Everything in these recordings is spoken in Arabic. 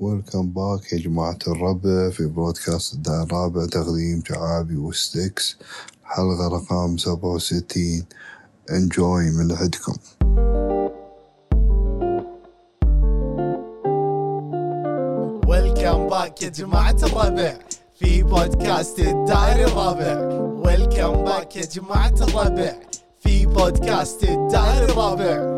ويلكم باك يا جماعة الربع في بودكاست الداعي الرابع تقديم شعابي وستكس حلقة رقم سبعة وستين انجوي من عدكم ويلكم باك يا جماعة الربع في بودكاست الدائري الرابع ويلكم باك يا جماعة الربع في بودكاست الدائري الرابع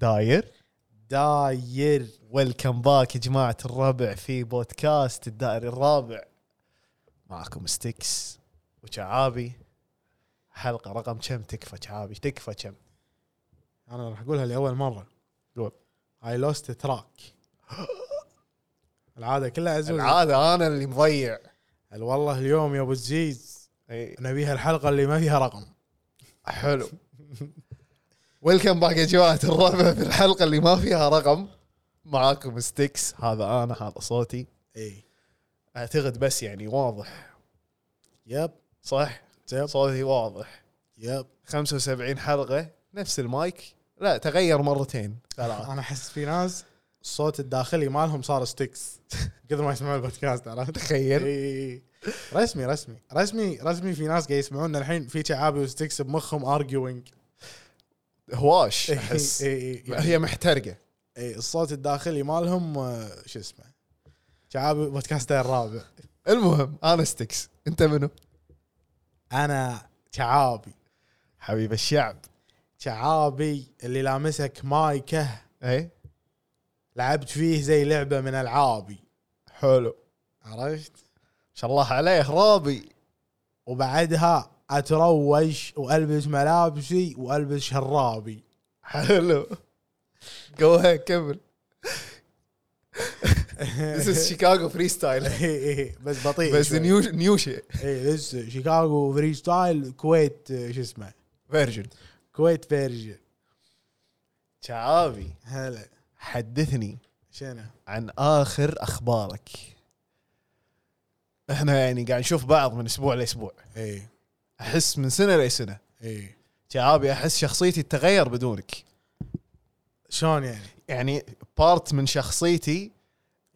داير داير ويلكم باك يا جماعة الربع في بودكاست الدائري الرابع معكم ستيكس وشعابي حلقة رقم كم تكفى شعابي تكفى كم انا راح اقولها لاول مره قول. اي لوست تراك العاده كلها عزوز العادة انا اللي مضيع قال والله اليوم يا ابو الزيز نبيها الحلقه اللي ما فيها رقم حلو ويلكم باك يا جماعة الربع في الحلقة اللي ما فيها رقم معاكم ستيكس هذا انا هذا صوتي اي اعتقد بس يعني واضح يب صح؟ يب صوتي واضح يب 75 حلقة نفس المايك لا تغير مرتين ثلاث انا احس في ناس الصوت الداخلي مالهم صار ستيكس قدر ما يسمعون البودكاست عرفت تخيل إي. رسمي رسمي رسمي رسمي في ناس قاعد يسمعونا الحين في شعابي وستكس بمخهم ارجوينج هواش اي احس اي إي. هي محترقة اي الصوت الداخلي مالهم آه، شو اسمه شعابي بودكاست الرابع المهم انا ستيكس انت منو؟ انا شعابي حبيب الشعب شعابي اللي لامسك مايكه اي لعبت فيه زي لعبه من العابي حلو ما عرفت شاء الله عليه رابي وبعدها اتروش والبس ملابسي والبس شرابي حلو جو هيك كمل This is Chicago freestyle إيه إيه، بس بطيء بس شوي. نيو نيو شيء إيه، لسه شيكاغو فري ستايل كويت آه، شو اسمه فيرجن كويت فيرجن شعابي هلا حدثني شنو عن اخر اخبارك احنا يعني قاعد نشوف بعض من اسبوع لاسبوع إيه. اي احس من سنه لسنه اي شعابي احس شخصيتي تتغير بدونك شلون يعني يعني بارت من شخصيتي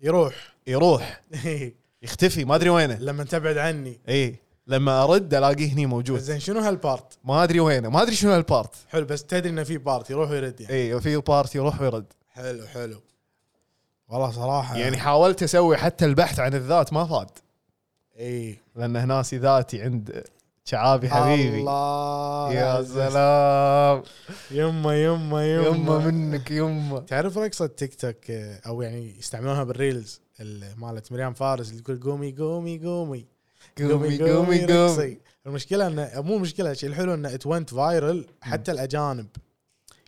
يروح يروح إيه، يختفي ما ادري وينه لما تبعد عني اي لما ارد الاقيه هني موجود زين شنو هالبارت ما ادري وينه ما ادري شنو هالبارت حلو بس تدري انه في بارت يروح ويرد يعني اي في بارت يروح ويرد حلو حلو والله صراحه يعني حاولت اسوي حتى البحث عن الذات ما فاد اي لان ناسي ذاتي عند شعابي حبيبي الله يا سلام يما يما يما يما منك يما تعرف رقصه تيك توك آه، او يعني يستعملونها بالريلز ال- مالت مريم فارس اللي تقول قومي قومي قومي قومي قومي قومي رقصي. المشكله انه مو مشكله الشيء الحلو انه ات ونت فايرل حتى الاجانب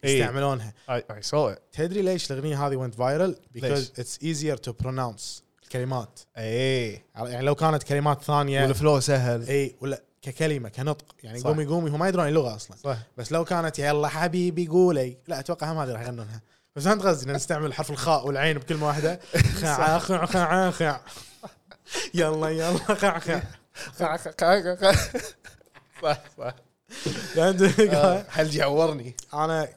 إيه. يستعملونها اي سو تدري ليش الاغنيه هذه ونت فايرل؟ ليش؟ بيكوز اتس ايزير تو برونونس الكلمات اي يعني لو كانت كلمات ثانيه والفلو سهل اي ولا ككلمه كنطق يعني صح. قومي قومي هم ما يدرون اللغه اصلا صح بس لو كانت يلا حبيبي قولي لا اتوقع هم هذه راح يغنونها بس انت قصدي نستعمل حرف الخاء والعين بكلمه واحده خع خع خع خع يلا يلا خع خع صح صح آه. لأن- حل يعورني انا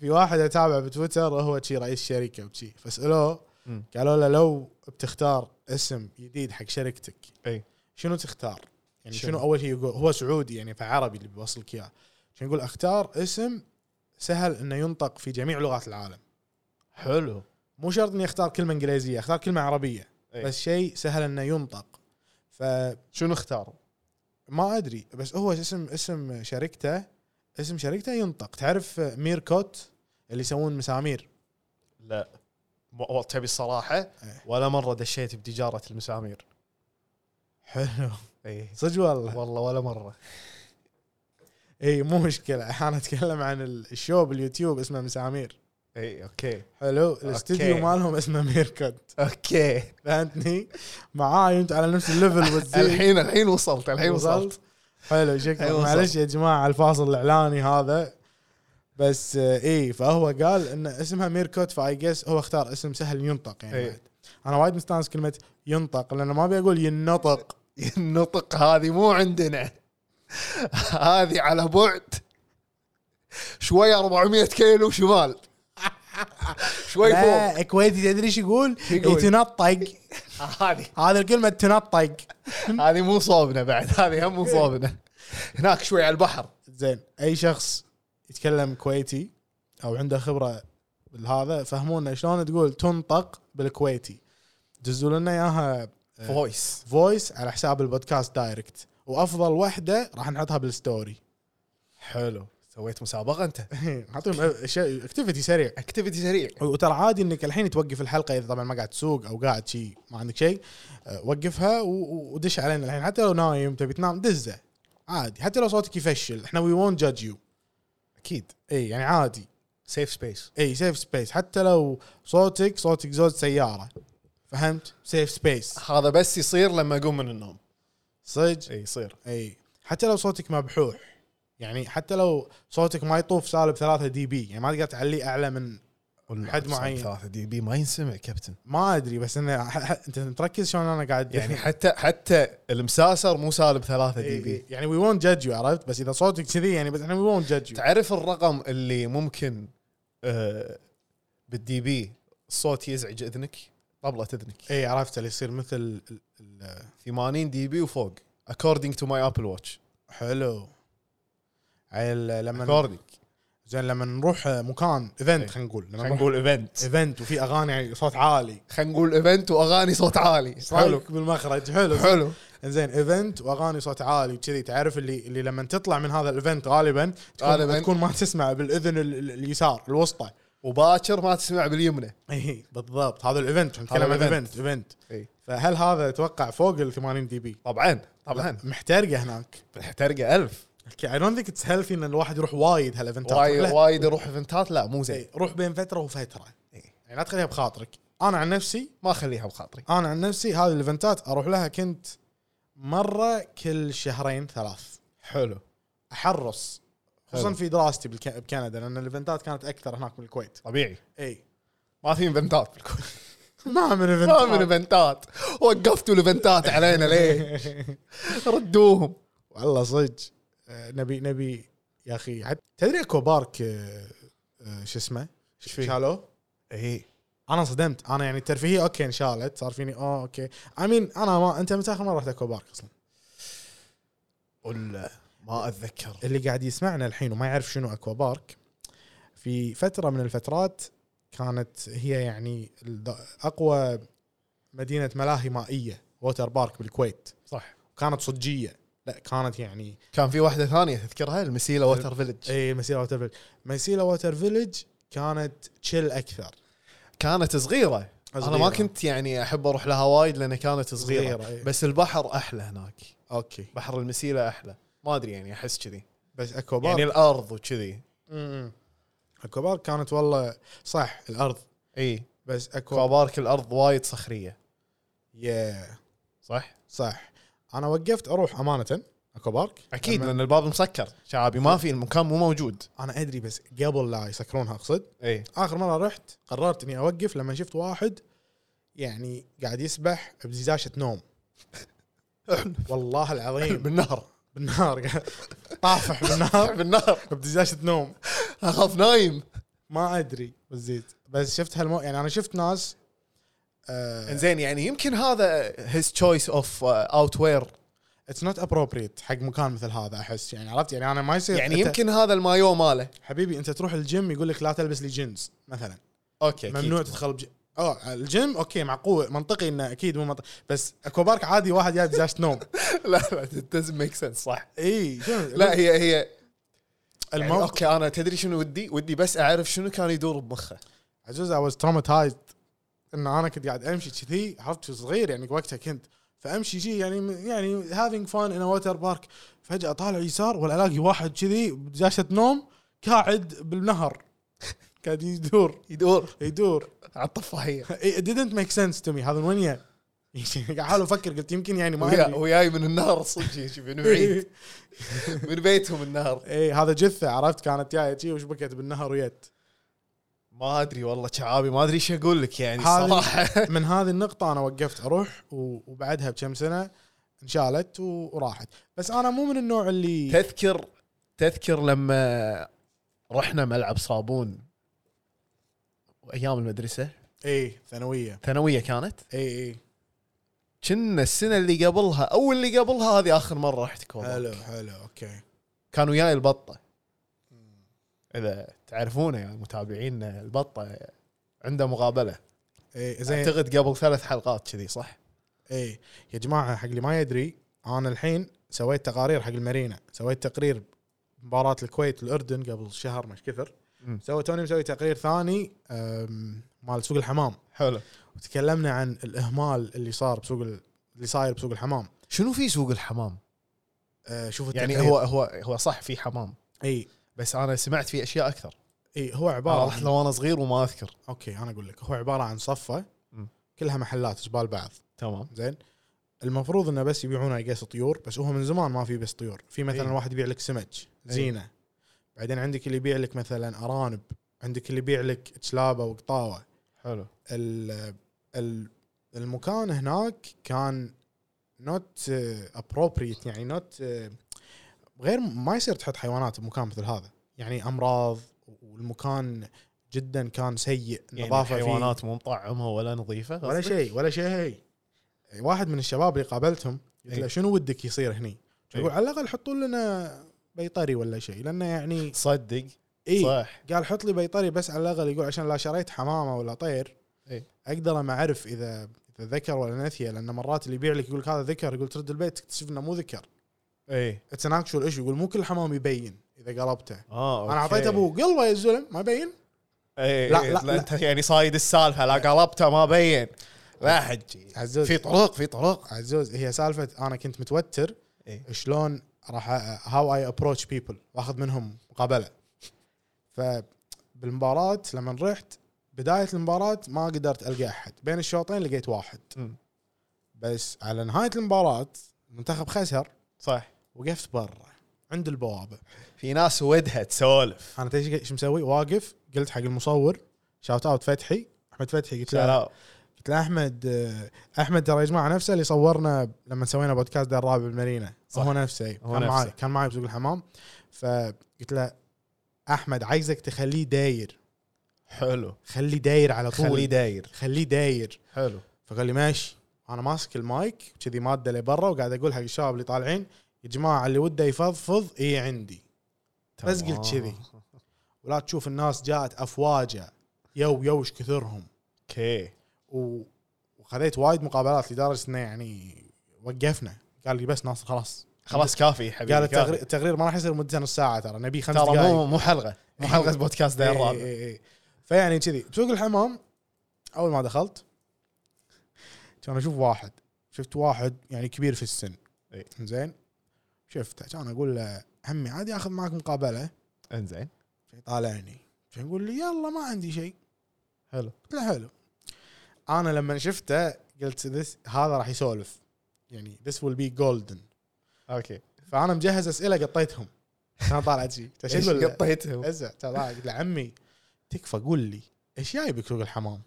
في واحد اتابعه بتويتر وهو شي رئيس شركه وشي فسالوه مم. قالوا له لو بتختار اسم جديد حق شركتك أي. شنو تختار؟ يعني شنو؟ شنو, اول شيء يقول هو سعودي يعني فعربي اللي بيوصلك اياه شنو يقول اختار اسم سهل انه ينطق في جميع لغات العالم حلو مو شرط اني اختار كلمه انجليزيه اختار كلمه عربيه أي. أي. بس شيء سهل انه ينطق فما إيه. شنو اختار؟ ادري بس هو اسم اسم شركته اسم شركته ينطق تعرف ميركوت اللي يسوون مسامير لا مو- تبي الصراحه إيه. ولا مره دشيت بتجاره المسامير حلو اي صدق والله والله ولا مره اي مو مشكله انا اتكلم عن ال- الشو باليوتيوب اسمه مسامير اي اوكي حلو الاستديو أوكي. مالهم اسمه ميركوت اوكي فهمتني معاي انت على نفس الليفل والزين. الحين الحين وصلت الحين وصلت وصلت؟ حلو أي شكرا وصل. معلش يا جماعه الفاصل الاعلاني هذا بس آه، ايه فهو قال ان اسمها ميركوت فاي جس هو اختار اسم سهل ينطق يعني إيه. بعد. انا وايد مستانس كلمه ينطق لان ما ابي اقول ينطق النطق هذه مو عندنا هذه على بعد شوي 400 كيلو شمال شوي فوق لا الكويتي تدري ايش يقول؟ يقول؟ يتنطق هذه هذا الكلمه تنطق هذه مو صوبنا بعد هذه هم مو صوبنا هناك شوي على البحر زين اي شخص يتكلم كويتي او عنده خبره بالهذا فهمونا شلون تقول تنطق بالكويتي دزوا لنا اياها فويس فويس على حساب البودكاست دايركت وافضل وحده راح نحطها بالستوري حلو سويت مسابقه انت نعطيهم اكتيفيتي سريع اكتيفيتي سريع وترى عادي انك الحين توقف الحلقه اذا طبعا ما قاعد تسوق او قاعد شيء ما عندك شيء أه، وقفها و- و- ودش علينا الحين حتى لو نايم تبي تنام دزه عادي حتى لو صوتك يفشل احنا وي وونت جادج يو اكيد اي يعني عادي سيف سبيس اي سيف سبيس حتى لو صوتك صوتك زوج سياره فهمت سيف سبيس هذا بس يصير لما اقوم من النوم صدق اي يصير اي حتى لو صوتك مبحوح يعني حتى لو صوتك ما يطوف سالب 3 دي بي يعني ما تقدر تعليه اعلى من حد معين. 3 دي بي ما ينسمع كابتن ما ادري بس انه ح- ح- انت تركز شلون انا قاعد يعني حتى حتى المساسر مو سالب 3 دي بي يعني وي وونت جادج يو عرفت بس اذا صوتك كذي يعني بس احنا وي وونت جادج يو تعرف الرقم اللي ممكن آه بالدي بي الصوت يزعج اذنك طبلة اذنك اي عرفت اللي يصير مثل ال- ال- 80 دي بي وفوق according to my apple watch حلو عيل لما according زين لما نروح مكان ايفنت خلينا نقول لما خلينا نروح نقول ايفنت ايفنت وفي اغاني يعني صوت عالي خلينا نقول ايفنت واغاني صوت عالي حلو بالمخرج حلو حلو زين ايفنت واغاني صوت عالي وكذي تعرف اللي اللي لما تطلع من هذا الايفنت غالبا تكون, غالباً. تكون ما تسمع بالاذن ال- ال- اليسار الوسطى وباكر ما تسمع باليمنى اي بالضبط هذا الايفنت نتكلم هذا عن الإيفنت. ايفنت ايفنت إي. فهل هذا اتوقع فوق ال 80 دي بي طبعا طبعا محترقه هناك ترقى ألف اي دونت ثينك اتس هيلثي ان الواحد يروح وايد هالايفنتات وايد لا. وايد يروح ايفنتات لا مو زين إي، روح بين فتره وفتره إيه. يعني لا تخليها بخاطرك انا عن نفسي ما اخليها بخاطري انا عن نفسي هذه الايفنتات اروح لها كنت مره كل شهرين ثلاث حلو احرص خصوصا حلو. في دراستي بالك- بكندا لان الايفنتات كانت اكثر هناك من الكويت طبيعي اي ما في ايفنتات بالكل ما من ما من ايفنتات ايفنتات وقفتوا الايفنتات علينا ليه ردوهم والله صدق آه، نبي نبي يا اخي حت- تدري اكو بارك آه، آه، شو اسمه إيش فيه؟ شالوه اي انا صدمت انا يعني الترفيهيه اوكي انشالت صار فيني اوه اوكي امين انا ما انت متى اخر مره رحت اكوا بارك اصلا ولا ما اتذكر اللي قاعد يسمعنا الحين وما يعرف شنو اكوا بارك في فتره من الفترات كانت هي يعني الد- اقوى مدينه ملاهي مائيه ووتر بارك بالكويت صح كانت صجيه لا كانت يعني إيه، كان في واحده ثانيه تذكرها المسيله ووتر فيلج اي مسيره ووتر فيلج مسيره ووتر فيلج كانت تشيل اكثر كانت صغيره انا ما صغيرة. كنت يعني احب اروح لها وايد لان كانت صغيره, صغيرة، إيه. بس البحر احلى هناك اوكي بحر المسيله احلى ما ادري يعني احس كذي بس اكوا بارك يعني الارض وكذي يعني اكوا بارك كانت والله صح الارض اي بس اكوا بارك كوبارك الارض وايد صخريه يا صح صح انا وقفت اروح امانه اكوا بارك اكيد لما- لان الباب مسكر شعابي ما في المكان مو موجود انا ادري بس قبل لا يسكرونها اقصد اي اخر مره رحت قررت اني اوقف لما شفت واحد يعني قاعد يسبح بزجاجه نوم والله العظيم بالنهر بالنار طافح بالنار بالنهر بزجاجه نوم اخاف نايم ما ادري بالزيت بس شفت هالمو يعني انا شفت ناس آه زين يعني يمكن هذا هيز تشويس اوف اوت وير اتس نوت ابروبريت حق مكان مثل هذا احس يعني عرفت يعني انا ما يصير يعني أنت- يمكن هذا المايو ماله حبيبي انت تروح الجيم يقول لك لا تلبس لي جينز مثلا اوكي أكيد. ممنوع تدخل بج... اه الجيم اوكي معقول منطقي انه اكيد مو منطقي بس اكوا بارك عادي واحد جاي بزاشه نوم لا لا doesn't ميك سنس صح اي لا هي هي يعني الموقف اوكي انا تدري شنو ودي ودي بس اعرف شنو كان يدور بمخه عجوز اي واز تروماتايزد ان انا كنت قاعد امشي كذي عرفت شو صغير يعني وقتها كنت فامشي جي يعني يعني هافينج فان ان ووتر بارك فجاه طالع يسار ولا الاقي واحد كذي بجاشه نوم قاعد بالنهر قاعد يدور يدور يدور على الطفاحيه it didn't make sense to me هذا من وين يا؟ قاعد احاول افكر قلت يمكن يعني ما ويا- ادري وياي من النهر صدق يجي من بعيد من بيتهم النهر اي إيه، هذا جثه عرفت كانت جايه جي وشبكت بالنهر ويت ما ادري والله شعابي ما ادري ايش اقول لك يعني هذه- صراحه من هذه النقطة أنا وقفت أروح و- وبعدها بكم سنة انشالت و- وراحت بس انا مو من النوع اللي تذكر تذكر لما رحنا ملعب صابون ايام المدرسه اي ثانويه ثانويه كانت اي اي كنا السنه اللي قبلها او اللي قبلها هذه اخر مره رحت كوبا حلو حلو اوكي كان وياي البطه اذا تعرفونه يعني متابعينا البطه عنده مقابله اي إيه، زين اعتقد قبل ثلاث حلقات كذي صح؟ اي يا جماعه حق اللي ما يدري انا الحين سويت تقارير حق المارينا سويت تقرير مباراة الكويت والاردن قبل شهر مش كثر مم. سوى توني مسوي تقرير ثاني أم، مال سوق الحمام حلو وتكلمنا عن الاهمال اللي صار بسوق ال- اللي صاير بسوق الحمام شنو في سوق الحمام؟ أه، شوفوا يعني التقرير. هو هو هو صح في حمام اي بس انا سمعت فيه اشياء اكثر اي هو انا عباره رحت عن... لو انا صغير وما اذكر اوكي انا اقول لك هو عباره عن صفه مم. كلها محلات زبال بعض تمام زين المفروض انه بس يبيعون اي طيور بس هو من زمان ما في بس طيور في مثلا إي. واحد يبيع لك سمك إي. زينه بعدين عندك اللي يبيع لك مثلا ارانب عندك اللي يبيع لك كلابه وقطاوه حلو ال ال المكان هناك كان نوت ابروبريت يعني نوت غير ما يصير تحط حيوانات بمكان مثل هذا يعني امراض والمكان جدا كان سيء يعني فيه- حيوانات مو مطعمها ولا نظيفه ولا قصدك؟ شيء ولا شيء يعني واحد من الشباب اللي قابلتهم قلت له إيه. شنو ودك يصير هني؟ إيه. يقول على الاقل حطوا لنا بيطري ولا شيء لانه يعني إيه. تصدق اي صح قال حط لي بيطري بس على الاقل يقول عشان لا شريت حمامه ولا طير إيه. اقدر ما اعرف اذا اذا ذكر ولا نثيه لان مرات اللي يبيع لك يقول لك هذا ذكر يقول ترد البيت تكتشف انه مو ذكر اي اتس ان اكشوال ايشو يقول مو كل حمام يبين اذا قلبته اه أوكي. انا اعطيته ابوه قلبه يا زلم ما يبين اي لا، لا, لا، لا, لا. انت يعني صايد السالفه لا قلبته ما بين لا حجي عزوز في طرق في طرق عزوز هي سالفه انا كنت متوتر إيه. شلون راح هاو اي ابروتش بيبل واخذ منهم مقابله فبالمباراه لما رحت بدايه المباراه ما قدرت القى احد بين الشوطين لقيت واحد م. بس على نهايه المباراه المنتخب خسر صح وقفت برا عند البوابه في ناس ودها تسولف انا تدري ايش مسوي واقف قلت حق المصور شاوت اوت فتحي احمد فتحي قلت له لا قلت له احمد آه، احمد ترى يا جماعه نفسه اللي صورنا لما سوينا بودكاست دار الرابع بالمارينا صح. هو نفسه أي. هو كان نفسه. معي كان معي بسوق الحمام فقلت له احمد عايزك تخليه داير حلو خليه داير على طول خليه داير خليه داير حلو فقال لي ماشي انا ماسك المايك كذي ماده لبرا وقاعد اقول حق الشباب اللي طالعين يا جماعه اللي وده يفضفض اي عندي بس تمام. قلت كذي. ولا تشوف الناس جاءت افواجه يو يو ايش كثرهم اوكي و- وخذيت وايد مقابلات لدرجه انه يعني وقفنا قال لي بس ناصر خلاص خلاص كافي حبيبي قال كافي. التغري- التقرير ما راح يصير مدته نص ساعه ترى نبي خمس يعني ترى دقائق مو مو حلقه مو حلقه بودكاست داير إي- رابع إي- إي. إيه. فيعني كذي بسوق الحمام اول ما دخلت كان اشوف واحد شفت واحد يعني كبير في السن إي. زين شفته كان اقول له عمي عادي اخذ معك مقابله انزين طالعني يقول لي يلا ما عندي شيء حلو قلت له حلو انا لما شفته قلت this هذا راح يسولف يعني this will be golden اوكي فانا مجهز اسئله قطيتهم كان طالع شيء ايش ايش قلت قطيتهم قلت له عمي تكفى قول لي ايش جايبك سوق الحمام؟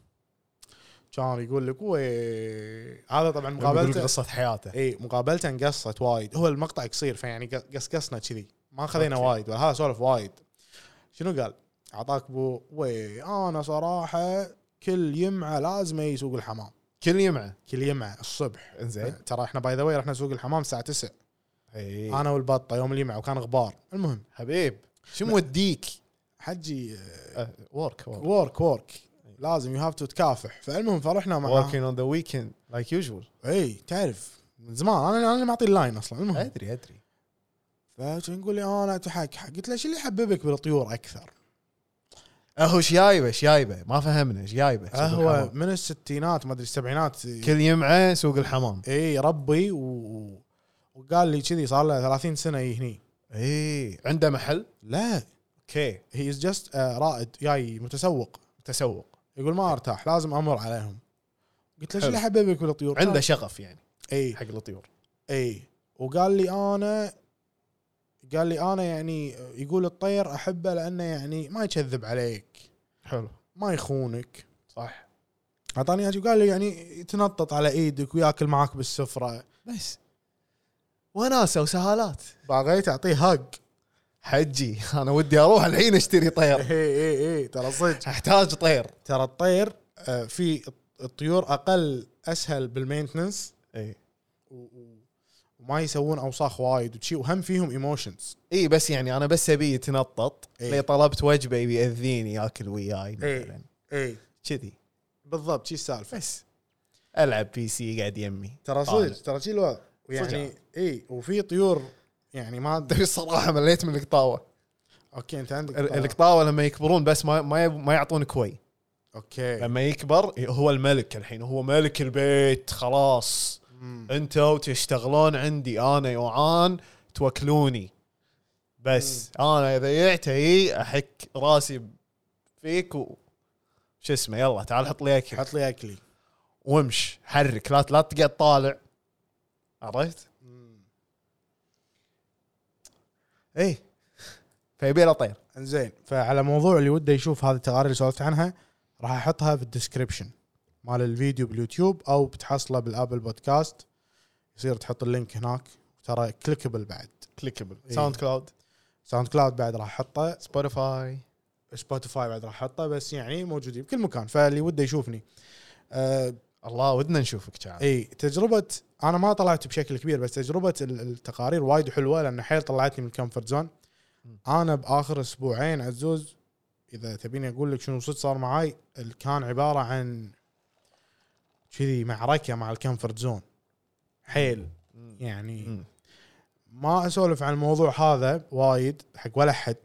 كان يقول لك وي هذا طبعا مقابلته مقابلته قصه حياته اي مقابلته انقصت وايد هو المقطع قصير فيعني قص- قصقصنا كذي ما خذينا أوكي. وايد ولا هذا سولف وايد شنو قال؟ اعطاك بو وي انا صراحه كل يمعه لازم يسوق الحمام كل يمعه كل يمعه الصبح انزين ترى احنا باي ذا واي رحنا سوق الحمام الساعه 9 إي. انا والبطه يوم الجمعه وكان غبار المهم حبيب شو موديك حجي آه، ورك ورك ورك ورك لازم يو هاف تو تكافح فالمهم فرحنا معاه working on the weekend like usual اي تعرف من زمان انا انا اللي معطي اللاين اصلا المهم ادري ادري فنقول لي انا اتحكحك قلت له شو اللي يحببك بالطيور اكثر؟ اهو ايش جايبه ايش جايبه ما فهمنا ايش جايبه سوق هو الحمام. من الستينات ما ادري السبعينات كل يمعه سوق الحمام اي ربي و... وقال لي كذي صار له 30 سنه يجي هني اي عنده محل لا اوكي هي از جاست رائد جاي متسوق تسوق يقول ما ارتاح لازم امر عليهم قلت له شو حلو. اللي حببك بالطيور؟ عنده شغف يعني اي حق الطيور اي وقال لي انا قال لي انا يعني يقول الطير احبه لانه يعني ما يكذب عليك حلو ما يخونك صح اعطاني اياه وقال لي يعني يتنطط على ايدك وياكل معاك بالسفره بس وناسه وسهالات باغيت اعطيه هاج حجي انا ودي اروح الحين اشتري طير اي اي اي ترى صدق احتاج طير ترى الطير آه، في الطيور اقل اسهل بالمينتنس اي وما يسوون اوساخ وايد وشي وهم فيهم ايموشنز اي بس يعني انا بس ابي يتنطط إي. لي طلبت وجبه يبي ياذيني ياكل وياي مثلا اي كذي بالضبط شي السالفه بس العب بي سي قاعد يمي ترى طالع. صدق ترى شي الوضع يعني اي وفي طيور يعني ما تبي الصراحه مليت من القطاوه اوكي انت عندك ال- القطاوه لما يكبرون بس ما ما يب- ما يعطون كوي اوكي إيه. لما يكبر هو الملك الحين هو ملك البيت خلاص مم. انتوا تشتغلون عندي انا يوعان توكلوني بس انا اذا جعت هي احك راسي فيك و شو اسمه يلا تعال حط لي اكل حط لي اكلي وامش حرك لا لا تقعد طالع عرفت؟ اي إيه. فيبي له طير انزين فعلى موضوع اللي وده يشوف هذه التقارير اللي سولفت عنها راح احطها في الديسكربشن مال الفيديو باليوتيوب او بتحصله بالابل بودكاست يصير تحط اللينك هناك ترى كليكبل بعد كليكبل إيه. إي. ساوند كلاود ساوند كلاود بعد راح احطه سبوتيفاي سبوتيفاي بعد راح احطه بس يعني موجودين بكل مكان فاللي وده يشوفني آه الله ودنا نشوفك شعب اي تجربه انا ما طلعت بشكل كبير بس تجربه ال- التقارير وايد حلوه لان حيل طلعتني من الكومفورت زون انا باخر اسبوعين عزوز اذا تبيني اقول لك شنو صدق صار معاي ال- كان عباره عن كذي معركه مع الكومفورت زون حيل يعني مم. ما اسولف عن الموضوع هذا وايد حق ولا حد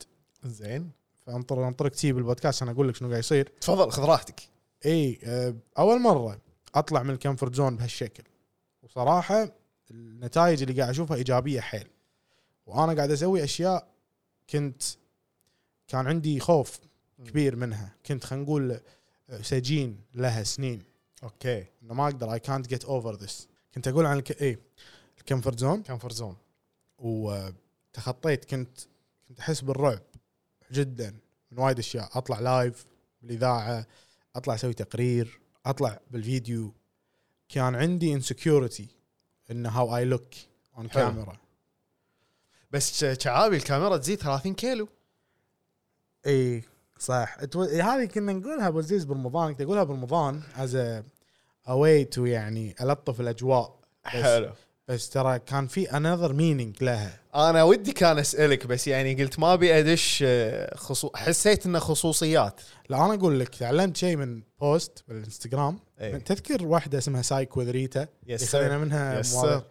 زين فانطر انطرك تي بالبودكاست انا اقول لك شنو قاعد يصير تفضل خذ راحتك اي آه، اول مره اطلع من الكمفورت زون بهالشكل وصراحه النتائج اللي قاعد اشوفها ايجابيه حيل وانا قاعد اسوي اشياء كنت كان عندي خوف كبير منها كنت خلينا نقول آه، سجين لها سنين اوكي انه ما اقدر اي كانت جيت اوفر ذس كنت اقول عن الك... اي الكمفورت زون كمفورت زون وتخطيت كنت كنت احس بالرعب جدا من وايد اشياء اطلع لايف بالاذاعه اطلع اسوي تقرير اطلع بالفيديو كان عندي انسكيورتي ان هاو اي لوك اون حلو. كاميرا بس ش- شعابي الكاميرا تزيد 30 كيلو اي صح It was- هذه كنا نقولها ابو عزيز برمضان كنت اقولها برمضان از اواي تو يعني الطف الاجواء بس- بس ترى كان في انذر مينينج لها انا ودي كان اسالك بس يعني قلت ما ابي ادش آه، خصو... حسيت انه خصوصيات لا انا اقول لك تعلمت شيء من بوست بالانستغرام إيه. تذكر واحده اسمها سايك وذ ريتا Yes, اللي خذينا sir. منها Yes, مواضيع. sir.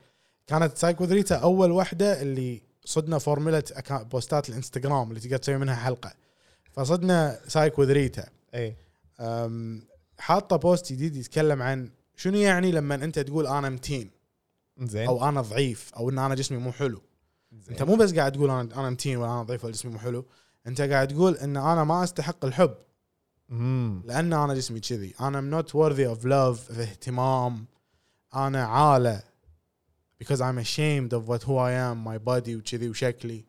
كانت سايك وذ ريتا اول واحده اللي صدنا فورمولا أكا- بوستات الانستغرام اللي تقدر تسوي منها حلقه فصدنا سايك وذ ريتا اي أم، حاطه بوست جديد يتكلم عن شنو يعني لما انت تقول انا متين زين او انا ضعيف او ان انا جسمي مو حلو انت مو بس قاعد تقول انا انا متين ولا انا ضعيف ولا جسمي مو حلو انت قاعد تقول ان انا ما استحق الحب مم. لان انا جسمي كذي انا ام نوت worthy اوف لاف اهتمام انا عاله because I'm ashamed of what who I am my body وكذي وشكلي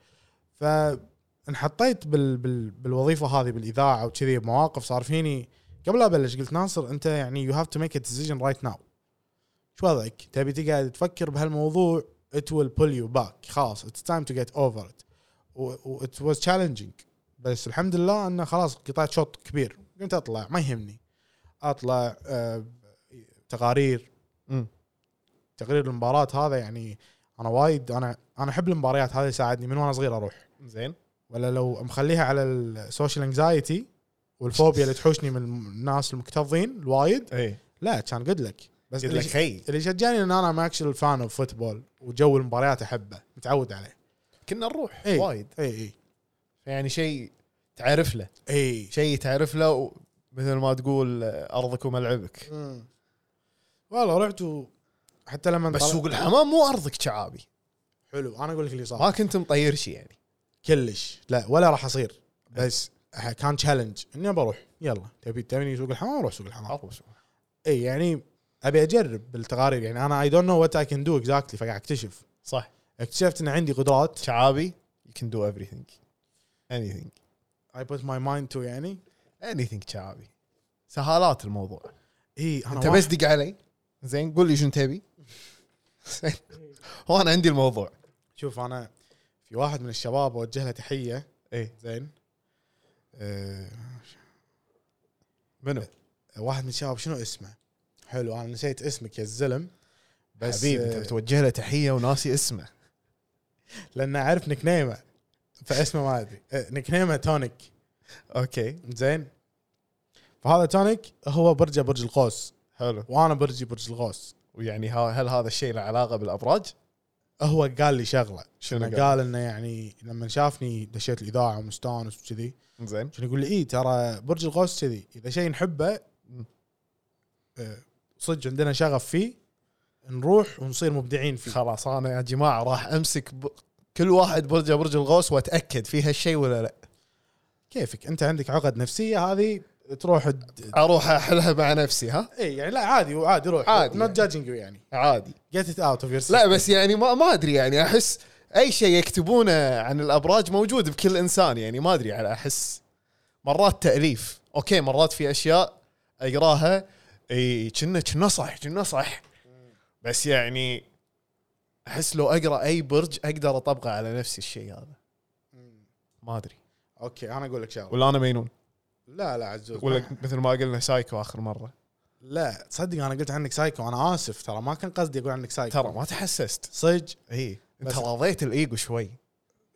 فانحطيت بال بال بالوظيفه هذه بالاذاعه وكذي بمواقف صار فيني قبل لا ابلش قلت ناصر انت يعني you have to make a decision right now شو وضعك؟ تبي تقعد تفكر بهالموضوع it will pull you back خلاص it's time to get over it و, و it was challenging بس الحمد لله انه خلاص قطعت شوط كبير قمت اطلع ما يهمني اطلع آه، تقارير مم. تقرير المباراه هذا يعني انا وايد انا انا احب المباريات هذا يساعدني من وانا صغير اروح زين ولا لو مخليها على السوشيال انكزايتي والفوبيا اللي تحوشني من الناس المكتظين الوايد اي لا كان قد لك بس إيه. قلت اللي, لك خي اللي شجعني ان انا ام اكشن فان اوف فوتبول وجو المباريات احبه متعود عليه إيه، كنا نروح إي. وايد اي اي يعني شيء تعرف له اي شيء تعرف له و- مثل ما تقول آه، ارضك وملعبك مم. والله رحت و حتى لما بس طلع- سوق الحمام مو ارضك شعابي حلو انا اقول لك اللي صار ما كنت مطير شيء يعني كلش لا ولا راح اصير إيه. بس ح- كان تشالنج اني بروح يلا تبي تبيني سوق الحمام اروح سوق الحمام اي يعني ابي اجرب بالتقارير يعني انا اي دونت نو وات اي كان دو اكزاكتلي فقاعد اكتشف صح اكتشفت ان عندي قدرات شعابي you can do everything anything اي بوت ماي مايند تو يعني anything شعابي سهالات الموضوع اي انا انت بس دق علي زين قول لي شنو تبي زين هو انا عندي الموضوع شوف انا في واحد من الشباب اوجه له تحيه اي زين آه، أه منو؟ واحد من الشباب شنو اسمه؟ حلو انا نسيت اسمك يا الزلم بس حبيبي انت آه، بتوجه له تحيه وناسي اسمه لان اعرف نكنيمه فاسمه ما ادري آه، نكنيمه تونيك اوكي زين فهذا تونيك هو برجه برج القوس حلو وانا برجي برج القوس ويعني ها- هل هذا الشيء له علاقه بالابراج؟ هو قال لي شغله شنو قال, قال؟ قال انه يعني لما شافني دشيت الاذاعه ومستانس وكذي زين عشان يقول لي اي ترى برج القوس كذي اذا شيء نحبه آه، صدق عندنا شغف فيه نروح ونصير مبدعين فيه خلاص انا يا جماعه راح امسك ب... كل واحد برجه برج الغوص واتاكد في هالشيء ولا لا كيفك انت عندك عقد نفسيه هذه تروح تد- اروح احلها مع نفسي ها اي يعني لا عادي وعادي روح عادي نوت جادجنج يعني عادي جيت ات اوت اوف يور لا بس يعني ما ما ادري يعني احس اي شيء يكتبونه عن الابراج موجود بكل انسان يعني ما ادري على احس مرات تاليف اوكي مرات في اشياء اقراها اي كنا كنا صح كنا صح بس يعني احس لو اقرا اي برج اقدر اطبقه على نفسي الشيء هذا ما ادري اوكي انا اقول لك شغله ولا انا مينون لا لا عزوز ولا مثل ما قلنا سايكو اخر مره لا تصدق انا قلت عنك سايكو انا اسف ترى ما كان قصدي اقول عنك سايكو ترى ما تحسست صدق اي انت بس- راضيت الايجو شوي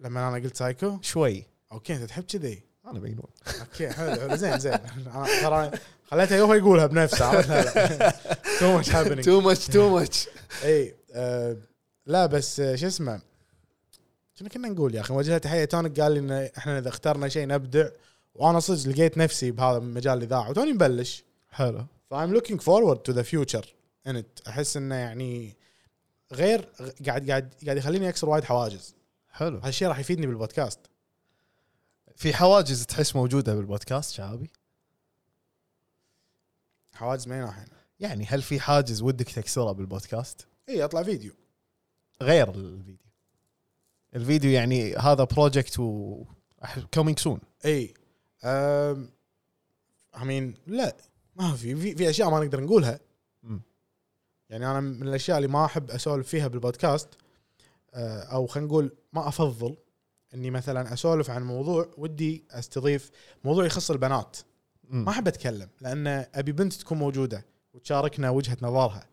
لما انا قلت سايكو شوي اوكي انت تحب كذي انا مينون اوكي حلو حلو زين زين انا ترى خليته هو يقولها بنفسه عرفت؟ لا لا تو ماتش هابينج تو ماتش تو ماتش اي آه، لا بس آه، شو اسمه شنو كنا نقول يا اخي وجهها تحيه تونك قال لي ان احنا اذا اخترنا شيء نبدع وانا صدق لقيت نفسي بهذا مجال الاذاعه وتوني مبلش حلو فايم لوكينج فورورد تو ذا فيوتشر انت احس انه يعني غير قاعد قاعد قاعد يخليني اكسر وايد حواجز حلو هالشيء راح يفيدني بالبودكاست في حواجز تحس موجوده بالبودكاست شعبي حواجز من أي ناحيه يعني هل في حاجز ودك تكسره بالبودكاست اي اطلع إيه، فيديو غير الفيديو الفيديو يعني هذا بروجكت و كومينج سون اي امم امين لا ما في في, في اشياء ما نقدر نقولها مم. يعني انا من الاشياء اللي ما احب اسولف فيها بالبودكاست آه، او خلينا نقول ما افضل اني مثلا اسولف عن موضوع ودي استضيف موضوع يخص البنات ما احب اتكلم لان ابي بنت تكون موجوده وتشاركنا وجهه نظرها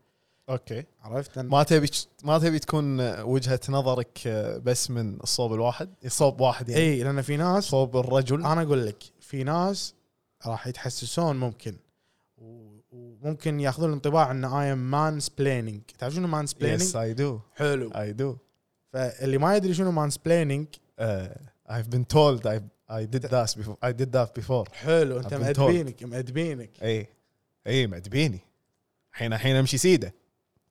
اوكي عرفت لأن ما تبي ما تبي تكون وجهه نظرك آه، بس من الصوب الواحد صوب واحد يعني اي لان في ناس صوب الرجل انا اقول لك في ناس راح يتحسسون ممكن و- وممكن ياخذون الانطباع ان اي ام مان سبليننج تعرف شنو مان يس سبليننج اي دو حلو اي دو فاللي ما يدري شنو مان سبليننج Uh, I've been told I I did that before I did that before حلو انت I've been مأدبينك مأدبينك اي اي مدبيني الحين الحين امشي سيده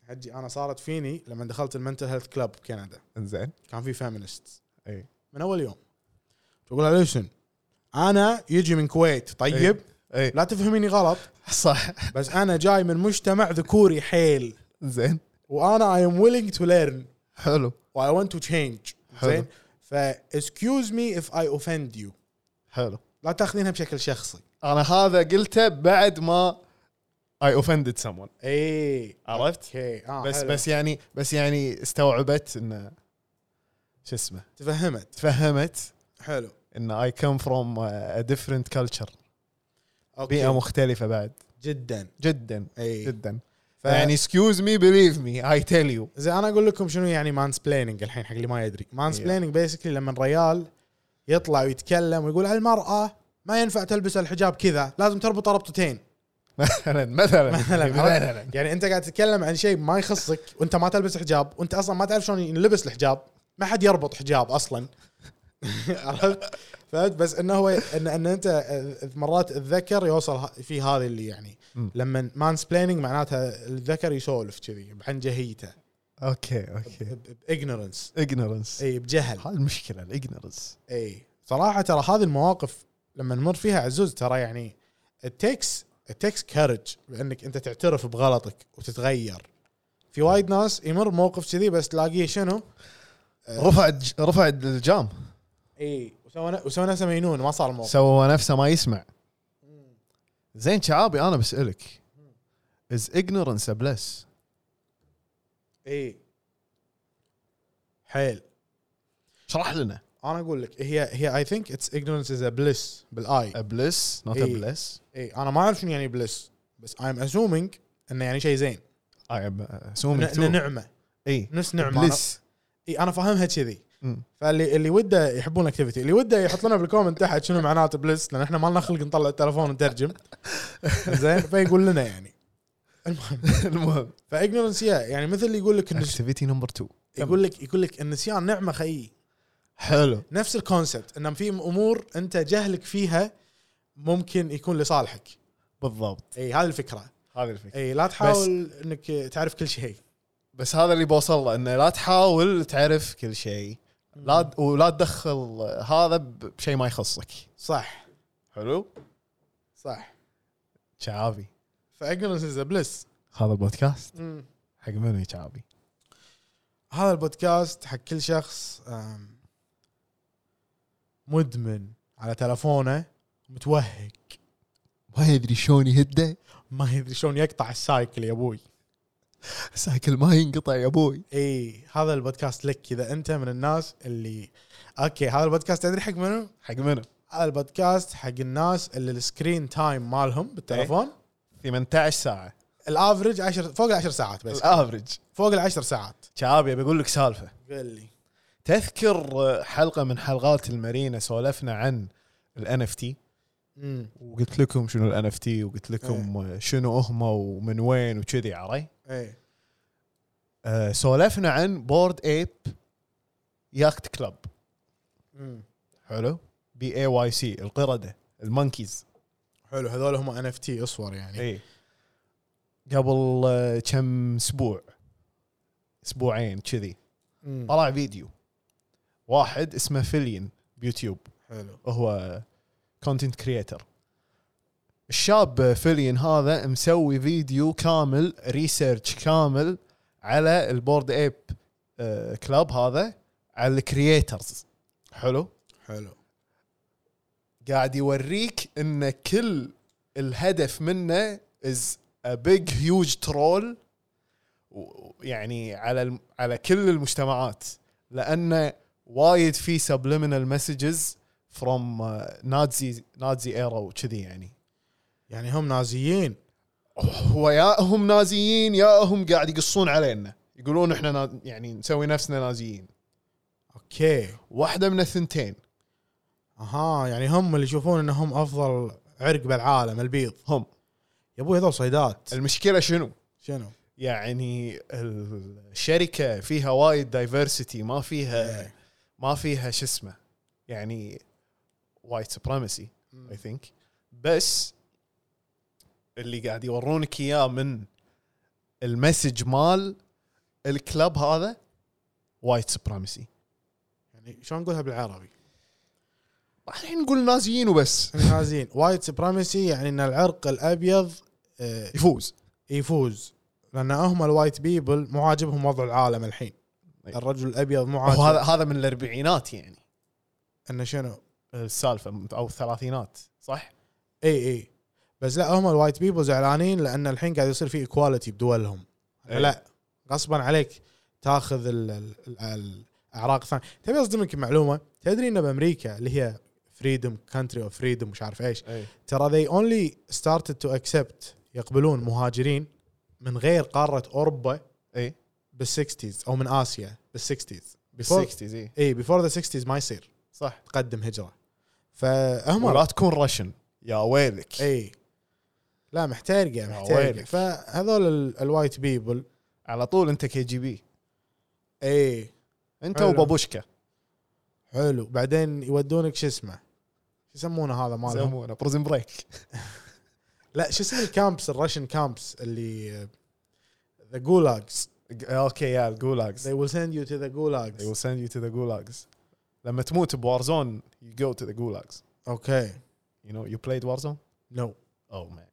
حجي انا صارت فيني لما دخلت المنتل هيلث كلاب بكندا انزين كان في فيمينست اي من اول يوم تقول لها ليسن انا يجي من كويت طيب اي لا تفهميني غلط إيه. صح بس انا جاي من مجتمع ذكوري حيل زين وانا اي ام ويلينج تو ليرن حلو واي ونت تو تشينج حلو. زين فاسكيوز مي اف اي اوفند يو حلو لا تاخذينها بشكل شخصي انا هذا قلته بعد ما اي اوفندد سمون اي عرفت؟ اوكي آه إيه. بس حلو. بس يعني بس يعني استوعبت ان شو اسمه تفهمت تفهمت حلو ان اي كم فروم ديفرنت كلتشر بيئه اوكي مختلفه بعد جدا جدا اي جدا ف... يعني يعني اكسكيوز مي بليف مي اي تيل يو زين انا اقول لكم شنو يعني مان سبليننج الحين حق اللي ما يدري مان سبليننج بيسكلي لما الريال يطلع ويتكلم ويقول على المراه ما ينفع تلبس الحجاب كذا لازم تربط ربطتين مثلا مثلا مثلا مثلا عرفت؟ يعني انت قاعد تتكلم عن شيء ما يخصك وانت ما تلبس حجاب وانت اصلا ما تعرف شلون ينلبس الحجاب ما حد يربط حجاب اصلا عرفت فهمت بس انه هو ان, إن انت آه، مرات الذكر يوصل ه- في هذه اللي يعني م. لما مان سبليننج معناتها الذكر يسولف كذي عن جهيته اوكي اوكي باجنورنس اجنورنس اي بجهل هاي المشكله الاجنورنس اي صراحه ترى هذه المواقف لما نمر فيها عزوز ترى يعني التكس التكس كارج بانك انت تعترف بغلطك وتتغير في وايد ناس يمر موقف كذي بس تلاقيه شنو؟ آه. رفع الج- رفع الجام اي وسوى ن- وسوى نفسه مجنون ما صار الموقف سوى هو نفسه ما يسمع زين شعابي انا بسالك از ignorance a bliss اي حيل شرح لنا انا اقول لك هي هي اي ثينك اتس ignorance از بليس بالاي ابلس نوت إيه. ابلس اي انا ما اعرف شنو يعني بليس بس اي ام اسومينج انه يعني شيء زين اي إنه- إنه اسومينج نعمه اي نفس نعمه ابلس أنا- إي انا فاهمها كذي مم. فاللي اللي وده يحبون الاكتيفيتي اللي وده يحط لنا بالكومنت تحت شنو معناته بليس لان احنا ما لنا خلق نطلع التلفون ونترجم زين فيقول لنا يعني المهم المهم فاجنورنس يعني مثل اللي يقول لك النس- اكتيفيتي نمبر 2 يقول لك يقول لك النسيان نعمه خيي حلو نفس الكونسبت ان في امور انت جهلك فيها ممكن يكون لصالحك بالضبط اي هذه الفكره هذه الفكره اي لا تحاول انك تعرف كل شيء إيه. بس هذا اللي بوصل له انه لا تحاول تعرف كل شيء لا د- ولا تدخل هذا ب- بشيء ما يخصك صح حلو صح شعابي فاجنورنس از بليس هذا البودكاست حق منو يا شعابي هذا البودكاست حق كل شخص آم، مدمن على تلفونه متوهق ما يدري شلون يهده ما يدري شلون يقطع السايكل يا ابوي ساكل ما ينقطع يا ابوي اي هذا البودكاست لك اذا انت من الناس اللي اوكي هذا البودكاست تدري حق منو؟ حق منو هذا البودكاست حق الناس اللي السكرين تايم مالهم بالتلفون 18 ساعه الافرج 10 فوق العشر ساعات بس الافرج فوق العشر ساعات شعابي بقول لك سالفه قل لي تذكر حلقه من حلقات المارينا سولفنا عن الان اف تي امم وقلت لكم شنو الان اف تي وقلت لكم شنو هم ومن وين وكذي عري اي أه، سولفنا عن بورد ايب ياكت كلب مم. حلو بي اي واي سي القرده المونكيز حلو هذول هم ان اف تي اصور يعني اي قبل أه، كم اسبوع اسبوعين كذي مم. طلع فيديو واحد اسمه فيليان بيوتيوب حلو هو كونتنت كريتر الشاب فيليان هذا مسوي فيديو كامل ريسيرش كامل على البورد ايب آه، كلاب هذا على الكرييترز حلو حلو قاعد يوريك ان كل الهدف منه از ا بيج هيوج ترول يعني على الم- على كل المجتمعات لان وايد في سبليمينال مسجز فروم نازي نازي ايرا وكذي يعني يعني هم نازيين هو يا هم نازيين يا هم قاعد يقصون علينا يقولون احنا نا- يعني نسوي نفسنا نازيين اوكي واحده من الثنتين اها يعني هم اللي يشوفون انهم افضل عرق بالعالم البيض هم يا ابوي هذول صيدات المشكله شنو شنو؟ يعني الشركه فيها وايد دايفرسيتي ما فيها ما فيها شو اسمه يعني وايت سبريمسي اي ثينك بس اللي قاعد يورونك اياه من المسج مال الكلب هذا وايت سبريمسي يعني شلون نقولها بالعربي؟ يعني الحين نقول نازيين وبس نازيين وايت سبريمسي يعني ان العرق الابيض آه، يفوز يفوز لان هم الوايت بيبل مو عاجبهم وضع العالم الحين أي. الرجل الابيض مو وهذا عاجب طيب. هذا من الاربعينات يعني انه شنو؟ السالفه او الثلاثينات صح؟ اي اي إيه، بس لا هم الوايت بيبل زعلانين لان الحين قاعد يصير في ايكواليتي بدولهم إيه. لا غصبا عليك تاخذ ال- ال- ال- الاعراق الثانيه تبي اصدمك معلومه تدري ان بامريكا اللي هي فريدم كانتري اوف فريدم مش عارف ايش اي ترى they only started to accept يقبلون مهاجرين من غير قاره اوروبا اي بالسكستيز او من اسيا بالسكستيز إيه، بيفور 60 اي اي بيفور ذا 60 ما يصير إيه، صح تقدم هجره فهم ولا تكون راشن يا ويلك اي إيه. لا محترقه محترقه ويلك. فهذول ال- الوايت بيبل على طول انت كي جي بي اي انت حلو. وبابوشكا إيه، حلو بعدين يودونك شو اسمه شو يسمونه هذا مالهم يسمونه بروزن بريك لا شو اسم الكامبس الراشن كامبس اللي ذا جولاجز اوكي آه، يا الجولاجز they will send you to the they will gulags send you to the gulags لما تموت بوارزون you go to the gulags اوكي you know you played warzone نو oh man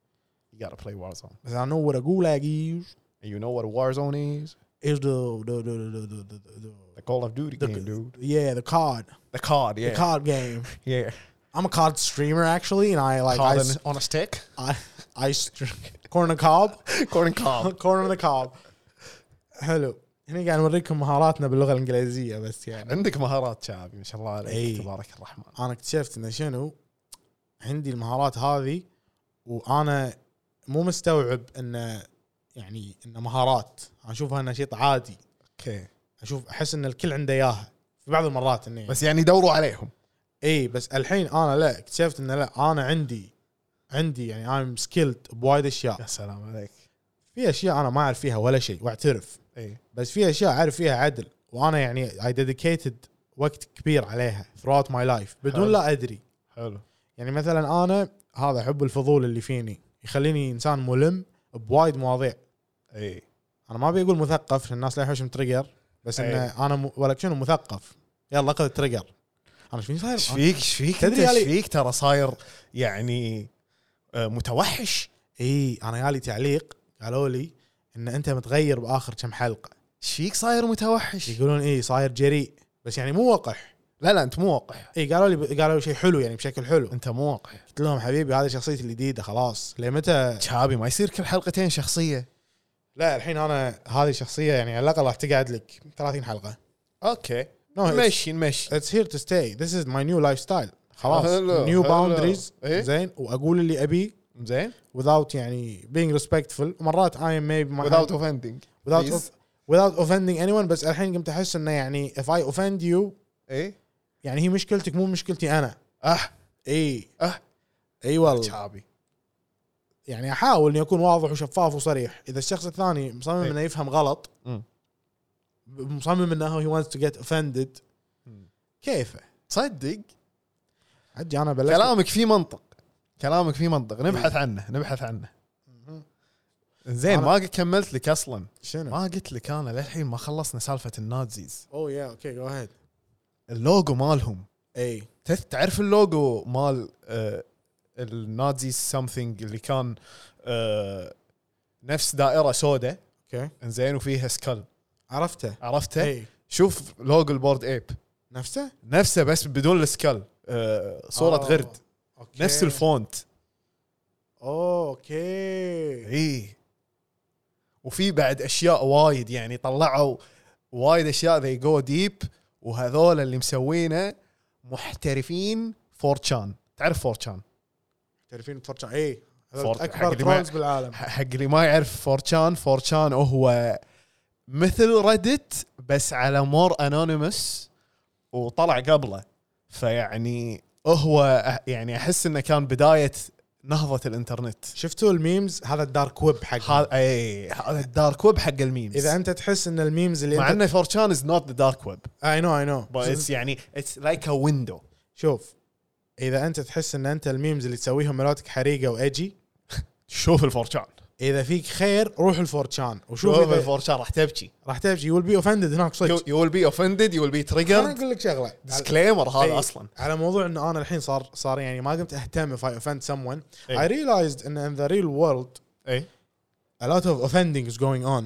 you gotta play warzone بس انا نو what a gulag is and you know what warzone is is the the the the the the, the, the the call of duty The- game dude Yeah, the card. the card The yeah card game. yeah I'm a card streamer actually, and I like I, card s- on a stick I, I str- corn the cob, Corn cob. corn the cob. حلو هنا قاعد نوريكم مهاراتنا باللغه الانجليزيه بس يعني عندك مهارات شعبي ما شاء الله عليك إي. تبارك الرحمن انا اكتشفت انه شنو عندي المهارات هذه وانا مو مستوعب انه يعني انه مهارات انا اشوفها انها شيء عادي اوكي اشوف احس ان الكل عنده اياها في بعض المرات انه بس يعني دوروا عليهم اي بس الحين انا لا اكتشفت انه لا انا عندي عندي يعني ايم سكيلد بوايد اشياء يا سلام عليك في اشياء انا ما اعرف فيها ولا شيء واعترف إيه. اي بس في اشياء اعرف فيها عدل وانا يعني اي ديديكيتد وقت كبير عليها throughout my life بدون حلو. لا ادري حلو يعني مثلا انا هذا حب الفضول اللي فيني يخليني انسان ملم بوايد مواضيع اي انا ما ابي اقول مثقف عشان الناس لا يحوشهم تريجر بس إيه. انه انا م... ولا شنو مثقف يلا خذ تريجر انا ايش فيني صاير؟ ايش فيك ايش فيك تدري آه. تدري ايش علي- فيك ترى صاير يعني آه، متوحش اي انا إيه، يالي تعليق قالوا لي ان انت متغير باخر كم حلقه ايش فيك صاير متوحش يقولون اي صاير جريء بس يعني مو وقح لا لا انت مو وقح اي قالوا لي قالوا لي شيء حلو يعني بشكل حلو انت مو وقح قلت لهم حبيبي هذه شخصيتي الجديده خلاص لمتى شعبي ما يصير كل حلقتين شخصيه لا الحين انا هذه شخصيه يعني على الاقل راح تقعد لك 30 حلقه اوكي نو مشي مشي اتس هير تو ستاي ذيس از ماي نيو لايف ستايل خلاص حلو، نيو حلو. باوندريز إيه. زين واقول اللي ابيه زين without يعني being respectful مرات I am maybe my- without offending without Please. of- without offending anyone بس الحين قمت احس انه يعني if I offend you اي يعني هي مشكلتك مو مشكلتي انا اه اي أه. اي والله شعبي يعني احاول اني اكون واضح وشفاف وصريح اذا الشخص الثاني مصمم إيه. انه يفهم غلط مم. مصمم انه هي wants to get offended مم. كيفه تصدق عجي انا بلشت كلامك فيه منطق كلامك فيه منطق إيه. نبحث عنه نبحث عنه زين أنا- ما كملت لك اصلا شنو؟ Oh ما قلت لك انا للحين ما خلصنا سالفه النازيز اوه يا اوكي جو هيد اللوجو مالهم اي تث- تعرف اللوجو مال آه النازيز سمثينج اللي كان آه نفس دائره سوداء اوكي زين وفيها سكال عرفته عرفته؟ اي شوف لوجو البورد ايب نفسه؟ نفسه بس بدون السكال آه صوره آه، غرد أوكي. Oh نفس الفونت اوه اوكي اي إيه. وفي بعد اشياء وايد يعني طلعوا وايد اشياء ذي جو ديب وهذول اللي مسوينه محترفين فورتشان تعرف فورتشان تعرفين فرشة اي هذول فورت- حق اكبر اللي ما- ترولز بالعالم حق اللي ما يعرف فورتشان فورتشان هو مثل ريدت بس على مور انونيمس وطلع قبله فيعني هو أح- يعني احس انه كان بدايه نهضه الانترنت شفتوا الميمز هذا الدارك ويب حق هذا اي إيه، هذا الدارك ويب حق الميمز اذا انت تحس ان الميمز اللي مع انت انه 4chan is not the dark web اي نو اي نو but it's يعني it's like a window شوف اذا انت تحس ان انت الميمز اللي تسويهم مراتك حريقه واجي شوف ال 4chan اذا فيك خير روح الفورتشان وشوف شوف إذا ال 4chan راح تبكي راح تبجي يو بي اوفندد هناك you, صدق you will be offended you will be انا triggered اقول لك شغله disclaimer إي. هذا اصلا على موضوع انه انا الحين صار صار يعني ما قمت اهتم if I offend someone إي. I realized ان in the real world اي a lot of offending is going on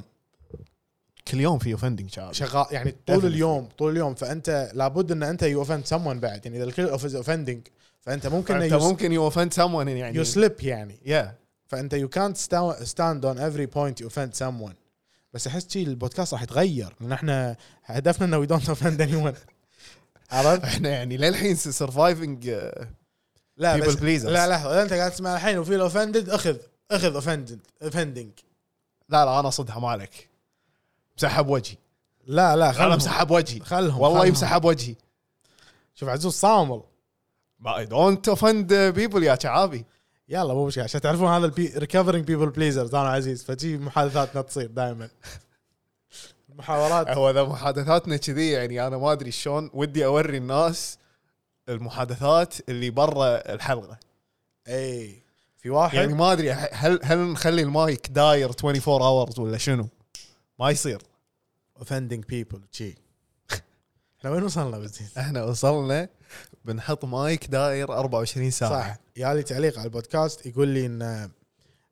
كل يوم في offending شباب شغال يعني طول Definitely. اليوم طول اليوم فانت لابد ان انت يو اوفند سمون بعد يعني اذا الكل اوفز اوفندنج فانت ممكن انت ممكن you offend someone يعني يو سليب يعني yeah فانت يو كانت ستاند اون افري بوينت يو اوفند سمون بس احس شي البودكاست راح يتغير لان احنا هدفنا انه وي دونت اوفند اني ون عرفت؟ احنا يعني للحين آه، سرفايفنج لا People بس pleasers. لا لحظه اذا انت قاعد تسمع الحين وفي الاوفندد اخذ اخذ اوفندد اوفندنج لا لا انا صدها مالك مسحب وجهي لا لا انا خلهم مسحب وجهي خلهم والله خلهم. يمسحب وجهي شوف عزوز صامل ما دونت اوفند بيبل يا شعابي يلا مو مشكله عشان تعرفون هذا البي ريكفرنج بيبل بليزرز انا وعزيز فشي محادثاتنا تصير دائما المحاورات هو اذا محادثاتنا كذي يعني انا ما ادري شلون ودي اوري الناس المحادثات اللي برا الحلقه اي إيه. في واحد يعني ما ادري هل هل نخلي المايك داير 24 اورز ولا شنو؟ ما يصير اوفندنج بيبل شي احنا وين وصلنا بزين احنا وصلنا بنحط مايك داير 24 ساعه صح يالي تعليق على البودكاست يقول لي ان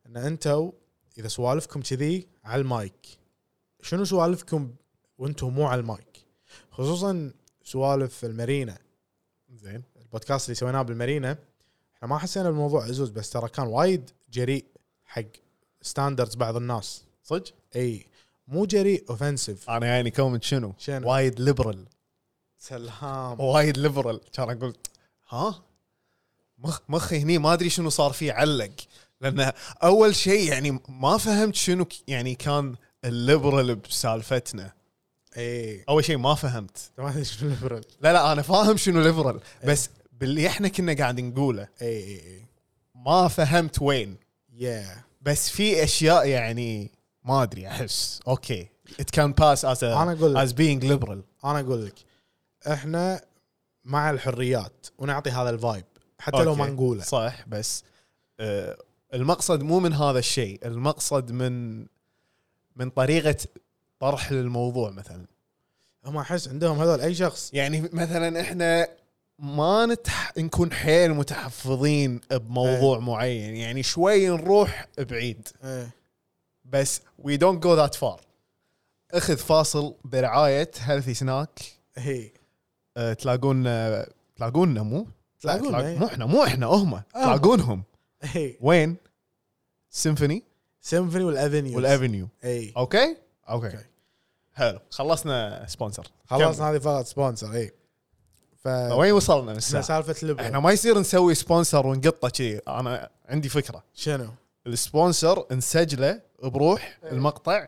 ان انتم اذا سوالفكم كذي على المايك شنو سوالفكم وانتم مو على المايك خصوصا سوالف المارينا زين البودكاست اللي سويناه بالمارينا احنا ما حسينا بالموضوع عزوز بس ترى كان وايد جريء حق ستاندردز بعض الناس صدق؟ اي مو جريء اوفنسيف انا يعني كومنت شنو؟ شنو؟ وايد ليبرال سلام وايد ليبرال كان اقول ها مخ مخي هني ما ادري شنو صار فيه علق لان اول شيء يعني ما فهمت شنو ك- يعني كان الليبرال بسالفتنا اي اول شيء ما فهمت ما ادري شنو الليبرال لا لا انا فاهم شنو ليبرال إيه. بس باللي احنا كنا قاعد نقوله اي اي اي ما فهمت وين يا بس في اشياء يعني ما ادري احس اوكي ات كان باس از أنا أقول لك. از بينج ليبرال انا اقول لك احنا مع الحريات ونعطي هذا الفايب حتى لو ما أوكي. نقوله صح بس آه المقصد مو من هذا الشيء المقصد من من طريقه طرح للموضوع مثلا هم احس عندهم هذول اي شخص يعني مثلا احنا ما نتح... نكون حيل متحفظين بموضوع معين يعني شوي نروح بعيد إيه. بس وي دونت جو ذات فار اخذ فاصل برعايه هيلثي سناك اي آه، تلاقون تلاقونا مو تلاقونا، لا، إيه. مو احنا مو احنا هم تلاقونهم اي وين سيمفوني سيمفوني والافنيو والافنيو اي اوكي اوكي أوكي. حلو خلصنا سبونسر خلاص هذه فقط سبونسر اي ف كمل. وين وصلنا من احنا الساعة؟ سالفه ليبرال احنا ما يصير نسوي سبونسر ونقطه كذي انا عندي فكره شنو؟ السبونسر نسجله بروح المقطع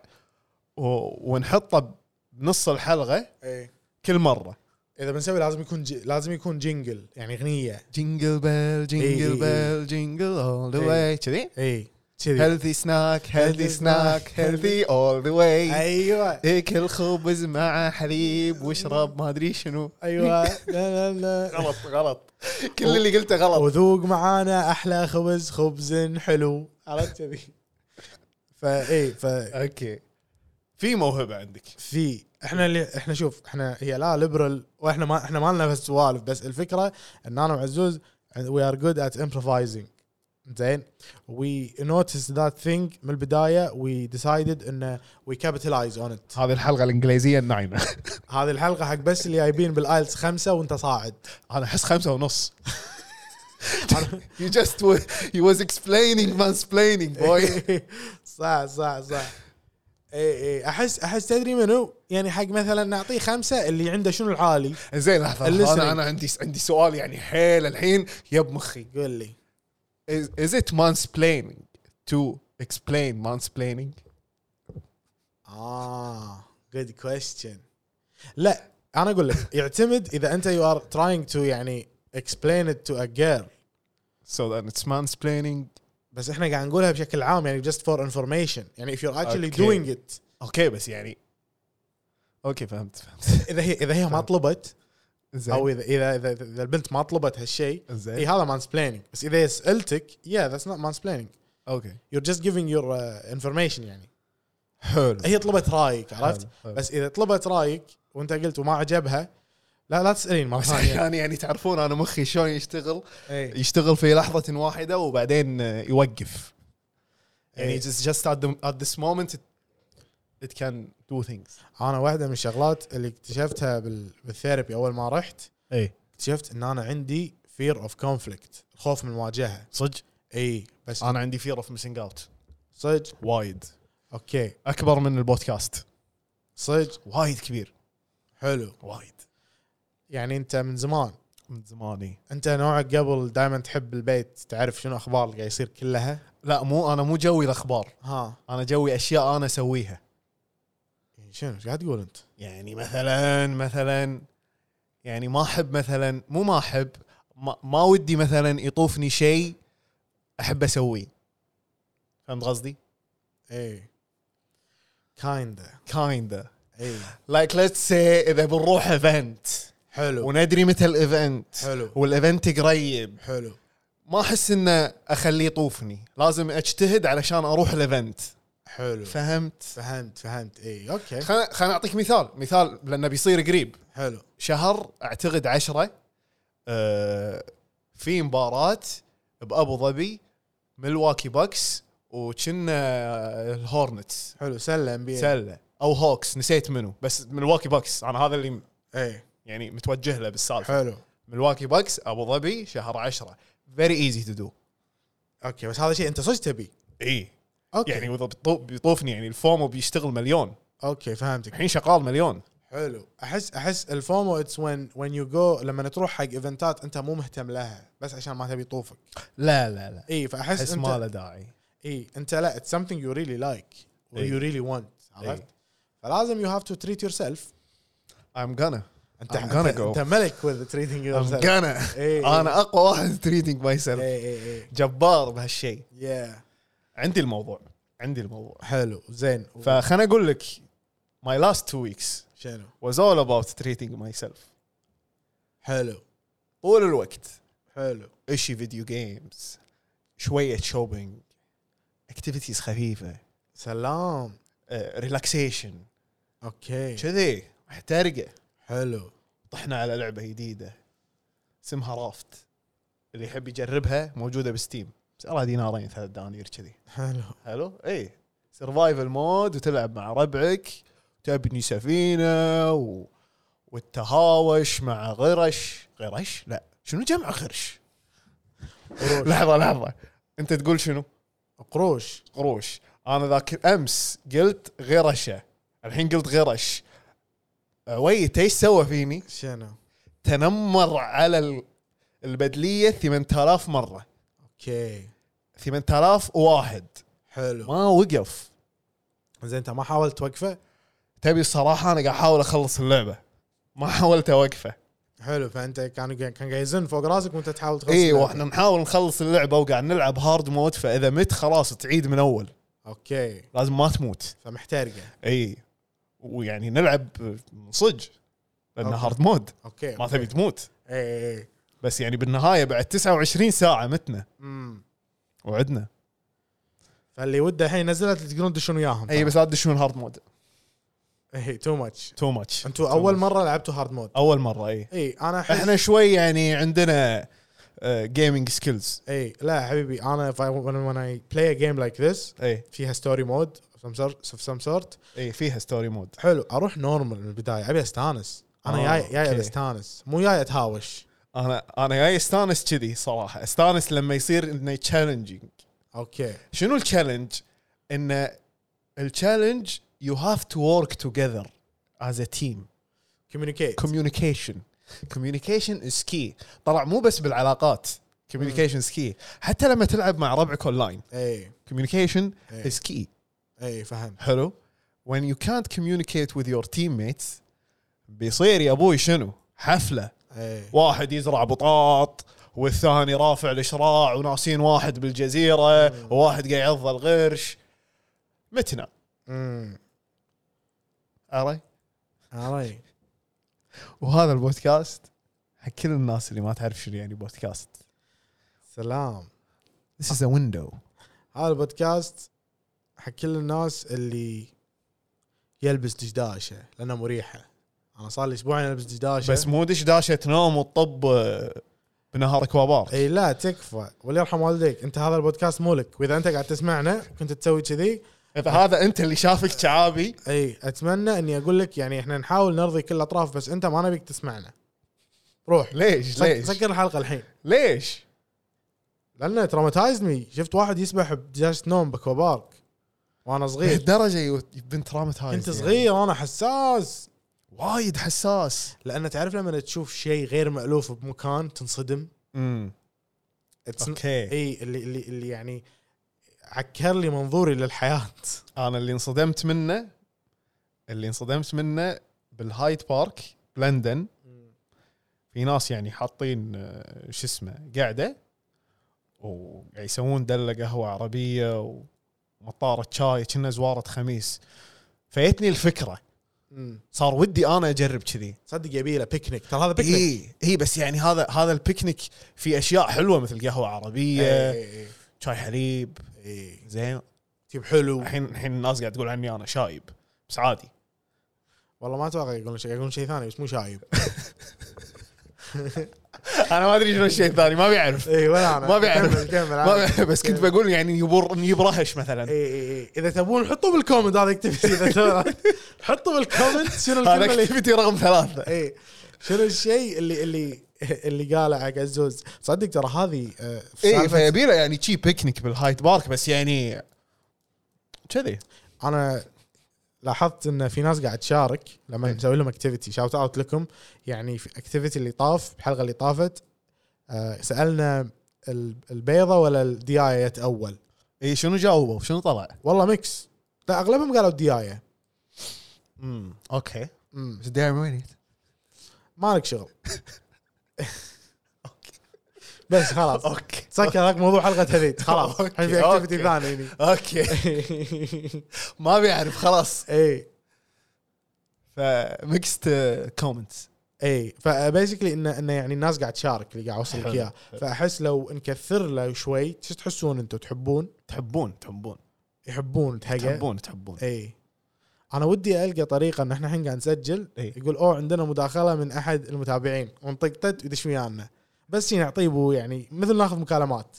و... ونحطه بنص الحلقه اي كل مره اذا إيه. بنسوي لازم يكون ج... لازم يكون جنجل يعني اغنيه جينجل بيل إي، جينجل إي. بيل جينجل اول ذا إي. واي كذي اي إيه. كذي هيلثي سناك هيلثي Healthy snack. سناك هيلثي اول ذا واي ايوه اكل خبز إيه، مع حليب واشرب ما ادري شنو ايوه لا لا لا غلط غلط كل اللي قلته غلط وذوق معانا احلى خبز خبز حلو عرفت كذي فاي ف اوكي في موهبه عندك في احنا اللي احنا شوف احنا هي لا ليبرال واحنا ما احنا ما لنا في السوالف بس الفكره ان انا وعزوز وي ار جود ات امبروفايزنج زين وي نوتس ذات ثينج من البدايه وي ديسايدد ان وي كابيتالايز اون ات هذه الحلقه الانجليزيه النايمه هذه الحلقه حق بس اللي جايبين بالايلتس خمسه وانت صاعد انا احس خمسة ونص you just were, he was explaining mansplaining boy صح صح صح اي اي احس احس إيه. تدري منو يعني حق مثلا نعطيه خمسه اللي عنده شنو العالي زين لحظه Listening. انا انا عندي عندي سؤال يعني حيل الحين يب مخي قول لي is, is it mansplaining to explain mansplaining اه جود كويستشن لا انا اقول لك يعتمد اذا انت يو ار تراينج تو يعني explain it to a girl so then it's mansplaining بس احنا قاعد نقولها بشكل عام يعني just for information يعني if you're actually Okay. doing it اوكي بس يعني اوكي فهمت فهمت اذا هي اذا هي ما طلبت طيب. زين او اذا اذا اذا, إذا البنت ما طلبت هالشيء زين. اي هذا mansplaining بس اذا هي سالتك yeah that's not mansplaining اوكي you're just giving your uh, information يعني حلو هي طلبت رايك عرفت حلو، حلو. بس اذا طلبت رايك وانت قلت وما عجبها لا لا تسالين مره بس ثانيه احيانا يعني تعرفون انا مخي شلون يشتغل إي. يشتغل في لحظه واحده وبعدين آه، يوقف يعني إي. just just at, the, at this moment it, it can do things انا واحده من الشغلات اللي اكتشفتها بال- بالثيرابي اول ما رحت اي اكتشفت ان انا عندي فير اوف كونفليكت خوف من المواجهه صدق اي بس انا عندي فير اوف ميسنج اوت صدق وايد اوكي اكبر من البودكاست صدق وايد كبير حلو وايد يعني انت من زمان من زماني انت نوعك قبل دائما تحب البيت تعرف شنو اخبار اللي قاعد يصير كلها لا مو انا مو جوي الاخبار ها انا جوي اشياء انا اسويها يعني شنو ايش قاعد تقول انت؟ يعني مثلا مثلا يعني ما احب مثلا مو ما احب ما, ما ودي مثلا يطوفني شيء احب اسويه فهمت قصدي؟ اي كايندا كايندا اي لايك ليتس سي اذا بنروح ايفنت حلو وندري متى الايفنت حلو. والايفنت قريب حلو ما احس انه اخليه يطوفني لازم اجتهد علشان اروح الايفنت حلو فهمت؟ فهمت فهمت إيه، اي اوكي خلنا خلنا اعطيك مثال مثال لانه بيصير قريب حلو شهر اعتقد عشرة آه في مباراة بابو ظبي ملواكي باكس وكنا الهورنتس حلو سله ام بي سله او هوكس نسيت منو بس ملواكي باكس انا هذا اللي اي يعني متوجه له بالسالفه إيه، حلو ملواكي باكس ابو ظبي شهر 10 فيري ايزي تو دو اوكي بس هذا شيء انت صدق تبي اي اوكي يعني وإذا بتطو- بيطوفني يعني الفومو يعني بيشتغل مليون اوكي فهمتك الحين شغال مليون حلو احس احس الفومو اتس وين وين يو جو لما تروح حق ايفنتات انت مو مهتم لها بس عشان ما تبي إيه، طوفك لا لا لا اي فاحس احس انت ما له داعي اي انت إيه، لا اتس something يو ريلي لايك إي. ويو ريلي ونت عرفت إي. فلازم يو هاف تو تريت يور سيلف I'm gonna انت I'm gonna انت, go. انت ملك وذ تريتنج يور I'm سيلف gonna إي. انا اقوى واحد تريدنج ماي سيلف اي اي اي إيه. جبار بهالشيء يا عندي الموضوع عندي الموضوع حلو زين فخلنا اقول لك my last two weeks شنو was all about treating myself حلو طول الوقت حلو اشي فيديو جيمز شويه شوبينج اكتيفيتيز خفيفه سلام ريلاكسيشن اوكي آه، كذي محترقه حلو طحنا على لعبه جديده اسمها رافت اللي يحب يجربها موجوده بستيم سعرها دينارين ثلاث دنانير كذي حلو حلو اي سرفايفل مود وتلعب مع ربعك تبني سفينه و... والتهاوش مع غرش غرش لا شنو جمع غرش قروش لحظه لحظه انت تقول شنو قروش قروش انا ذاك امس قلت غرشه الحين قلت غرش آه، ويت ايش سوى فيني شنو تنمر على ال- البدليه 8000 مره اوكي 8001 حلو ما وقف زين انت ما حاولت توقفه تبي الصراحه انا قاعد احاول اخلص اللعبه ما حاولت اوقفه حلو فانت كان كان قاعد يزن فوق راسك وانت تحاول تخلص اي اللعبة. واحنا إيه، نحاول نخلص اللعبه وقاعد نلعب هارد مود فاذا مت خلاص تعيد من اول اوكي لازم ما تموت فمحترقه اي ويعني نلعب صج لانه أوكي. إيه، هارد مود اوكي ما تبي تموت اي اي بس يعني بالنهايه بعد 29 ساعه متنا امم وعدنا فاللي وده الحين نزلت تقدرون تدشون وياهم إيه، اي إيه، بس لا تدشون هارد مود اي تو ماتش تو ماتش انتوا اول مره لعبتوا هارد مود اول مره اي اي انا أحس احنا إيه. شوي يعني عندنا آه، جيمنج سكيلز اي إيه، لا حبيبي انا if I, when, when I play a game like this اي فيها ستوري مود اوف سم سورت اي إيه، فيها ستوري مود حلو اروح نورمال من البدايه ابي استانس انا آه، جاي جاي أوكي. أبي استانس مو جاي اتهاوش انا انا جاي استانس كذي صراحه استانس لما يصير انه تشالنجينج اوكي شنو التشالنج؟ ان التشالنج يو هاف تو ورك توجذر از ا تيم كوميونيكيت كوميونيكيشن كوميونيكيشن از كي طلع مو بس بالعلاقات كوميونيكيشن از كي حتى لما تلعب مع ربعك اونلاين اي كوميونيكيشن إيه. از كي اي فهمت حلو when you can't communicate with your teammates بيصير يا ابوي شنو حفله اي واحد يزرع بطاط والثاني رافع الاشراع وناسين واحد بالجزيره وواحد قاعد يعض الغرش متنا امم اري عرفت. وهذا البودكاست حق كل الناس اللي ما تعرف شنو يعني بودكاست سلام This is a window هذا البودكاست حق كل الناس اللي يلبس دشداشه لانها مريحه انا صار لي اسبوعين البس دشداشه بس مو دش داشه تنام وتطب آه، بنهارك وبار اي لا تكفى واللي يرحم والديك انت هذا البودكاست مولك واذا انت قاعد تسمعنا كنت تسوي كذي اذا هذا انت اللي شافك شعابي اي اتمنى اني اقول لك يعني احنا نحاول نرضي كل الاطراف بس انت ما نبيك تسمعنا روح ليش سك- ليش سكر الحلقه الحين ليش لانه تراماتايز مي شفت واحد يسبح بدجاجه نوم بكوا بارك وانا صغير لهالدرجه بنت ترامتايز كنت صغير وانا حساس يعني. وايد حساس لان تعرف لما تشوف شيء غير مالوف بمكان تنصدم امم It's- اوكي اي اللي اللي اللي يعني عكر لي منظوري للحياه انا اللي انصدمت منه اللي انصدمت منه بالهايد بارك بلندن في ناس يعني حاطين آه، شو اسمه قاعده وقاعد يسوون دله قهوه عربيه ومطاره شاي كنا زواره خميس فيتني الفكره أمم. صار ودي انا اجرب كذي صدق يبي له بيكنيك ترى هذا بيكنيك اي اي بس يعني هذا هذا البيكنيك في اشياء حلوه مثل قهوه عربيه اي شاي حليب إيه، اي زين تجيب طيب، حلو الحين الحين الناس قاعد تقول عني انا شايب بس عادي والله ما اتوقع يقولون شيء يقولون شيء ثاني بس مو شايب انا ما ادري شنو الشيء الثاني ما بيعرف اي ولا انا ما بيعرف. كمل كمل ما عادي. بيعرف، بس كنت بقول يعني يبور نجيب رهش مثلا اي اي اي اذا تبون حطوا بالكومنت هذا اكتيفيتي اذا تبون- حطوا بالكومنت شنو هذا الكلمه اللي اكتيفيتي رقم ثلاثه اي إيه. شنو الشيء اللي اللي اللي قاله حق عزوز صدق ترى هذه آه، اي سالفة- فيبي له يعني شي بيكنيك بالهايد بارك بس يعني كذي انا لاحظت ان في ناس قاعد تشارك إيه. لما نسوي لهم اكتيفيتي شاوت اوت لكم يعني في الاكتيفيتي اللي طاف الحلقه اللي طافت آه سالنا ال- البيضه ولا الديايه يتاول اي إيه، شنو جاوبوا شنو طلع؟ والله ميكس لا اغلبهم قالوا الديايه امم اوكي مم. بس الدعم وين جت؟ مالك شغل بس خلاص اوكي سكر هذاك موضوع حلقه هذيك خلاص أوكي، الحين في أوكي. اكتيفيتي ثاني هني اوكي ما بيعرف خلاص اي فميكست كومنتس اي فبيسكلي انه انه يعني الناس قاعد تشارك اللي قاعد اوصل لك حلو. اياه فاحس لو نكثر له شوي شو تحسون انتم تحبون تحبون تحبون يحبون تهقى تحبون تحبون اي انا ودي القى طريقه ان احنا الحين قاعد نسجل إي. يقول اوه عندنا مداخله من احد المتابعين طيب، ونطق تت ويدش ويانا بس شي نعطيه بو يعني مثل ناخذ مكالمات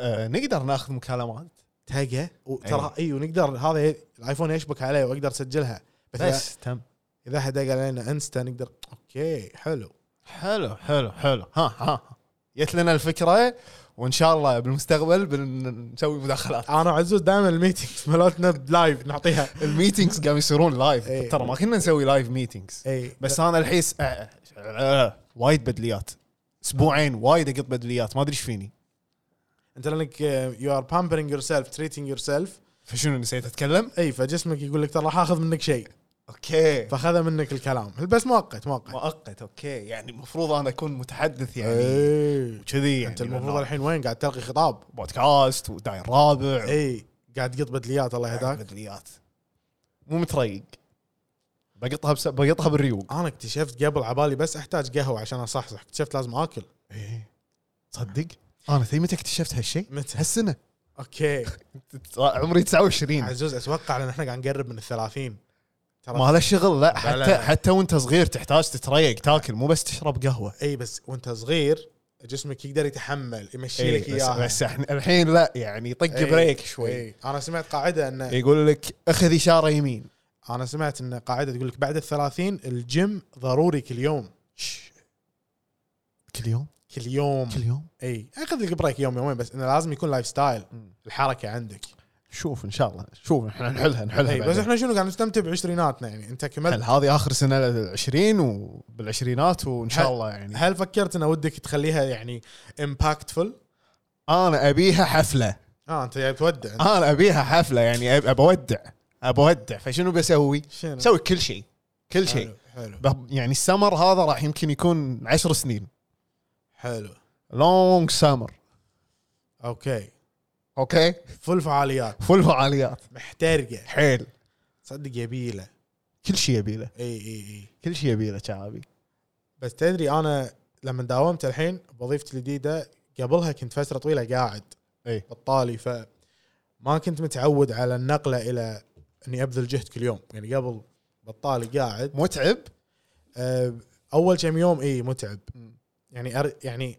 آه، نقدر ناخذ مكالمات تهقى وترى اي ونقدر هذا ي- الايفون يشبك عليه واقدر اسجلها بس, بس. بس تم اذا احد دق علينا انستا نقدر اوكي حلو حلو حلو حلو ها ها جت لنا الفكره وان شاء الله بالمستقبل بنسوي مداخلات انا وعزوز دائما الميتنجز مالتنا بلايف نعطيها الميتينجز قاموا يصيرون لايف إيه. ترى ما كنا نسوي لايف ميتينجز اي بس انا الحين س- آه، آه، وايد بدليات اسبوعين وايد اقط بدليات ما ادري ايش فيني انت لانك يو ار بامبرينج يور سيلف تريتنج يور سيلف فشنو نسيت اتكلم اي فجسمك يقول لك ترى راح اخذ منك شيء اوكي فاخذ منك الكلام بس مؤقت مؤقت مؤقت اوكي يعني المفروض انا اكون متحدث يعني يعني كذي يعني انت المفروض الحين وين قاعد تلقي خطاب بودكاست وداير رابع اي قاعد تقط بدليات يعني الله يهداك بدليات مو متريق بقطها بس بقطها بالريوق انا اكتشفت قبل عبالي بس احتاج قهوه عشان اصحصح اكتشفت لازم اكل ايه تصدق انا تدري متى اكتشفت هالشيء؟ متى؟ هالسنه اوكي عمري 29 عزوز اتوقع لان احنا قاعد نقرب من الثلاثين ما له شغل لا لا، حتى لا. حتى وانت صغير تحتاج تتريق تاكل مو بس تشرب قهوه اي بس وانت صغير جسمك يقدر يتحمل يمشي إيه، لك بس, اياها بس احنا الحين لا يعني طق إيه، بريك شوي إي. انا سمعت قاعده ان يقول لك اخذ اشاره يمين انا سمعت ان قاعده تقول لك بعد الثلاثين الجيم ضروري كل يوم شش. كل يوم كل يوم كل يوم اي اخذ لك بريك يوم يومين بس انه لازم يكون لايف ستايل الحركه عندك شوف ان شاء الله شوف احنا نحلها نحلها اي بس بعدين. احنا شنو قاعد نستمتع بعشريناتنا يعني انت هل كملت هذه اخر سنه لل20 وبالعشرينات وان شاء الله يعني هل فكرت ان ودك تخليها يعني امباكتفul؟ انا ابيها حفله اه انت جاي تودع أنت. انا ابيها حفله يعني أب- ابى اودع ابى اودع فشنو بسوي؟ شنو؟ بسوي كل شيء كل شيء حلو حلو ب- يعني السمر هذا راح يمكن يكون عشر سنين حلو لونج سمر اوكي اوكي فل فعاليات فل فعاليات محترقه حيل صدق يبيله كل شيء يبي له اي اي اي كل شيء يبي له شعبي بس تدري انا لما داومت الحين بوظيفتي الجديده قبلها كنت فتره طويله قاعد إي. بطالي فما كنت متعود على النقله الى اني ابذل جهد كل يوم يعني قبل بطالي قاعد متعب أه، اول كم يوم اي متعب م. يعني أر يعني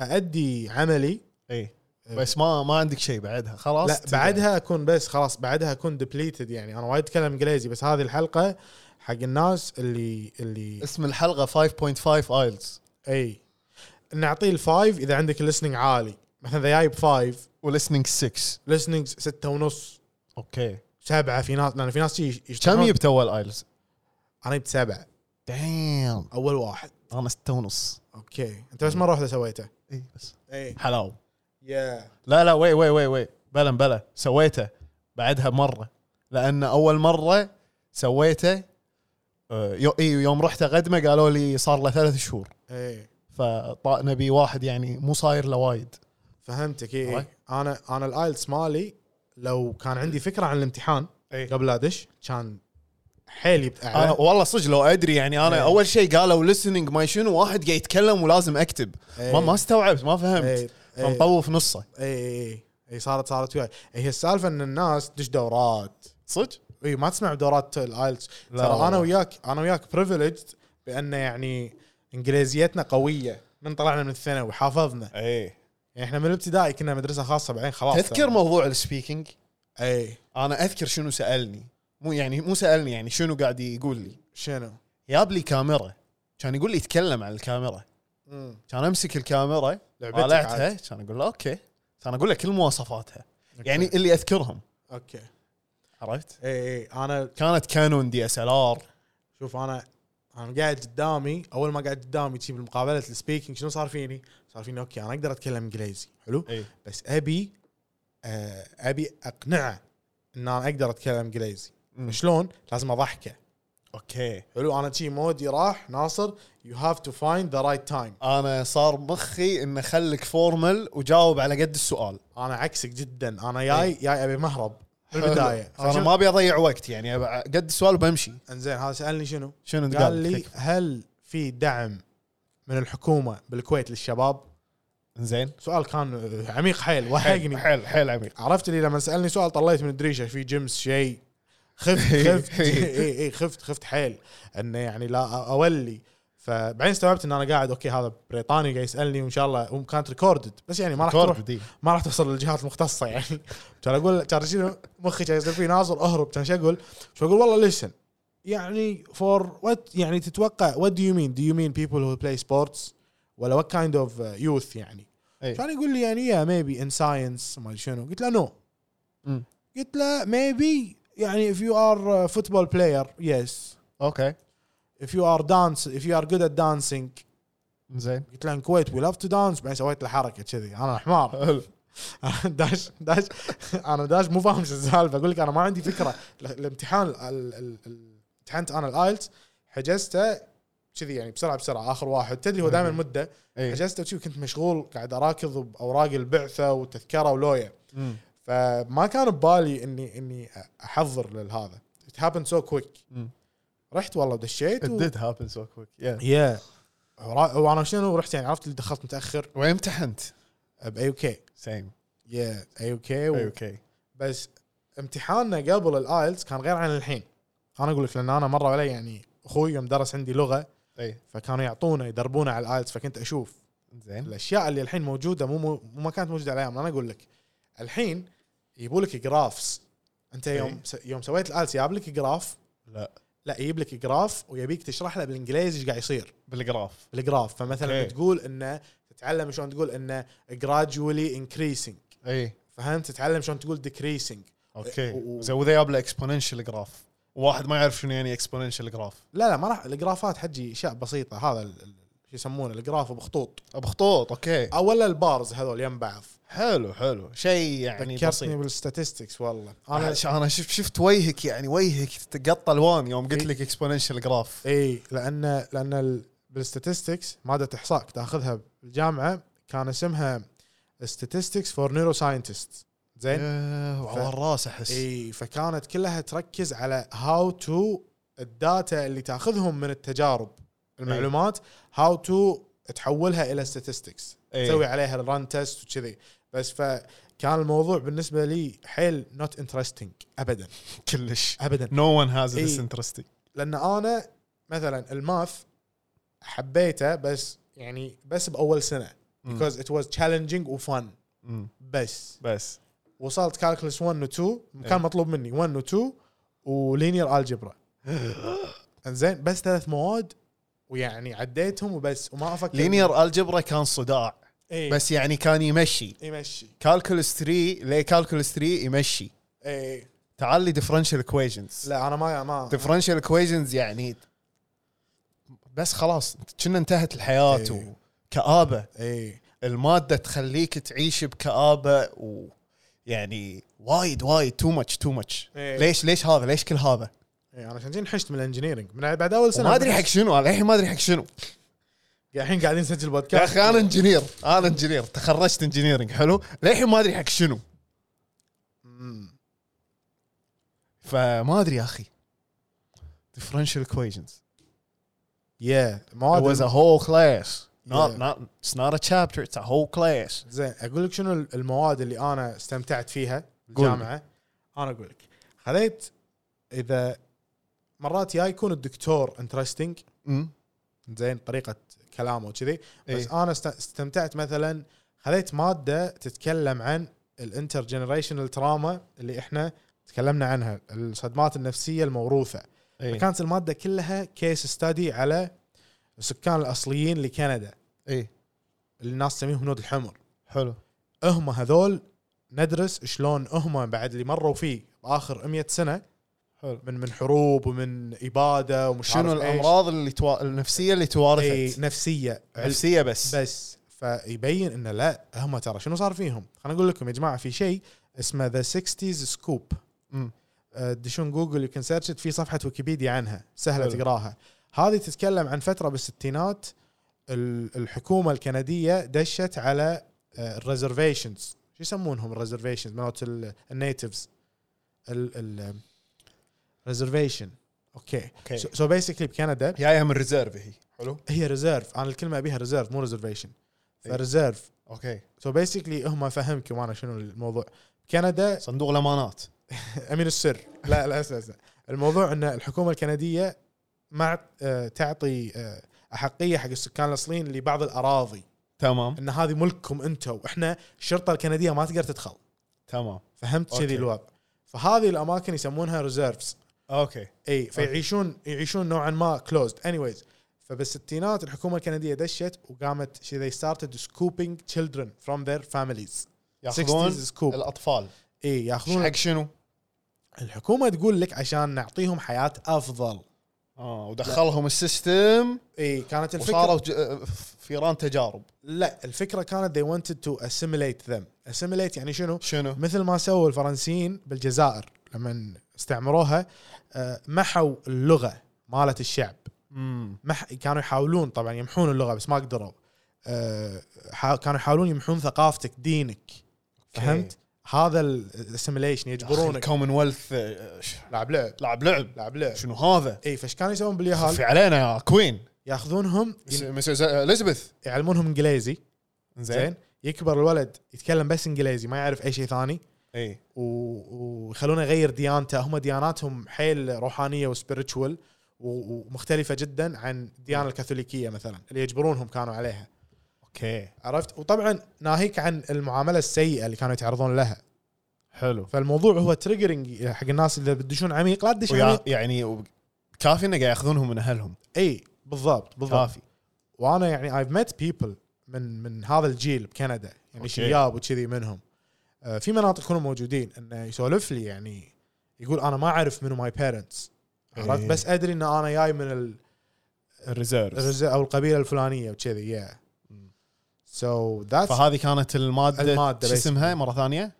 اادي عملي اي إيه. بس ما ما عندك شيء بعدها خلاص لا تبدأ. بعدها اكون بس خلاص بعدها اكون ديبليتد يعني انا وايد اتكلم انجليزي بس هذه الحلقه حق الناس اللي اللي اسم الحلقه 5.5 ايلز اي نعطيه الفايف اذا عندك الليسننج عالي مثلا اذا جايب فايف ولسننج 6 ليسننج ستة ونص اوكي سبعة في ناس لان في ناس شي يشتغلون- كم جبت اول ايلز؟ انا جبت سبعة دايم اول واحد انا ستة ونص اوكي انت بس مرة واحدة سويته اي إيه، بس اي حلاوه يا لا لا وي وي وي وي بلا بلا سويته بعدها مره لان اول مره سويته آه، يو اي يوم رحت اقدمه قالوا لي صار له ثلاث شهور اي فنبي واحد يعني مو صاير له وايد فهمتك اي عرفت؟ إي. انا انا الايلتس مالي لو كان عندي فكره عن الامتحان إي. قبل لا ادش كان حيل يبت انا اعلى والله صدق لو ادري يعني انا إيه. اول شيء قالوا ليسننج ما شنو واحد قاعد يتكلم ولازم اكتب ما ما استوعبت ما إيه. فهمت إيه. فمطوف نصه اي اي اي صارت صارت وياي هي السالفه ان الناس تدش دورات صدق اي إيه، ما تسمع دورات الايلتس لا ترى انا والله. وياك انا وياك بريفليج بان يعني انجليزيتنا قويه من طلعنا من الثانوي حافظنا اي يعني احنا من الابتدائي كنا مدرسه خاصه بعدين خلاص إيه، تذكر موضوع السبيكينج اي انا اذكر شنو سالني مو يعني مو سالني يعني شنو قاعد يقول لي شنو؟ جاب لي كاميرا كان يقول لي يتكلم عن الكاميرا مم. كان امسك الكاميرا لعبتك طالعتها عاد. كان اقول له اوكي كان اقول له كل مواصفاتها أوكي. يعني اللي اذكرهم اوكي عرفت؟ اي اي انا كانت كانون دي اس ال ار شوف انا انا قاعد قدامي اول ما قاعد قدامي تجيب المقابله السبيكينج شنو صار فيني؟ صار فيني اوكي انا اقدر اتكلم انجليزي حلو؟ اي بس ابي آه، ابي اقنعه ان انا اقدر اتكلم انجليزي شلون؟ لازم اضحكه اوكي حلو انا شي مودي راح ناصر يو هاف تو فايند ذا رايت تايم انا صار مخي انه خلك فورمال وجاوب على قد السؤال انا عكسك جدا انا جاي جاي ابي مهرب حلو. بالبدايه انا ما ابي اضيع وقت يعني أبع- قد السؤال وبمشي انزين هذا سالني شنو؟ شنو قال لي هل في دعم من الحكومه بالكويت للشباب؟ زين سؤال كان عميق حيل وحقني حيل حيل عميق عرفت لي لما سالني سؤال طليت من الدريشه في جيمس شيء خفت خفت اي اي خفت خفت حيل انه يعني لا أ- اولي فبعدين استوعبت ان انا قاعد اوكي هذا بريطاني قاعد يسالني وان شاء الله وكانت ريكوردد بس يعني ما راح تروح كورب دي ما راح توصل للجهات المختصه يعني كان اقول كان شنو مخي كان يصير فيه ناظر اهرب كان شو اقول؟ شو اقول والله ليسن يعني فور وات يعني تتوقع وات دو يو مين؟ دو يو مين بيبل هو بلاي سبورتس ولا وات كايند اوف يوث يعني؟ إي. كان يقول لي يعني يا ميبي ان ساينس ما ادري شنو قلت له نو مم. قلت له ميبي يعني اف يو ار فوتبول بلاير يس اوكي اف يو ار دانس اف يو ار جود ات دانسينج زين قلت له كويت وي لاف تو دانس بعدين سويت له حركه كذي انا حمار حلو. داش داش انا داش مو فاهم شو السالفه اقول لك انا ما عندي فكره ال- الامتحان ال- ال- ال- امتحنت انا الايلتس حجزته كذي يعني بسرعه بسرعه اخر واحد تدري هو دائما مده إي. حجزته وشي كنت مشغول قاعد اراكض باوراق البعثه وتذكره ولويا مم. فما كان ببالي اني اني احضر لهذا ات هابند سو كويك مم. رحت والله دشيت It و... did happen so quick. Yeah. يا ورا- وانا شنو رحت يعني عرفت اللي دخلت متاخر وين امتحنت؟ باي اوكي سيم يا اي اوكي و... اوكي بس امتحاننا قبل E الايلتس كان غير عن الحين انا اقول لك لان انا مره علي يعني اخوي يوم درس عندي لغه اي فكانوا يعطونا يدربونا على E الايلتس فكنت اشوف زين الاشياء اللي الحين موجوده مو مو مو ما كانت موجوده على ايامنا انا اقول لك الحين يجيبوا لك جرافس انت يوم س- يوم سويت E الايلتس جاب لك جراف لا لا يجيب لك جراف ويبيك تشرح له بالانجليزي ايش قاعد يصير بالجراف بالجراف فمثلا أوكي. تقول انه تتعلم شلون تقول انه gradually increasing اي فهمت تتعلم شلون تقول decreasing و- اوكي و- زين واذا جاب له اكسبوننشال جراف واحد ما يعرف شنو يعني اكسبوننشال جراف لا لا ما راح الجرافات حجي اشياء بسيطه هذا ال- ال- شو يسمونه الجراف بخطوط بخطوط اوكي او ولا البارز هذول يم بعض حلو حلو شيء يعني ذكرتني بسيط بالستاتستكس والله انا انا انا شفت شفت وجهك يعني وجهك تقطع الوان يوم قلت لك اكسبوننشال جراف اي لان لان إيه، ال- بالستاتستكس ماده احصاء كنت اخذها بالجامعه كان اسمها statistics for neuroscientists زين وعور راس احس اي إيه، فكانت كلها تركز على هاو تو الداتا اللي تاخذهم من التجارب المعلومات هاو تو تحولها الى statistics إي. تسوي عليها الران تيست وكذي بس فكان الموضوع بالنسبه لي حيل نوت انترستنج ابدا كلش ابدا نو ون هاز إي. ذس انترستنج لان انا مثلا الماث حبيته بس يعني بس باول سنه because it was challenging وفن بس بس وصلت كالكلس 1 و 2 كان إيه. مطلوب مني 1 و 2 ولينير الجبرا انزين بس ثلاث مواد ويعني عديتهم وبس وما افكر لينير الجبرا كان صداع إيه. بس يعني كان يمشي يمشي كالكولس 3 ليه كالكولس 3 يمشي اي تعال لي ديفرنشال اكويجنز إيه، لا انا ما ما ديفرنشال اكويجنز يعني بس خلاص كنا انتهت الحياه إيه. وكآبه اي الماده تخليك تعيش بكآبه ويعني وايد وايد تو ماتش تو ماتش إيه. ليش ليش هذا ليش كل هذا؟ اي انا إيه، عشان جي نحشت من الانجنييرنج من بعد اول سنه ما ادري حق شنو انا الحين ما ادري حق شنو الحين قاعدين نسجل يا بودكاست اخي انا انجينير انا انجينير تخرجت انجينيرنج حلو للحين ما ادري حق شنو مم. فما ادري يا اخي differential equations يا It was مواد a whole class. Not, Yeah. not, it's not a chapter, it's a whole class. زين اقول لك شنو المواد اللي انا استمتعت فيها قول لي. بالجامعه انا اقول لك خذيت اذا مرات يا يكون الدكتور انترستنج Mm. زين طريقه كلامه وكذي بس إيه. انا است- استمتعت مثلا خذيت ماده تتكلم عن الانتر جنريشنال تراما اللي احنا تكلمنا عنها الصدمات النفسيه الموروثه إيه. كانت الماده كلها كيس ستادي على السكان الاصليين لكندا اي اللي الناس تسميهم هنود الحمر حلو هم هذول ندرس شلون هم بعد اللي مروا فيه باخر 100 سنه حلو. من من حروب ومن اباده ومش شنو عارف إيش. إيه، الامراض اللي توا... النفسيه اللي إي، توارثت نفسيه نفسيه بس بس فيبين انه لا هم ترى شنو صار فيهم؟ خليني اقول لكم يا جماعه في شيء اسمه ذا 60s سكوب مم. آه، تدشون جوجل يو كان سيرش في صفحه ويكيبيديا عنها سهله حلو. تقراها هذه تتكلم عن فتره بالستينات ال- الحكومه الكنديه دشت على الريزرفيشنز شو يسمونهم الريزرفيشنز مالت النيتفز الريزرفيشن اوكي اوكي سو بيسكلي بكندا جايها من ريزيرف هي حلو هي ريزيرف انا الكلمه ابيها ريزيرف مو ريزرفيشن إيه. فريزيرف اوكي سو بيسكلي هم فهمكم انا شنو الموضوع كندا صندوق الامانات امين السر لا لا اسمع اسمع الموضوع ان الحكومه الكنديه ما آه، تعطي آه، احقيه حق السكان الاصليين لبعض الاراضي تمام ان هذه ملككم انتم واحنا الشرطه الكنديه ما تقدر تدخل تمام فهمت أوكي. كذي الوضع فهذه الاماكن يسمونها ريزيرفز اوكي اي فيعيشون يعيشون نوعا ما كلوزد اني ويز فبالستينات الحكومه الكنديه دشت وقامت شي ذي ستارتد سكوبينج children فروم ذير فاميليز ياخذون 60s scoop. الاطفال اي إيش ياخذون حق شنو؟ الحكومه تقول لك عشان نعطيهم حياه افضل اه ودخلهم السيستم اي كانت الفكره وصاروا ج- فيران تجارب لا الفكره كانت they wanted to assimilate them assimilate يعني شنو شنو؟ مثل ما سووا الفرنسيين بالجزائر لما استعمروها آه، محوا اللغه مالت الشعب امم مح... كانوا يحاولون طبعا يمحون اللغه بس ما قدروا آه... ح... كانوا يحاولون يمحون ثقافتك دينك فهمت هذا الاسيميليشن يجبرونك كومنولث لعب لعب لعب لعب لعب لعب شنو هذا؟ اي فايش إيه، كانوا يسوون باليهال خفي علينا يا كوين ياخذونهم ين- مسز اليزابيث يعلمونهم انجليزي زين زين يكبر الولد يتكلم بس انجليزي ما يعرف اي شيء ثاني اي و- ويخلونه يغير ديانته هم دياناتهم حيل روحانيه وسبيريتشوال ومختلفه جدا عن الديانه الكاثوليكيه مثلا اللي يجبرونهم كانوا عليها اوكي عرفت وطبعا ناهيك عن المعامله السيئه اللي كانوا يتعرضون لها حلو فالموضوع هو تريجرنج حق الناس اللي بدشون عميق لا تدش ويا عميق يعني و- كافي انه قاعد ياخذونهم من اهلهم اي بالضبط بالضبط كافي وانا يعني ايف ميت بيبل من من هذا الجيل بكندا يعني أوكي. شياب وكذي منهم آه، في مناطق يكونوا موجودين انه يسولف لي يعني يقول انا ما اعرف منو ماي بيرنتس عرفت إيه. بس ادري ان انا جاي من ال- الريزيرف الرز- او القبيله الفلانيه وكذي يا سو ذاتس فهذه كانت الماده المادة شو اسمها basically. مره ثانيه؟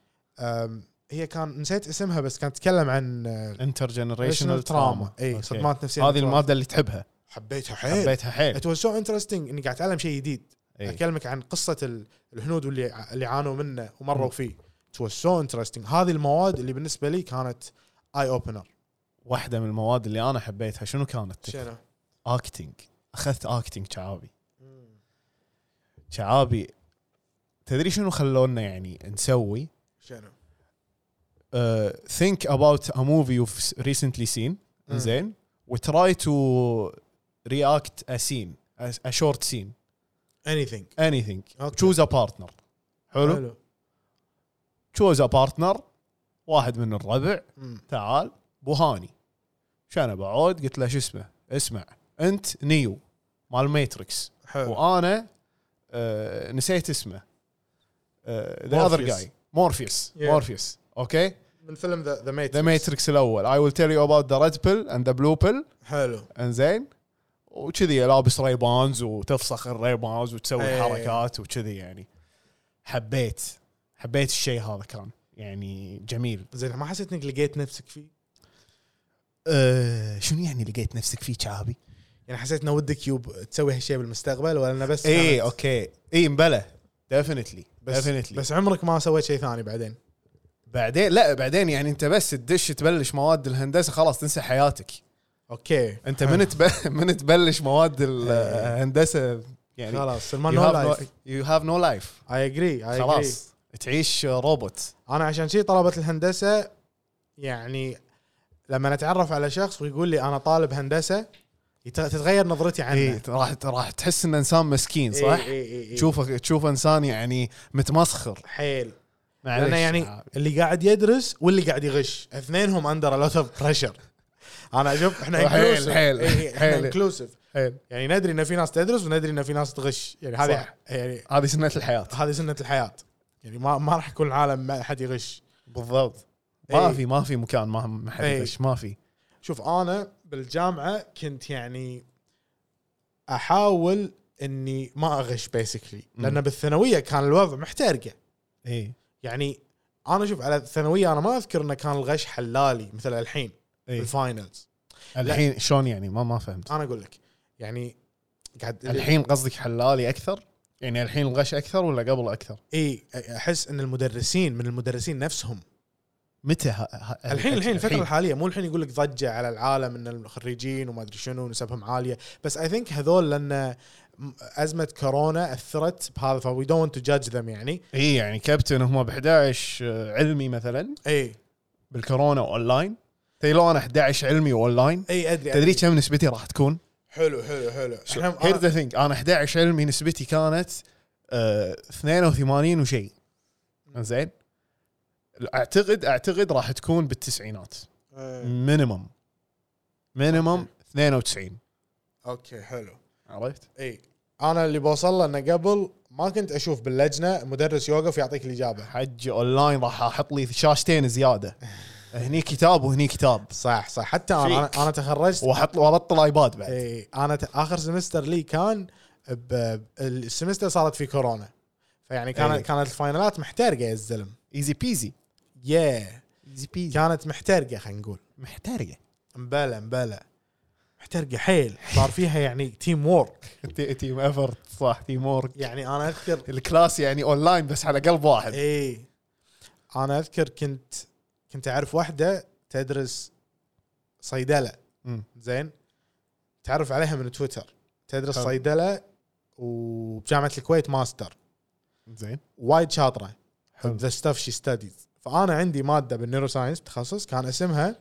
هي كان نسيت اسمها بس كانت تتكلم عن آه، انتر جنريشنال Generational trauma. إيه. تراما إي، صدمات نفسية إيه. هذه متوارثة. الماده اللي تحبها حبيتها حيل حبيتها حيل إيه. ات واز سو انترستنج اني قاعد اتعلم شيء جديد إي. اكلمك عن قصه ال- الهنود واللي اللي عانوا منه ومروا فيه ات واز سو انترستنج هذه المواد اللي بالنسبه لي كانت اي اوبنر واحده من المواد اللي انا حبيتها شنو كانت؟ شنو؟ اكتنج اخذت اكتنج شعابي شعابي تدري شنو خلونا يعني نسوي؟ آه، شنو؟ ثينك اباوت ا موفي يوف ريسنتلي سين مم. زين وتراي تو رياكت ا سين ا شورت سين اني ثينك اني ثينج أوكي. تشوز ا بارتنر حلو تشوز ا بارتنر واحد من الربع تعال بوهاني شنو بعود قلت له شو اسمه اسمع انت نيو مال ماتريكس حلو وانا آه نسيت اسمه آه، ذا اذر Morpheus. جاي مورفيوس Yeah. مورفيوس اوكي من فيلم ذا ماتريكس ذا ماتريكس الاول اي ويل تيل يو اباوت ذا ريد بيل اند ذا بلو بيل حلو انزين وكذي لابس ريبانز وتفسخ الريبانز وتسوي أي. حركات وكذي يعني حبيت حبيت الشيء هذا كان يعني جميل زين ما حسيت انك لقيت نفسك فيه؟ أه شنو يعني لقيت نفسك فيه شعبي؟ يعني حسيت ان ودك يوب تسوي هالشيء بالمستقبل ولا انه بس اي كانت- اوكي اي إيه، مبلى ديفنتلي بس ديفنتلي بس عمرك ما سويت شيء ثاني بعدين بعدين لا بعدين يعني انت بس تدش تبلش مواد الهندسه خلاص تنسى حياتك اوكي انت من تب... من تبلش مواد الهندسه يعني خلاص سلمان you نو have لايف إيه. no- you have no life اي اجري اي اجري خلاص تعيش روبوت انا عشان شي طلبه الهندسه يعني لما اتعرف على شخص ويقول لي انا طالب هندسه يت- تتغير نظرتي عنه إيه، اي إيه، راح راح تحس انه انسان مسكين صح؟ إي إي إي تشوفه تشوف انسان يعني متمسخر حيل معليش آه، لانه يعني اللي قاعد يدرس واللي قاعد يغش اثنينهم اندر لوت اوف بريشر انا اشوف احنا حيل، inclusive. حيل، إي إي، احنا حيل. انكلوسيف حيل. يعني ندري ان في ناس تدرس وندري ان في ناس تغش يعني هذه صح. يعني هذه سنه الحياه هذه سنه الحياه يعني ما ما راح يكون العالم ما حد يغش إيه. بالضبط ما إي. في ما في مكان ما ما حد إي. يغش ما في شوف انا بالجامعه كنت يعني احاول اني ما اغش بيسكلي لان مم. بالثانويه كان الوضع محترقه اي يعني انا شوف على الثانويه انا ما اذكر انه كان الغش حلالي مثل الحين اي بالفاينلز إيه. الحين شلون يعني ما ما فهمت انا اقول لك يعني قاعد الحين قصدك حلالي اكثر يعني الحين الغش اكثر ولا قبل اكثر اي احس ان إيه، المدرسين من المدرسين نفسهم متى ها ها الحين الحين الفتره الحاليه مو الحين يقول لك ضجه على العالم ان الخريجين وما ادري شنو نسبهم عاليه بس اي ثينك هذول لان ازمه كورونا اثرت بهذا فوي دونت تو جادج ذم يعني اي يعني كابتن هم ب 11 علمي مثلا اي بالكورونا اونلاين تدري لو انا 11 علمي اونلاين اي ادري تدري إيه، أدري. كم نسبتي راح تكون؟ حلو حلو حلو إحنا- آه. هير ذا ثينج انا 11 علمي نسبتي كانت آه 82 وشيء زين اعتقد اعتقد راح تكون بالتسعينات آه، مينيمم مينيمم 92 اوكي حلو عرفت؟ اي انا إيه. اللي بوصل له انه قبل ما كنت اشوف باللجنه مدرس يوقف يعطيك الاجابه حجي اونلاين راح احط لي شاشتين زياده هني كتاب وهني كتاب صح صح حتى انا فيك. انا, أنا تخرجت واحط وارطل ايباد بعد اي انا ت- اخر سمستر لي كان ب- السمستر صارت في كورونا فيعني كانت إي. كانت الفاينلات محترقه يا الزلم ايزي بيزي يا ايزي بيزي كانت محترقه خلينا نقول محترقه مبلا مبلا محترقه حيل صار فيها يعني تيم وورك تي- تيم ايفرت صح تيم وورك يعني انا اذكر الكلاس يعني اونلاين بس على قلب إيه. واحد اي انا اذكر كنت كنت اعرف واحده تدرس صيدله مم. زين تعرف عليها من تويتر تدرس حلو. صيدله وبجامعه الكويت ماستر زين وايد شاطره حلو. ذا ستاف شي ستاديز فانا عندي ماده بالنيورو ساينس تخصص كان اسمها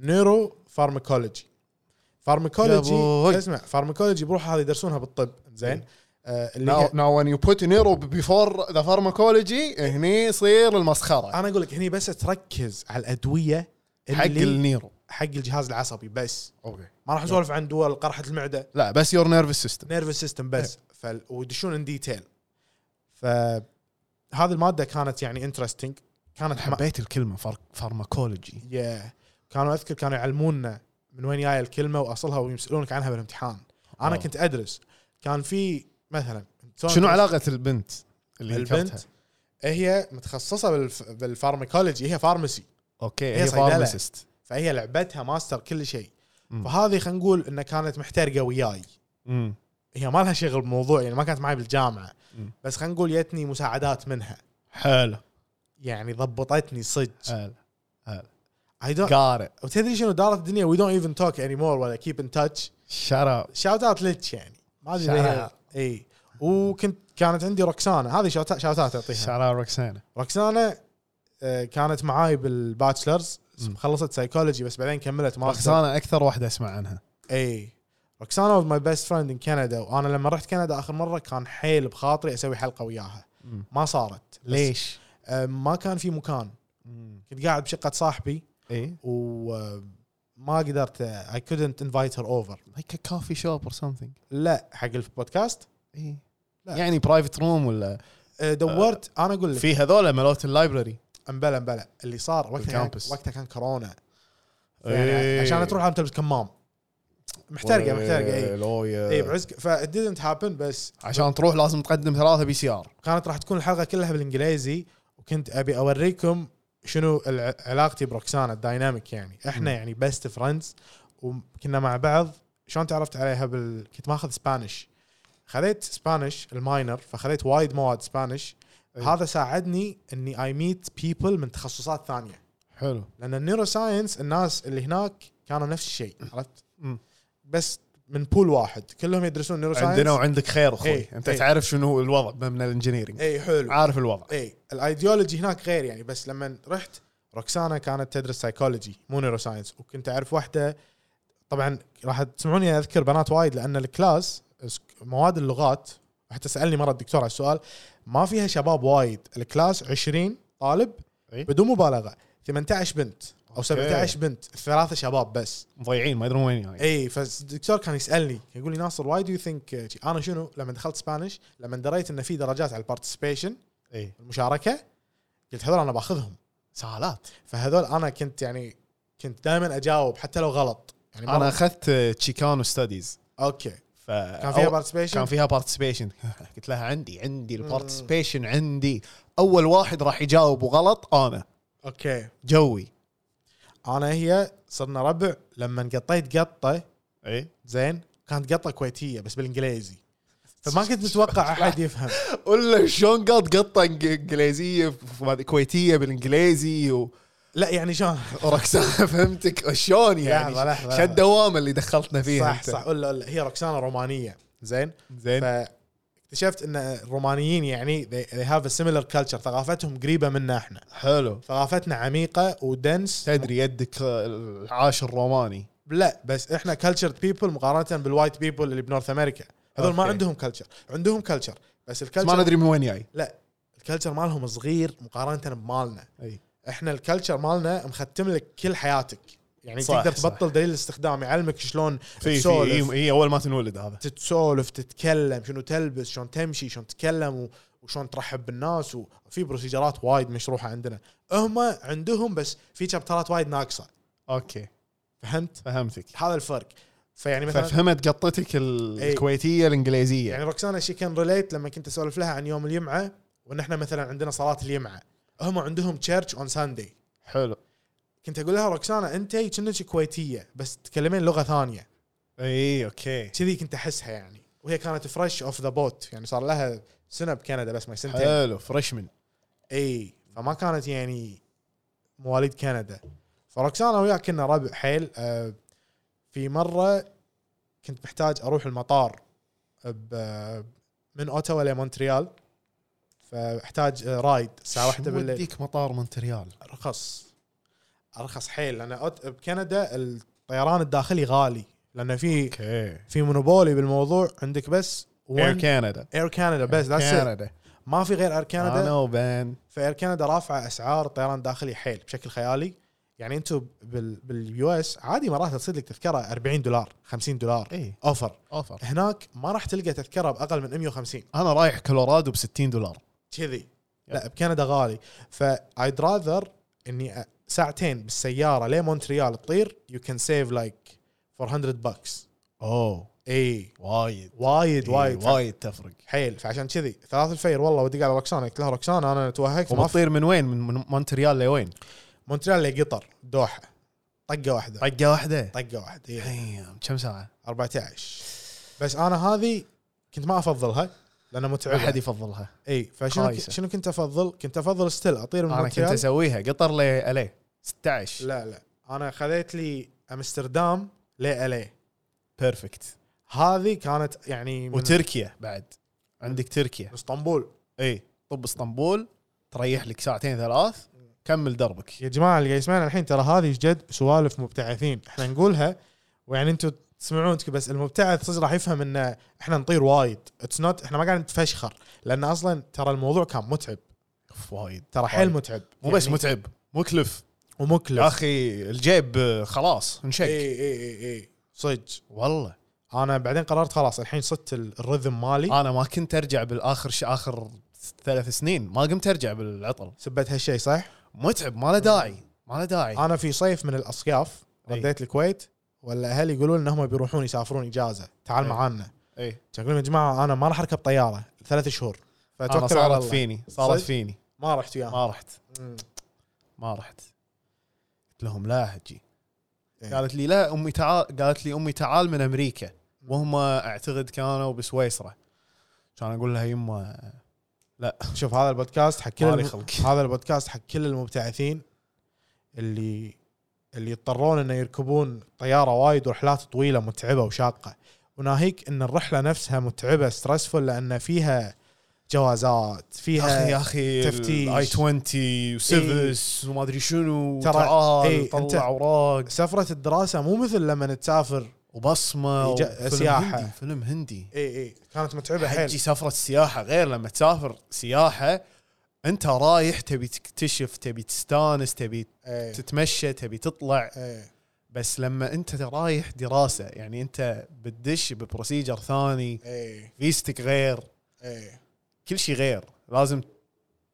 نيرو فارماكولوجي فارماكولوجي يا بوي. إيه. اسمع فارماكولوجي بروحها يدرسونها بالطب زين آه اللي ناو هي- ناو وين يو بوت نيرو بيفور ذا فارماكولوجي هني يصير المسخره انا اقول لك هني بس تركز على الادويه حق اللي النيرو حق الجهاز العصبي بس اوكي ما راح اسولف عن دول قرحه المعده لا بس يور نيرفس سيستم نيرفس سيستم إيه. بس فال... ويدشون ان ديتيل فهذه الماده كانت يعني انترستنج كانت ما- حبيت الكلمه فار... فارماكولوجي يا كانوا اذكر كانوا يعلمونا من وين جايه الكلمه واصلها ويسالونك عنها بالامتحان انا آه. كنت ادرس كان في مثلا شنو علاقه البنت اللي البنت ذكرتها؟ هي متخصصه بالف... بالفارماكولوجي هي فارماسي اوكي هي هي صيدلة. فارماسيست فهي لعبتها ماستر كل شيء مم. فهذه خلينا نقول انها كانت محترقه وياي امم هي ما لها شغل بالموضوع يعني ما كانت معي بالجامعه مم. بس خلينا نقول جتني مساعدات منها حلو يعني ضبطتني صدق حلو اي دونت قارئ وتدري شنو دارت الدنيا وي دونت ايفن توك اني مور ولا كيب ان تاتش شراب شاوت اوت لتش يعني ما ادري شاوت ليه أوت. اي وكنت كانت عندي روكسانا هذه شاوت شاوت اوت اعطيها شراب روكسانا روكسانا آه، كانت معاي بالباتشلرز مم. خلصت سايكولوجي بس بعدين كملت ماستر روكسانا اكثر واحده اسمع عنها اي روكسانا واز ماي بيست فريند ان كندا وانا لما رحت كندا اخر مره كان حيل بخاطري اسوي حلقه وياها مم. ما صارت بس، ليش؟ آه، ما كان في مكان كنت قاعد بشقه صاحبي ايه وما قدرت آه، اي كودنت انفايت هير اوفر لايك كوفي شوب اور سمثينج لا حق البودكاست ايه إيه. لا. يعني برايفت روم ولا آه، دورت انا اقول لك في هذول ملوت اللايبرري امبلا امبلا اللي صار وقتها كان بالكامبس. وقتها كان كورونا إيه. يعني عشان تروح لازم تلبس كمام محترقه محترقه اي اي اي بعزك إيه، ف didn't هابن بس إيه. عشان تروح لازم تقدم ثلاثه بي سي ار كانت راح تكون الحلقه كلها بالانجليزي وكنت ابي اوريكم شنو الع- علاقتي بروكسانا الدايناميك يعني احنا مم. يعني بيست فريندز وكنا مع بعض شلون تعرفت عليها بال كنت ماخذ سبانش خذيت سبانش الماينر فخذيت وايد مواد سبانش أي. هذا ساعدني اني اي ميت بيبل من تخصصات ثانيه حلو لان النيورو ساينس الناس اللي هناك كانوا نفس الشيء عرفت؟ مم. بس من بول واحد كلهم يدرسون نيورو ساينس عندنا وعندك خير اخوي إيه. انت إيه. تعرف شنو هو الوضع من الانجنييرنج اي إيه، حلو عارف الوضع اي الايديولوجي هناك غير يعني بس لما رحت روكسانا كانت تدرس سايكولوجي مو نيورو ساينس وكنت اعرف واحده طبعا راح تسمعوني اذكر بنات وايد لان الكلاس سك- مواد اللغات حتى سالني مره الدكتور على السؤال ما فيها شباب وايد الكلاس 20 طالب إي. بدون مبالغه 18 بنت او 17 بنت الثلاثه شباب بس مضيعين ما يدرون وين يعني اي إيه، فالدكتور كان يسالني كان آه، يقول لي ناصر واي دو يو ثينك انا شنو لما دخلت سبانيش لما دريت ان في درجات على البارتيسيبيشن اي المشاركه قلت هذول انا باخذهم سهالات فهذول انا كنت يعني كنت دائما اجاوب حتى لو غلط يعني انا مرة- اخذت تشيكانو ستاديز اوكي ف كان فيها بارتيسيبيشن كان فيها بارتيسيبيشن قلت لها عندي عندي البارتيسيبيشن عندي اول واحد راح يجاوب وغلط انا اوكي جوي انا هي صرنا ربع لما قطيت قطه اي زين كانت قطه كويتيه بس بالانجليزي فما كنت متوقع احد يفهم ولا شلون قاط قطه إنج- انجليزيه ف- ما أدري كويتيه بالانجليزي و... لا يعني شلون وركسانه فهمتك شلون يعني لحظة، لحظة، لحظة. شو الدوامه اللي دخلتنا فيها صح أنت؟ صح ولا ولا هي روكسانا رومانيه زين زين فاكتشفت ان الرومانيين يعني they, they have a similar culture ثقافتهم قريبه منا احنا حلو ثقافتنا عميقه ودنس تدري يدك آه، العاشر روماني لا بس احنا كلتشرد بيبل مقارنه بالوايت بيبل اللي بنورث امريكا هذول ما أوكي. عندهم كلتشر عندهم كلتشر بس بس ما الكلتشر ندري من وين جاي لا الكلتشر مالهم صغير مقارنه بمالنا اي احنا الكلتشر مالنا مختم لك كل حياتك يعني صح، صح تقدر صح. تبطل دليل الاستخدام يعلمك شلون في في تسولف. إي- اي اول ما تنولد هذا تتسولف تتكلم شنو تلبس شلون تمشي شلون تتكلم و- وشلون ترحب بالناس وفي بروسيجرات وايد مشروحه عندنا هم عندهم بس في شابترات وايد ناقصه اوكي فهمت فهمتك هذا الفرق فيعني مثلا ففهمت قطتك ال- إي. الكويتيه الانجليزيه إيه. يعني روكسانا شي كان ريليت لما كنت اسولف لها عن يوم الجمعه وان احنا مثلا عندنا صلاه الجمعه هم عندهم تشيرش اون ساندي حلو كنت اقول لها روكسانا انت كأنك كويتيه بس تتكلمين لغه ثانيه اي اوكي كذي كنت احسها يعني وهي كانت فريش اوف ذا بوت يعني صار لها سنه بكندا بس ما سنتين حلو فريشمن اي فما كانت يعني مواليد كندا فروكسانا وياه كنا ربع حيل آه، في مره كنت محتاج اروح المطار آه، ب- من اوتاوا لمونتريال فاحتاج آه، رايد الساعه واحدة بالليل وديك مطار مونتريال ارخص ارخص حيل لان أوت- بكندا الطيران الداخلي غالي لان في اوكي في مونوبولي بالموضوع عندك بس اير اير كندا كندا بس that's it. كندا ما في غير اير كندا انا وبن فاير كندا رافعه اسعار الطيران الداخلي حيل بشكل خيالي يعني انتم بال باليو اس عادي مرات تصير لك تذكره 40 دولار 50 دولار اي اوفر اوفر هناك ما راح تلقى تذكره باقل من 150 انا رايح كولورادو ب 60 دولار كذي لا بكندا غالي فايد راذر اني أ- ساعتين بالسياره لمونتريال تطير يو كان سيف لايك 400 باكس اوه اي وايد وايد وايد وايد إيه، وايد تفرق حيل فعشان كذي ثلاث الفير والله ودق على روكسانا قلت لها روكسانا انا توهقت ما في وبطير من وين من من مونتريال لوين مونتريال لقطر دوحه طقه واحده طقه واحده طقه واحده إيه. Damn، كم ساعه 14 بس انا هذه كنت ما افضلها لانها متعبه احد يفضلها اي إيه، فشنو قايسة. شنو كنت افضل؟ كنت افضل ستيل اطير من انا كنت مونتريال اسويها قطر لالي 16 لا لا انا خذيت لي امستردام لالي بيرفكت إيه. هذه كانت يعني من وتركيا بعد عندك تركيا اسطنبول اي طب اسطنبول تريح لك ساعتين ثلاث كمل دربك يا جماعه اللي قاعد يسمعنا الحين ترى هذه جد سوالف مبتعثين احنا نقولها ويعني انتم تسمعون بس المبتعث صدق راح يفهم ان احنا نطير وايد اتس نوت احنا ما قاعدين نتفشخر لان اصلا ترى الموضوع كان متعب أوف، وايد ترى حيل وايد. متعب مو بس يعني متعب مكلف ومكلف يا اخي الجيب آه، خلاص اي انشق اي اي اي إيه، صدق والله انا بعدين قررت خلاص الحين صدت ال- الرذم مالي انا ما كنت ارجع بالاخر ش... اخر ثلاث سنين ما قمت ارجع بالعطل سبت هالشيء صح؟ متعب ما له داعي ما له داعي انا في صيف من الاصياف إي. رديت الكويت ولا اهلي يقولون ان هم بيروحون يسافرون اجازه تعال إي. معانا اي كان أقول لهم يا جماعه انا ما راح اركب طياره ثلاث شهور انا فتوكل على صارت الله فيني صارت صدق؟ فيني ما رحت وياهم ما رحت مم. ما رحت قلت لهم لا هجي إيه. قالت لي لا امي تعال قالت لي امي تعال من امريكا وهم اعتقد كانوا بسويسرا كان اقول لها يما شوف هذا البودكاست حق كل مالي الم... خلق. هذا البودكاست حق كل المبتعثين اللي اللي يضطرون انه يركبون طياره وايد ورحلات طويله متعبه وشاقه وناهيك ان الرحله نفسها متعبه ستريسفول لان فيها جوازات اخي يا فيها اخي تفتيش. إيه. اي 20 وسيفس وما ادري شنو ترى- تعال إيه، طلع أنت- اوراق سفره الدراسه مو مثل لما تسافر وبصمه يج- وفيلم سياحة. هندي فيلم هندي اي اي إيه، كانت متعبه حجي حيل سفره السياحه غير لما تسافر سياحه انت رايح تبي تكتشف تبي تستانس تبي إي، تتمشى تبي تطلع إي. بس لما انت رايح دراسه يعني انت بتدش ببروسيجر ثاني اي فيستك غير اي كل شيء غير لازم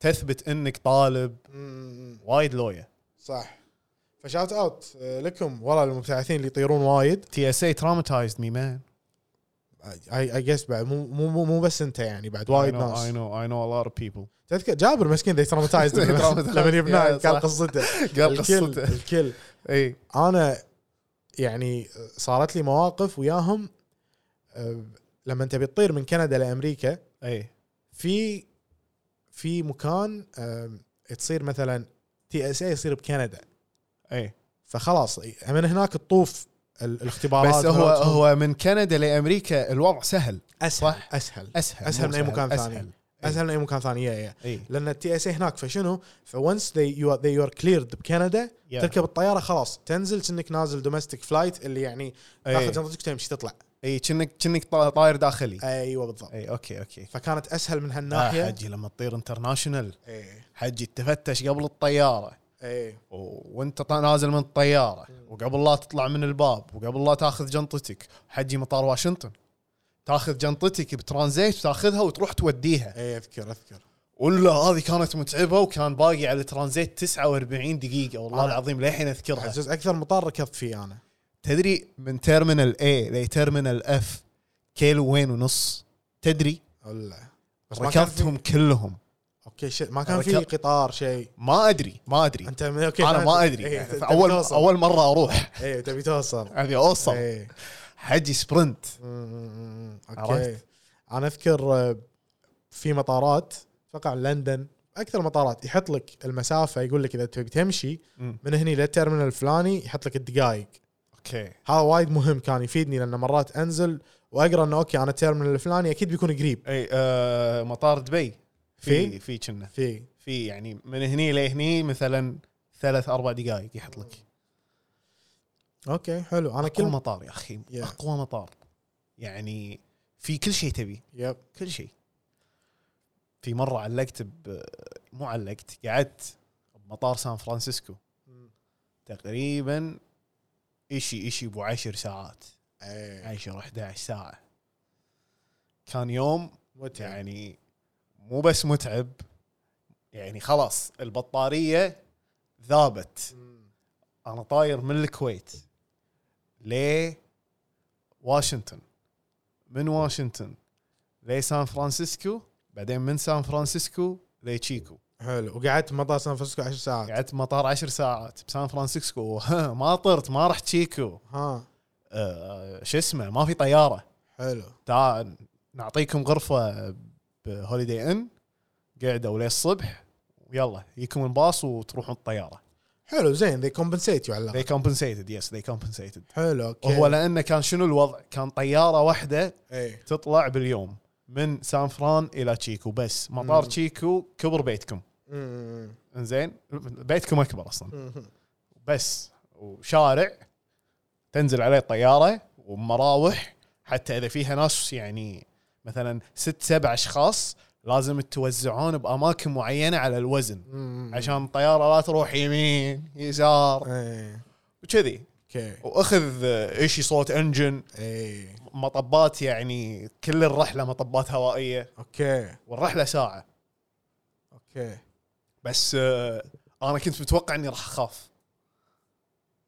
تثبت انك طالب مم. وايد لويا صح فشاوت اوت آه، لكم والله المبتعثين اللي يطيرون وايد تي اس اي تروماتايزد مي مان اي اي جس بعد مو مو مو- مو بس انت يعني بعد وايد اي ناس نو اي نو ا لوت اوف بيبل تذكر جابر مسكين ذي تروماتايزد Traumatized. لما يبناه يا، قال صح. قصته قال الكل قصته إيه، الكل اي انا يعني صارت لي مواقف وياهم آه، لما انت بتطير من كندا لامريكا اي في في مكان آم، تصير مثلا تي اس اي يصير بكندا اي فخلاص من هناك تطوف ال- الاختبارات بس هو والأوتهم. هو من كندا لامريكا الوضع سهل اسهل صح؟ اسهل اسهل أسهل مو من أي مكان ثاني. أسهل. اسهل من اي مكان ثاني يا يا. اي لان التي اس اي هناك فشنو فونس ذي يو ذي يور كليرد بكندا Yeah. تركب الطياره خلاص تنزل كأنك نازل دومستيك فلايت اللي يعني تاخذ اي جنطتك تمشي تطلع اي كأنك كأنك طا- طاير داخلي ايوه بالضبط اي اوكي اوكي فكانت اسهل من إيه. إيه، آه، هالناحيه حجي لما تطير انترناشونال اي حجي تفتش قبل الطياره اي و- وانت طا- نازل من الطياره وقبل لا تطلع من الباب وقبل لا تاخذ جنطتك حجي مطار واشنطن تاخذ جنطتك بترانزيت تاخذها وتروح توديها اي اذكر اذكر ولا هذه كانت متعبه وكان باقي على الترانزيت 49 دقيقه والله أنا- العظيم للحين اذكرها عزوز اكثر مطار ركبت فيه انا تدري من تيرمينال اي لتيرمينال اف كيلوين ونص تدري ولا بس ما كان في- ركضتهم كلهم اوكي شيء ما كان في ركبت- قطار شيء ما ادري ما ادري انت اوكي انا ما يعني ادري إيه، اول اول مره اروح اي إيه، تبي توصل ابي اوصل إيه. حجي سبرنت أمم، اوكي عرفت؟ انا اذكر آه، في مطارات اتوقع لندن اكثر مطارات يحط لك المسافه يقول لك اذا تبي تمشي مم. من هني للترمينال الفلاني يحط لك الدقائق اوكي هذا وايد مهم كان يفيدني لان مرات انزل واقرا انه اوكي انا الترمينال الفلاني اكيد بيكون قريب اي آه مطار دبي في في؟ في كنا في في يعني من هني لهني مثلا ثلاث اربع دقائق يحط لك اوكي حلو انا اقوى كل مطار يا اخي Yeah. اقوى مطار يعني في كل شيء تبي يب كل شيء في مره علقت ب... مو علقت قعدت بمطار سان فرانسيسكو تقريبا اشي اشي ابو عشر ساعات إيه. عشر 11 ساعه كان يوم إيه. متعب يعني مو بس متعب يعني خلاص البطاريه ذابت مم. انا طاير من الكويت ليه واشنطن من واشنطن لسان فرانسيسكو بعدين من سان فرانسيسكو لتشيكو حلو وقعدت مطار سان فرانسيسكو 10 ساعات قعدت مطار عشر ساعات بسان فرانسيسكو ها، ما طرت ما رحت تشيكو ها آه، شو اسمه ما في طياره حلو تعال نعطيكم غرفه بهوليدي ان قعدوا للصبح ويلا يجيكم الباص وتروحون الطياره حلو زين ذي كومبنسيت يو على الأقل. they compensated yes they compensated حلو اوكي وهو لانه كان شنو الوضع؟ كان طياره واحده ايه تطلع باليوم من سان فران الى تشيكو بس مطار مم. تشيكو كبر بيتكم مم. انزين بيتكم اكبر اصلا مم. بس وشارع تنزل عليه الطياره ومراوح حتى اذا فيها ناس يعني مثلا ست سبع اشخاص لازم توزعون باماكن معينه على الوزن مم. عشان الطياره لا تروح يمين يسار ايه وكذي اوكي واخذ آه، شيء صوت انجن ايه مطبات يعني كل الرحله مطبات هوائيه اوكي والرحله ساعه اوكي بس آه، انا كنت متوقع اني راح اخاف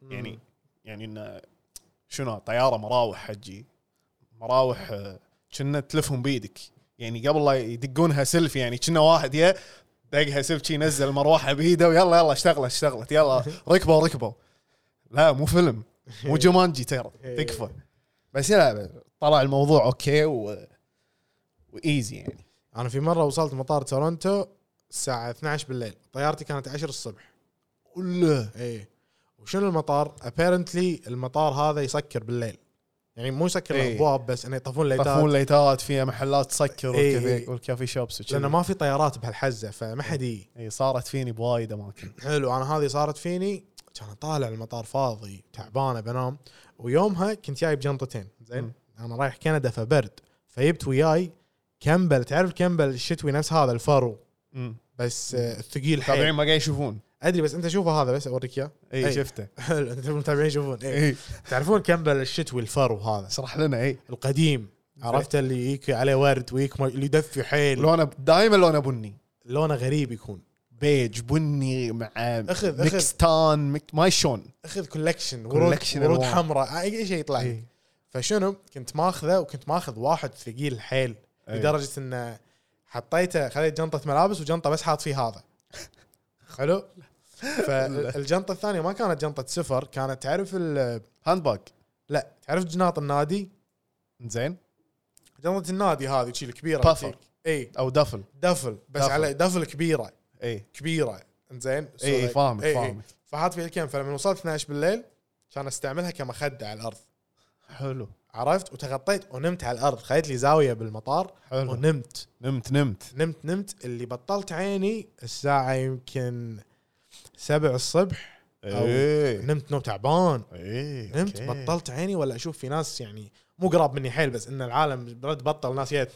مم. يعني يعني انه شنو طياره مراوح حجي مراوح آه، كنا تلفهم بيدك يعني قبل لا يدقونها سلف يعني كنا واحد يا دقها سلف شي نزل مروحه بايده ويلا يلا اشتغلت اشتغلت يلا ركبوا ركبوا لا مو فيلم مو جومانجي ترى تكفى بس لا طلع الموضوع اوكي و وايزي يعني انا في مره وصلت مطار تورنتو الساعه 12 بالليل طيارتي كانت 10 الصبح ولا ايه وشنو المطار ابيرنتلي المطار هذا يسكر بالليل يعني مو يسكر إيه. الابواب بس انه يطفون يطفون ليتات ليتات فيها محلات تسكر إيه، والكافي إيه. والكافي شوبس وشي. لانه ما في طيارات بهالحزه فما حد يجي إيه، صارت فيني بوايد اماكن حلو انا هذه صارت فيني كان طالع المطار فاضي تعبانه بنام ويومها كنت جايب جنطتين زين انا رايح كندا فبرد فجبت وياي كمبل تعرف كمبل الشتوي نفس هذا الفرو مم. بس آه، الثقيل طبعا حيل ما قاعد يشوفون ادري بس انت شوفه هذا بس اوريك اياه اي إي. شفته حلو انت المتابعين يشوفون ايه اي تعرفون كمبل الشتوي الفرو هذا اشرح لنا إيه. اي القديم عرفت اللي يجيك عليه ورد ويك ما- اللي يدفي حيل لونه دائما لونه بني لونه غريب يكون بيج بني مع أخذ- أخذ. مكستان مك... ما شلون اخذ كولكشن ورود Collection إيه. ورود ألوان. حمراء اي شيء يطلع لك فشنو كنت ماخذه وكنت ماخذ واحد ثقيل حيل أي. لدرجه انه حطيته خليت جنطه ملابس وجنطه بس حاط فيه هذا حلو فالجنطه الثانيه ما كانت جنطه سفر كانت تعرف ال- هاند باج لا تعرف جناط النادي زين جنطه النادي هذه شي الكبيره بافر. هذيك. اي او دفل دفل بس دفل. على دفل كبيره اي كبيره انزين اي اي إيه، فاهمك إي، إي. فاهمك إيه، فحاط فيها الكم فلما وصلت 12 بالليل كان استعملها كمخده على الارض حلو عرفت وتغطيت ونمت على الارض خليت لي زاويه بالمطار حلو ونمت نمت نمت نمت نمت اللي بطلت عيني الساعه يمكن سبع الصبح اي نمت نوم تعبان اي نمت إيه. أوكي. بطلت عيني ولا اشوف في ناس يعني مو قراب مني حيل بس ان العالم رد بطل ناس إيه، جت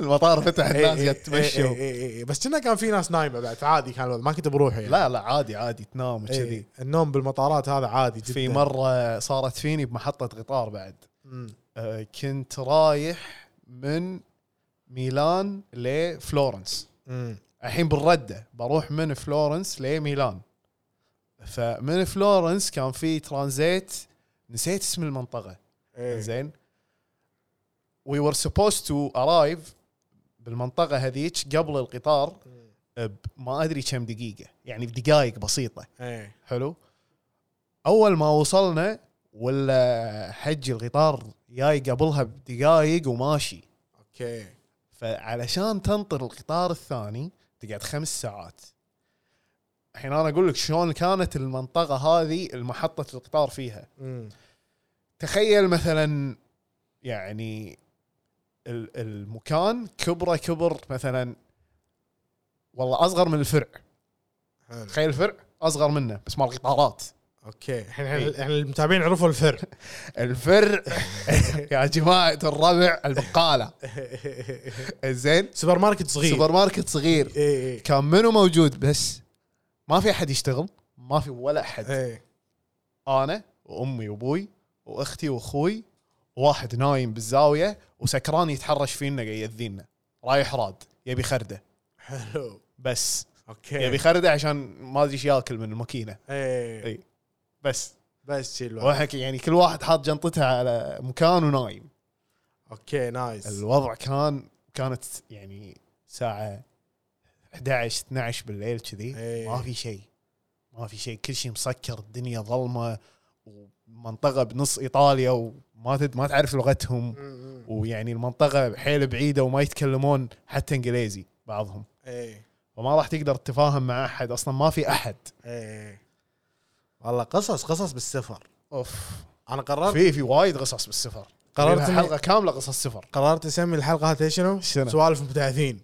المطار فتح الناس إي- قاعد إي- إي- تمشي إي- إي. إيه، بس كنا كان في ناس نايمه بعد عادي كان الوضع، ما كنت بروحي يعني. لا لا عادي عادي تنام إي. وكذي النوم بالمطارات هذا عادي جدا في مره صارت فيني بمحطه قطار بعد مم. آه، كنت رايح من ميلان لفلورنس مم. الحين بالرده بروح من فلورنس لميلان فمن فلورنس كان في ترانزيت نسيت اسم المنطقه إي. زين وي ور سبوست تو ارايف بالمنطقه هذيك قبل القطار ب- ما ادري كم دقيقه يعني بدقائق بسيطه إي. حلو اول ما وصلنا ولا حجي القطار جاي قبلها بدقائق وماشي اوكي فعلشان تنطر القطار الثاني تقعد خمس ساعات الحين انا اقول لك شلون كانت المنطقه هذه المحطه القطار فيها مم. تخيل مثلا يعني ال- المكان كبره كبر مثلا والله اصغر من الفرع حلو. تخيل الفرع اصغر منه بس مال القطارات اوكي الحين إيه. الحين المتابعين عرفوا الفرق الفرع يا جماعه الربع البقاله زين سوبر ماركت صغير إيه، سوبر ماركت صغير اي اي كان منو موجود بس ما في احد يشتغل ما في ولا احد اي انا وامي وابوي واختي واخوي واحد نايم بالزاويه وسكران يتحرش فينا قاعد يأذينا رايح راد يبي خرده حلو بس يبي اوكي خرده عشان ما ادري ايش ياكل من الماكينه اي إي. بس إيه. بس شيل واحد. إيه. واحد يعني كل واحد حاط جنطتها على مكان ونايم اوكي نايس الوضع كان كانت يعني ساعة 11 12 بالليل كذي إيه. ما في شيء ما في شيء كل شيء مسكر الدنيا ظلمة ومنطقة بنص ايطاليا وما تد ما تعرف لغتهم مم. ويعني المنطقة حيل بعيدة وما يتكلمون حتى انجليزي بعضهم اي وما راح تقدر تتفاهم مع احد اصلا ما في احد اي إيه. والله قصص قصص بالسفر اوف انا قررت في في وايد قصص بالسفر قررت قررت إني- حلقة كاملة قصص سفر قررت اسمي الحلقه هذه شنو؟ شنو؟ سوالف مبتعثين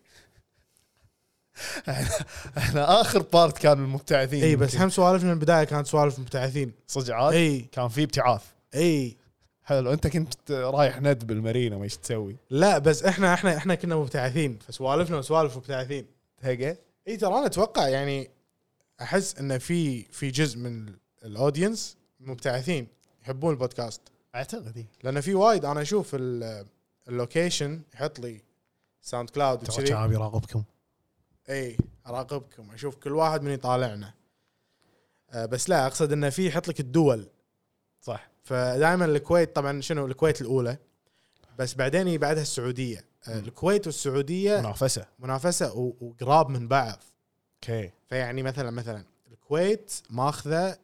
احنا اخر بارت كان المبتعثين اي إيه، بس هم سوالفنا من البدايه كانت سوالف إيه، مبتعثين صدق عاد اي إيه. كان في ابتعاث اي حلو انت كنت رايح ند بالمارينا ما ايش تسوي؟ لا بس احنا احنا احنا كنا مبتعثين فسوالفنا سوالف مبتعثين تهقى؟ اي ترى انا اتوقع يعني احس ان في في جزء من الاودينس مبتعثين يحبون البودكاست اعتقد إيه. إي. لان في وايد انا اشوف ال- اللوكيشن يحط لي ساوند كلاود ترى وكذي شعب يراقبكم اي اراقبكم اشوف كل واحد من يطالعنا آه، بس لا اقصد انه في يحط لك الدول صح فدائما الكويت طبعا شنو الكويت الاولى بس بعدين يجي بعدها السعوديه آه، الكويت والسعوديه منافسه منافسه و- وقراب من بعض اوكي فيعني مثلا مثلا الكويت ماخذه 40%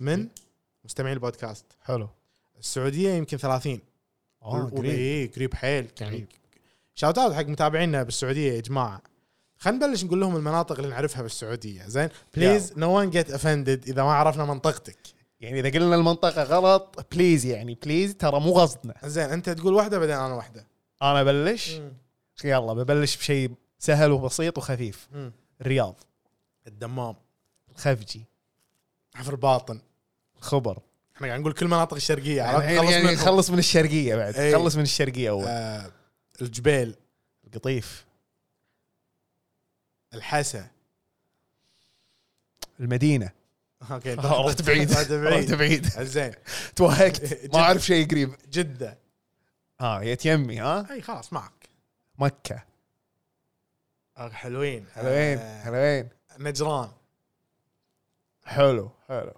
من مستمعين البودكاست حلو السعوديه يمكن 30 اه قريب. اي قريب حيل يعني قريب. شاوت اوت حق متابعينا بالسعوديه يا جماعه خلينا نبلش نقول لهم المناطق اللي نعرفها بالسعوديه زين بليز نو ون جيت افندد اذا ما عرفنا منطقتك يعني اذا قلنا المنطقه غلط بليز يعني بليز ترى مو قصدنا زين انت تقول واحده بعدين انا واحده انا ابلش يلا ببلش بشيء سهل وبسيط وخفيف مم. الرياض الدمام الخفجي حفر باطن الخبر احنا قاعد نقول كل مناطق الشرقيه عرفت يعني, خلص يعني منهم. نخلص من الشرقيه بعد إي. خلص من الشرقيه اول إيه. آه، الجبيل القطيف الحسا المدينه اوكي رحت بعيد رحت رحت بعيد بعيد زين توهقت ما اعرف شيء قريب آه، جده اه يا يمي ها اي خلاص معك مكه آه، حلوين حلوين آه، حلوين نجران حلو حلو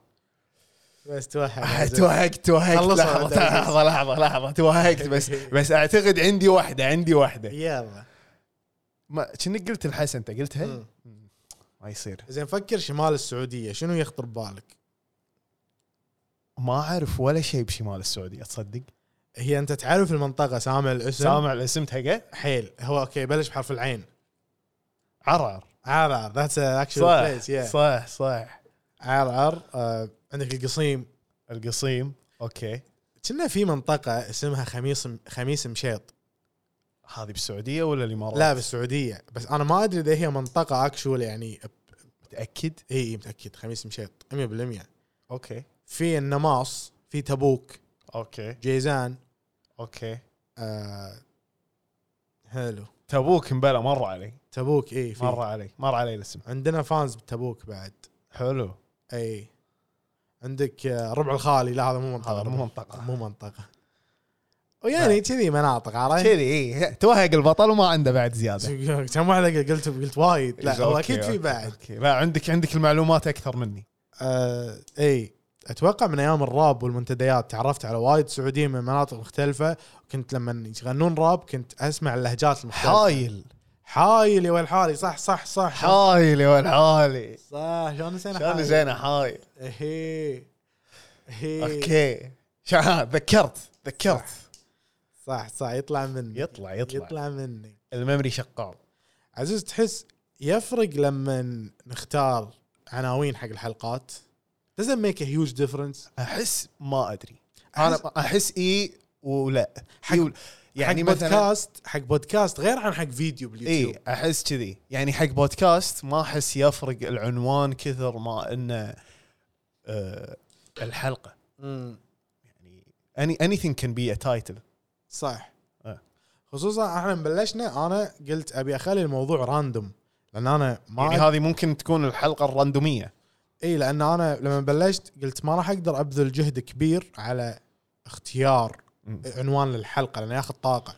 بس آه، توحد توهقت توهقت خلصوا لحظة عبد العزيز. لحظة لحظة لحظة توهقت بس بس اعتقد عندي واحدة عندي واحدة يلا ما كأنك قلت الحسن انت قلتها مم. ما يصير زين فكر شمال السعوديه شنو يخطر ببالك؟ ما اعرف ولا شيء بشمال السعودية تصدق هي انت تعرف المنطقه سامع الاسم سامع الاسم حقه حيل هو اوكي بلش بحرف العين عرعر عرعر ذاتس اكشن صح بليس يا صح صح عرعر آه، عندك القصيم القصيم اوكي كنا في منطقه اسمها خميس خميس مشيط هذه بالسعودية ولا الامارات؟ لا بالسعوديه بس انا ما ادري اذا هي منطقه اكشول يعني متأكد اي إي، متاكد خميس مشيط 100% اوكي في النماص في تبوك اوكي جيزان اوكي آه حلو تبوك مبلا مر علي تبوك اي في مر علي مر علي الاسم عندنا فانز بتبوك بعد حلو اي عندك آه، ربع الخالي لا هذا مو منطقه هذا مو ربع- منطقة. مو منطقه ويعني كذي مناطق عرفت؟ كذي اي توهق البطل وما عنده بعد زيادة كم واحده قلت قلت وايد لا هو أوكي، اكيد في إيه، أوكي، بعد أوكي. لا عندك عندك المعلومات اكثر مني آه اي اتوقع من ايام الراب والمنتديات تعرفت على وايد سعوديين من مناطق مختلفه وكنت لما يغنون راب كنت اسمع اللهجات المختلفه حايل حايل يا والحالي صح صح صح صح حايل يا ولد حالي شلون نسينا شلون حايل؟ زينه حايل إيه. ايه ايه اوكي شا- ذكرت ذكرت صح صح يطلع مني يطلع يطلع يطلع مني الميموري شقاق عزيز تحس يفرق لما نختار عناوين حق الحلقات doesn't make a huge difference احس ما ادري أنا انا احس اي ولا حق- إي ولا. يعني يعني حق مثلا بودكاست حق بودكاست غير عن حق فيديو باليوتيوب اي احس كذي يعني حق بودكاست ما احس يفرق العنوان كثر ما انه آه الحلقه إيه. يعني اني anything can be a title صح آه. خصوصا احنا بلشنا انا قلت ابي اخلي الموضوع راندوم لان انا ما يعني هذه ممكن تكون الحلقه الرندوميه اي لان انا لما بلشت قلت ما راح اقدر ابذل جهد كبير على اختيار مم. عنوان للحلقه لانه ياخذ طاقه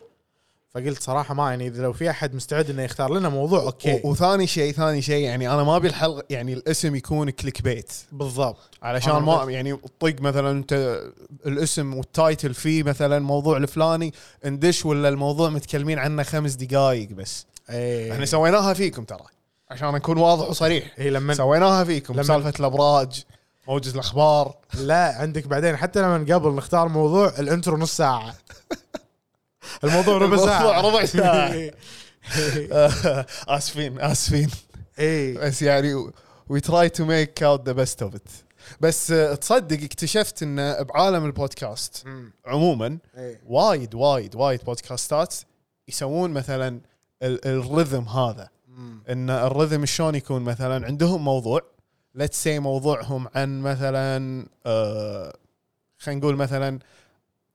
فقلت صراحه ما يعني اذا لو في احد مستعد انه يختار لنا موضوع اوكي و- وثاني شيء ثاني شيء يعني انا ما ابي الحلقه يعني الاسم يكون كليك بيت بالضبط علشان أنا ما يعني طق مثلا انت الاسم والتايتل فيه مثلا موضوع الفلاني ندش ولا الموضوع متكلمين عنه خمس دقائق بس احنا اي سويناها فيكم ترى عشان نكون واضح وصريح اي لما سويناها فيكم لما- لما سالفه الابراج موجز الاخبار لا عندك بعدين حتى لما قبل نختار موضوع الانترو نص ساعه الموضوع ربع ساعه الموضوع ربع ساعة. إي. اسفين اسفين اي بس يعني وي تراي تو ميك اوت ذا بيست اوف ات بس آه، تصدق اكتشفت ان بعالم البودكاست مم. عموما إي. وايد وايد وايد بودكاستات يسوون مثلا ال- الرhythm هذا مم. ان الرذم شلون يكون مثلا عندهم موضوع ليتس سي موضوعهم عن مثلا آه خلينا نقول مثلا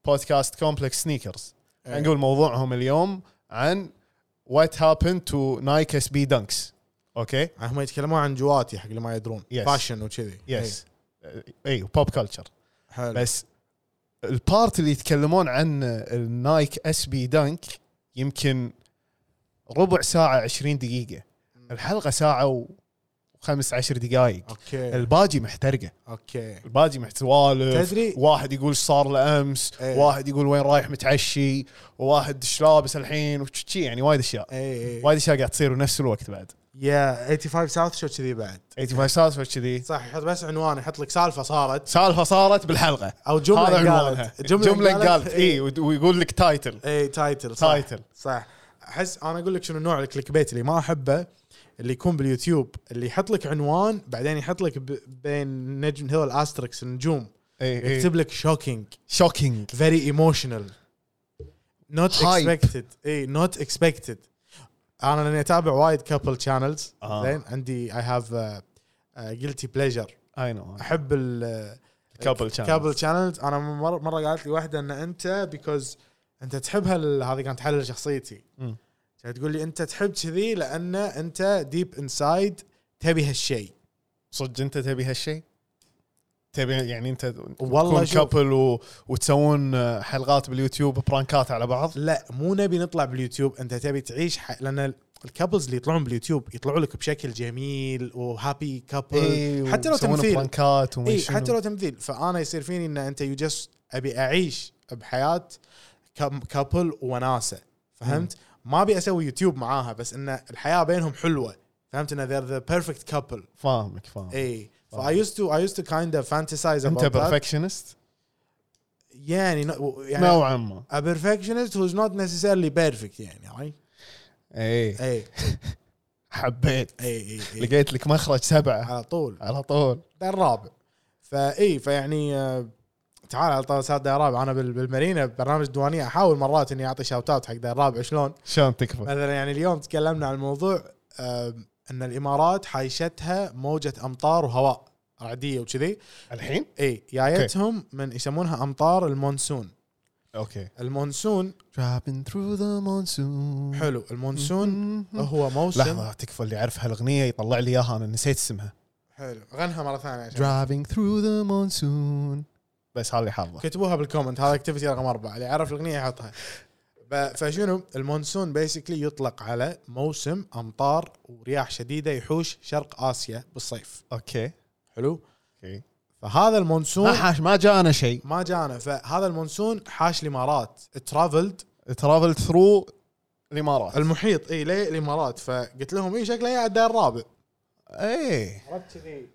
بودكاست كومبلكس سنيكرز خلينا إيه. نقول موضوعهم اليوم عن وات هابند تو نايك اس بي دانكس اوكي هم يتكلمون عن جواتي حق اللي ما يدرون Yes. فاشن وكذي يس اي بوب كلتشر إي. حلو إيه، بس البارت اللي يتكلمون عن النايك اس بي دانك يمكن ربع ساعه 20 دقيقه الحلقه ساعه وخمس عشر دقائق اوكي الباجي محترقه اوكي الباجي محتوالف تدري- واحد يقول ايش صار له امس إيه. واحد يقول وين رايح متعشي وواحد ايش لابس الحين وشي يعني وايد اشياء اي اي وايد اشياء قاعد تصير بنفس الوقت بعد إيه، يا 85 ساوث شو كذي بعد 85 سالفه كذي صح يحط بس عنوان يحط لك سالفه صارت سالفه صارت بالحلقه او جمله هذا عنوانها قالت جمله قالت اي اي ويقول لك تايتل اي تايتل إيه، صح تايتل صح احس انا اقول لك شنو نوع الكليك بيت اللي ما احبه اللي يكون باليوتيوب اللي يحط لك عنوان بعدين يحط لك ب- بين نجم هذول الاستركس النجوم اي يكتب لك شوكينج شوكينج فيري ايموشنال نوت Hype. اكسبكتد اي نوت اكسبكتد انا لاني اتابع وايد كابل شانلز آه. زين عندي اي هاف جلتي بليجر اي نو احب ال كابل شانل كابل شانلز انا مره مره قالت لي واحده ان انت بيكوز انت تحب هال هذه كانت حل شخصيتي مم. كانت تقول لي انت تحب كذي لان انت ديب انسايد تبي هالشيء صدق انت تبي هالشيء؟ تبي يعني انت والله والله شوف. كابل و... وتسوون آه، حلقات باليوتيوب برانكات على بعض؟ لا مو نبي نطلع باليوتيوب انت تبي تعيش ح... لان الكابلز اللي يطلعون باليوتيوب يطلعوا لك بشكل جميل وهابي كابل إيه، حتى لو ويسوون تمثيل برانكات وما اي شنو. حتى لو تمثيل فانا يصير فيني ان انت يو جاست ابي اعيش بحياه كم- كابل وناسه فهمت؟ ما ابي اسوي يوتيوب معاها بس ان الحياه بينهم حلوه فهمت ان they're the perfect couple فاهمك فاهم اي ف I used to I used to kind of fantasize انت about that. بيرفكشنست يعني نو- يعني نوعا ما a perfectionist who's not necessarily perfect يعني right? إيه، اي اي حبيت اي اي لقيت لك مخرج سبعه على طول على طول ده الرابع فاي فيعني آه، تعال على طول صار داير رابع انا بال- بالمارينا ببرنامج الديوانيه احاول مرات اني اعطي شاوت اوت حق داير رابع شلون شلون تكفى مثلا يعني اليوم تكلمنا عن الموضوع آم، ان الامارات حايشتها موجه امطار وهواء رعديه وكذي الحين اي جايتهم من يسمونها امطار المونسون اوكي المونسون Driving through the monsoon Mm-hmm. حلو المونسون هو موسم Oh, لحظة تكفى اللي يعرف هالاغنية يطلع لي اياها انا نسيت اسمها حلو غنها مره ثانيه عشان Driving through the monsoon بس هذا اللي حافظه كتبوها بالكومنت هذا اكتيفيتي رقم اربعه اللي يعرف الاغنيه يحطها ب- فشنو المونسون بيسكلي يطلق على موسم امطار ورياح شديده يحوش شرق اسيا بالصيف اوكي حلو اوكي فهذا ما المونسون حاش ما جانا شيء ما جانا فهذا المونسون حاش الامارات ترافلد ترافل ثرو الامارات المحيط اي ليه الامارات فقلت لهم اي شكله قاعد داير رابع ايه عرفت كذي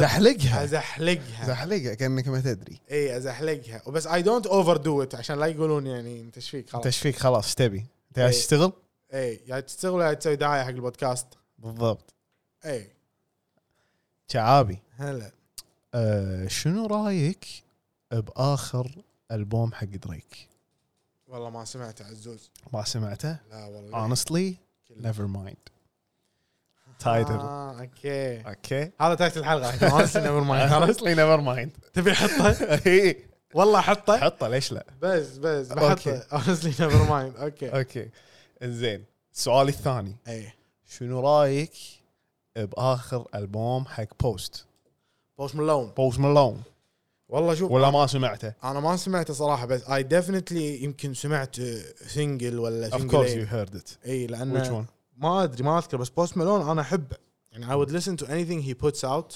زحلقها ازحلقها زحلقها كانك ما تدري اي ازحلقها وبس اي دونت اوفر دو ات عشان لا يقولون يعني انت ايش فيك انت خلاص ايش فيك خلاص ايش تبي؟ انت قاعد إيه. تشتغل؟ اي إيه، يا تشتغل يا تسوي دعايه حق البودكاست إيه. بالضبط اي شعابي هلا أه شنو رايك باخر البوم حق دريك؟ والله ما سمعت عزوز ما سمعته؟ لا والله honestly كله. never mind تايتل اه اوكي اوكي هذا تايتل الحلقه honestly never mind خلاص honestly never mind تبي احطه إيه. والله احطه حطه ليش لا بس بس أوكي. بحطه honestly never mind اوكي اوكي زين السؤال الثاني اي شنو رايك باخر البوم حق بوست بوست مالون بوست مالون والله شوف ولا ما سمعته انا ما سمعته صراحه بس اي ديفنتلي يمكن سمعت سنجل ولا of course you سنجل heard it اي لان which one ما ادري ما اذكر بس بوست مالون انا احبه يعني I would listen to anything he puts out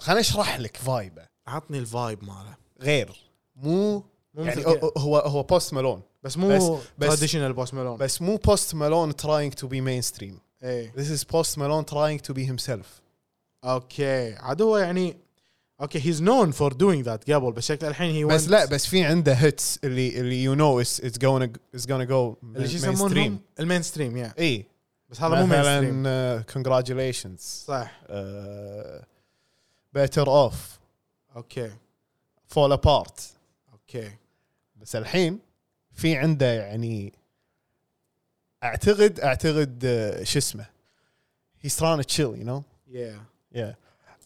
خليني اشرح لك فايبه عطني الفايب ماله غير مو مو يعني مثل هو- كده. هو هو بوست مالون بس بس- مو بس- تراديشنال بوست مالون بس مو بوست مالون trying to be mainstream اي this is بوست مالون trying to be himself اوكي عاد هو يعني اوكي هيز نون فور دوينج ذات قبل بس شكله الحين هي بس went- لا بس في عنده هيتس اللي اللي يو نو اتس اتس جونا اتس جونا جو اللي شو يسمونهم المين ستريم يا اي بس هذا مو مين ستريم مثلا كونجراجيليشنز صح آه، بيتر اوف اوكي فول ابارت اوكي بس الحين في عنده يعني اعتقد اعتقد آه، شو اسمه he's trying to chill you know يا yeah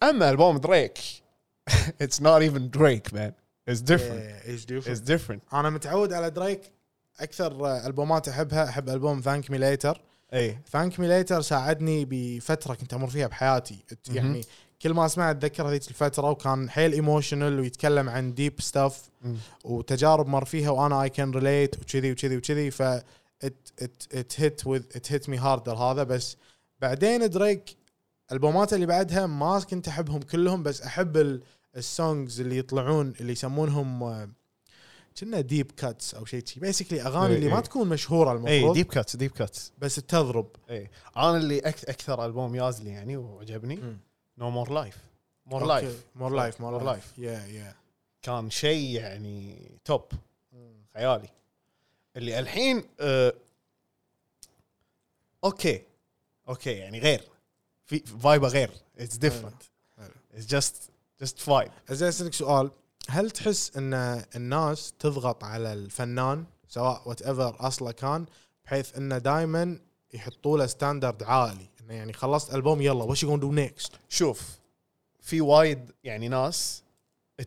اما البوم دريك it's not even Drake man it's different ايش it's different انا متعود على دريك اكثر آه، البومات احبها احب البوم ثانك مي ليتر اي ثانك مي ليتر ساعدني بفتره كنت امر فيها بحياتي ت- مهم. يعني كل ما اسمع اتذكر هذيك الفتره وكان حيل ايموشنال ويتكلم عن ديب ستاف مم. وتجارب مر فيها وانا اي كان ريليت وكذي وكذي وكذي ف ات ات ات هيت وذ ات هيت مي هاردر هذا بس بعدين دريك البومات اللي بعدها ما كنت احبهم كلهم بس احب السونجز اللي يطلعون اللي يسمونهم آه، كنا ديب كاتس او شيء شي بيسكلي اغاني إي اللي ما إي. تكون مشهوره اي المفروض ديب كاتس ديب كاتس بس تضرب اي انا إيه. اللي أك- اكثر البوم يازلي يعني وعجبني مم. نو مور لايف مور لايف مور لايف More مور Life. لايف يا يا كان شيء يعني توب خيالي اللي الحين آه اوكي اوكي يعني غير في فايبه غير اتس ديفرنت حلو. اتس جاست جاست فايب زين اسالك سؤال هل تحس ان الناس تضغط على الفنان سواء وات ايفر اصله كان بحيث انه دائما يحطوا له ستاندرد عالي انه يعني خلصت البوم يلا وش يقولون دو نيكست شوف في وايد يعني ناس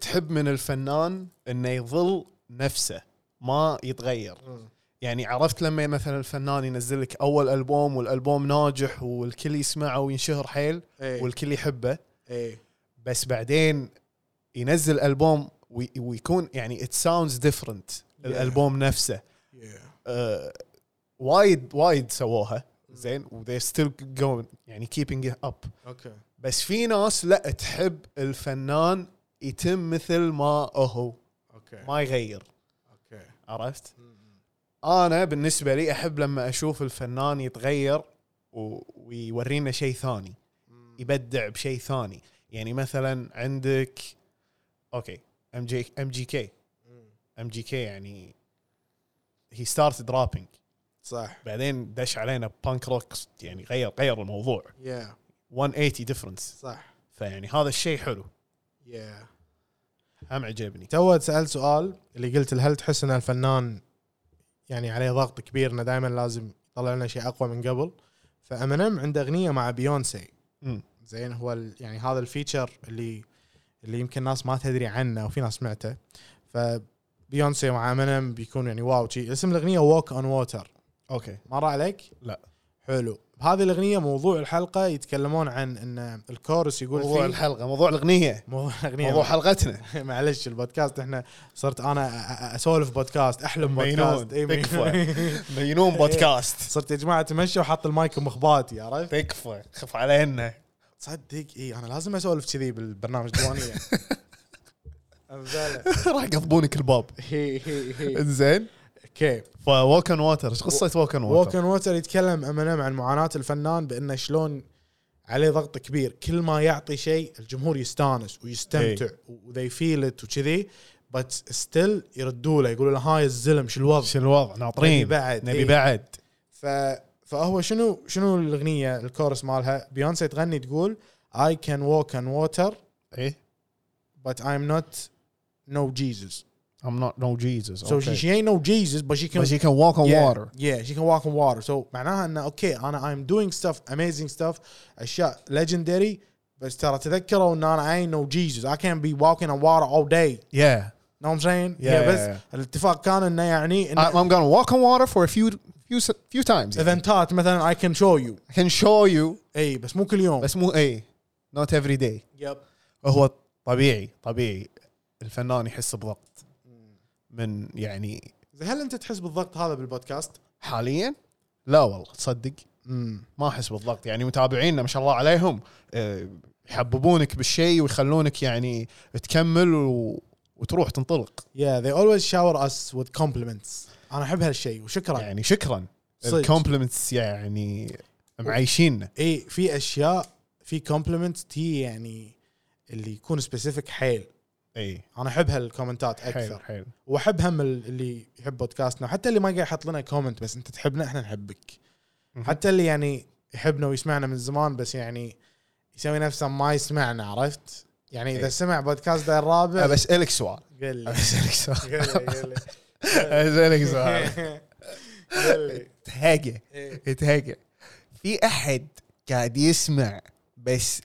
تحب من الفنان انه يظل نفسه ما يتغير يعني عرفت لما مثلا الفنان ينزل لك اول البوم والالبوم ناجح والكل يسمعه وينشهر حيل اي والكل يحبه اي إيه. بس بعدين ينزل البوم وي- ويكون يعني ات ساوندز ديفرنت الالبوم نفسه yeah. أه وايد وايد سووها زين وذي ستيل جوين يعني كيبنج اب اوكي بس في ناس لا تحب الفنان يتم مثل ما هو اوكي ما يغير اوكي عرفت؟ انا بالنسبه لي احب لما اشوف الفنان يتغير و- ويورينا شيء ثاني يبدع بشيء ثاني يعني مثلا عندك اوكي ام جي ام جي كي ام جي كي يعني هي ستارتد رابينج صح بعدين دش علينا بانك روك يعني غير غير الموضوع يا 180 ديفرنس صح فيعني هذا الشيء حلو يا هم عجبني تو سالت سؤال اللي قلت هل تحس ان الفنان يعني عليه ضغط كبير انه دائما لازم يطلع لنا شيء اقوى من قبل فامينيم عنده اغنيه مع بيونسي مم. زين هو ال- يعني هذا الفيتشر اللي اللي يمكن ناس ما تدري عنه وفي ناس سمعته فبيونسي مع امينيم بيكون يعني واو شي اسم الاغنيه ووك اون ووتر اوكي مر عليك؟ لا. حلو هذه الاغنيه موضوع الحلقه يتكلمون عن ان الكورس يقول موضوع فيه الحلقه موضوع الاغنيه موضوع الاغنيه موضوع حلقتنا معلش البودكاست احنا صرت انا أ- أ- اسولف بودكاست احلم مينون بودكاست إي، مي- تكفى مينون بودكاست صرت يا جماعه اتمشى وحط المايك بمخباتي عرفت؟ تكفى خف علينا تصدق اي انا لازم اسولف كذي بالبرنامج الديوانيه أمزلة. راح يقضبونك الباب هي هي هي انزين اوكي فوكن ووتر ايش قصه ووكن ووكن ووتر؟ ووتر يتكلم امينيم عن معاناه الفنان بانه شلون عليه ضغط كبير كل ما يعطي شيء الجمهور يستانس ويستمتع وذي فيل ات وكذي بس ستيل يردوا له يقولوا له هاي الزلم شو الوضع شو الوضع ناطرين نبي بعد، نبي إيه. بعد ف... فهو شنو شنو الاغنيه الكورس مالها بيونسي تغني تقول I can walk on water ايه but I'm not no Jesus I'm not no Jesus so she, she ain't no Jesus but she can But she can walk on yeah, water Yeah, she can walk on water. So معناها انه اوكي انا I'm doing stuff amazing stuff اشياء legendary بس ترى تذكروا ان انا I ain't no Jesus. I can't be walking on water all day. yeah Know what I'm saying? Yeah, yeah, بس yeah. الاتفاق كان انه يعني I- انه I'm gonna walk on water for a few few s- few times يعني. ايفنتات مثلا I can show you. I can show you اي بس مو كل يوم. بس مو اي not every day يب هو طبيعي طبيعي الفنان يحس بضغط من يعني زين هل انت تحس بالضغط هذا بالبودكاست؟ حاليا لا والله تصدق امم ما احس بالضغط يعني متابعينا ما شاء الله عليهم آه، يحببونك بالشيء ويخلونك يعني تكمل و... وتروح تنطلق yeah they always shower us with compliments. انا احب هالشيء وشكرا. يعني. يعني شكرا صدق. الكومبلمنتس يعني معيشيننا اي في اشياء في compliments تي يعني اللي يكون سبيسيفيك حيل. اي انا احب هالكومنتات حلو اكثر حلو واحب هم ال- اللي يحب بودكاستنا وحتى اللي ما قاعد يحط لنا كومنت بس انت تحبنا احنا نحبك مهم. حتى اللي يعني يحبنا ويسمعنا من زمان بس يعني يسوي نفسه ما يسمعنا عرفت يعني اذا إيه. سمع بودكاست ده الرابع ابى اسالك سؤال قل لي ابى اسالك سؤال قل لي اسالك قل سؤال لي. قل لي تهاجع إيه. تهاجع في احد قاعد يسمع بس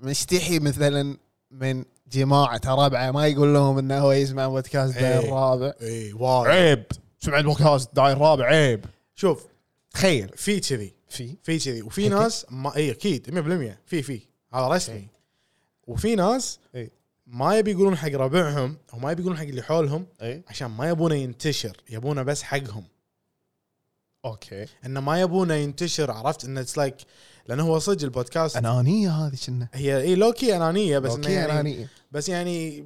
مستحي مثلا من جماعه رابعه ما يقول لهم انه هو يسمع بودكاست إيه. داير الرابع اي وايد عيب سمعت بودكاست داير الرابع عيب شوف تخيل في كذي في في كذي وفي ناس ما اي اكيد 100% في في هذا رسمي وفي ناس إيه. ما يبي يقولون حق ربعهم وما يبي يقولون حق اللي حولهم اي عشان ما يبونه ينتشر يبونه بس حقهم اوكي انه ما يبونه ينتشر عرفت انه اتس لايك لانه هو صدق البودكاست انانيه هذه كنا هي اي لوكي انانيه بس إنه اوكي يعني انانيه بس يعني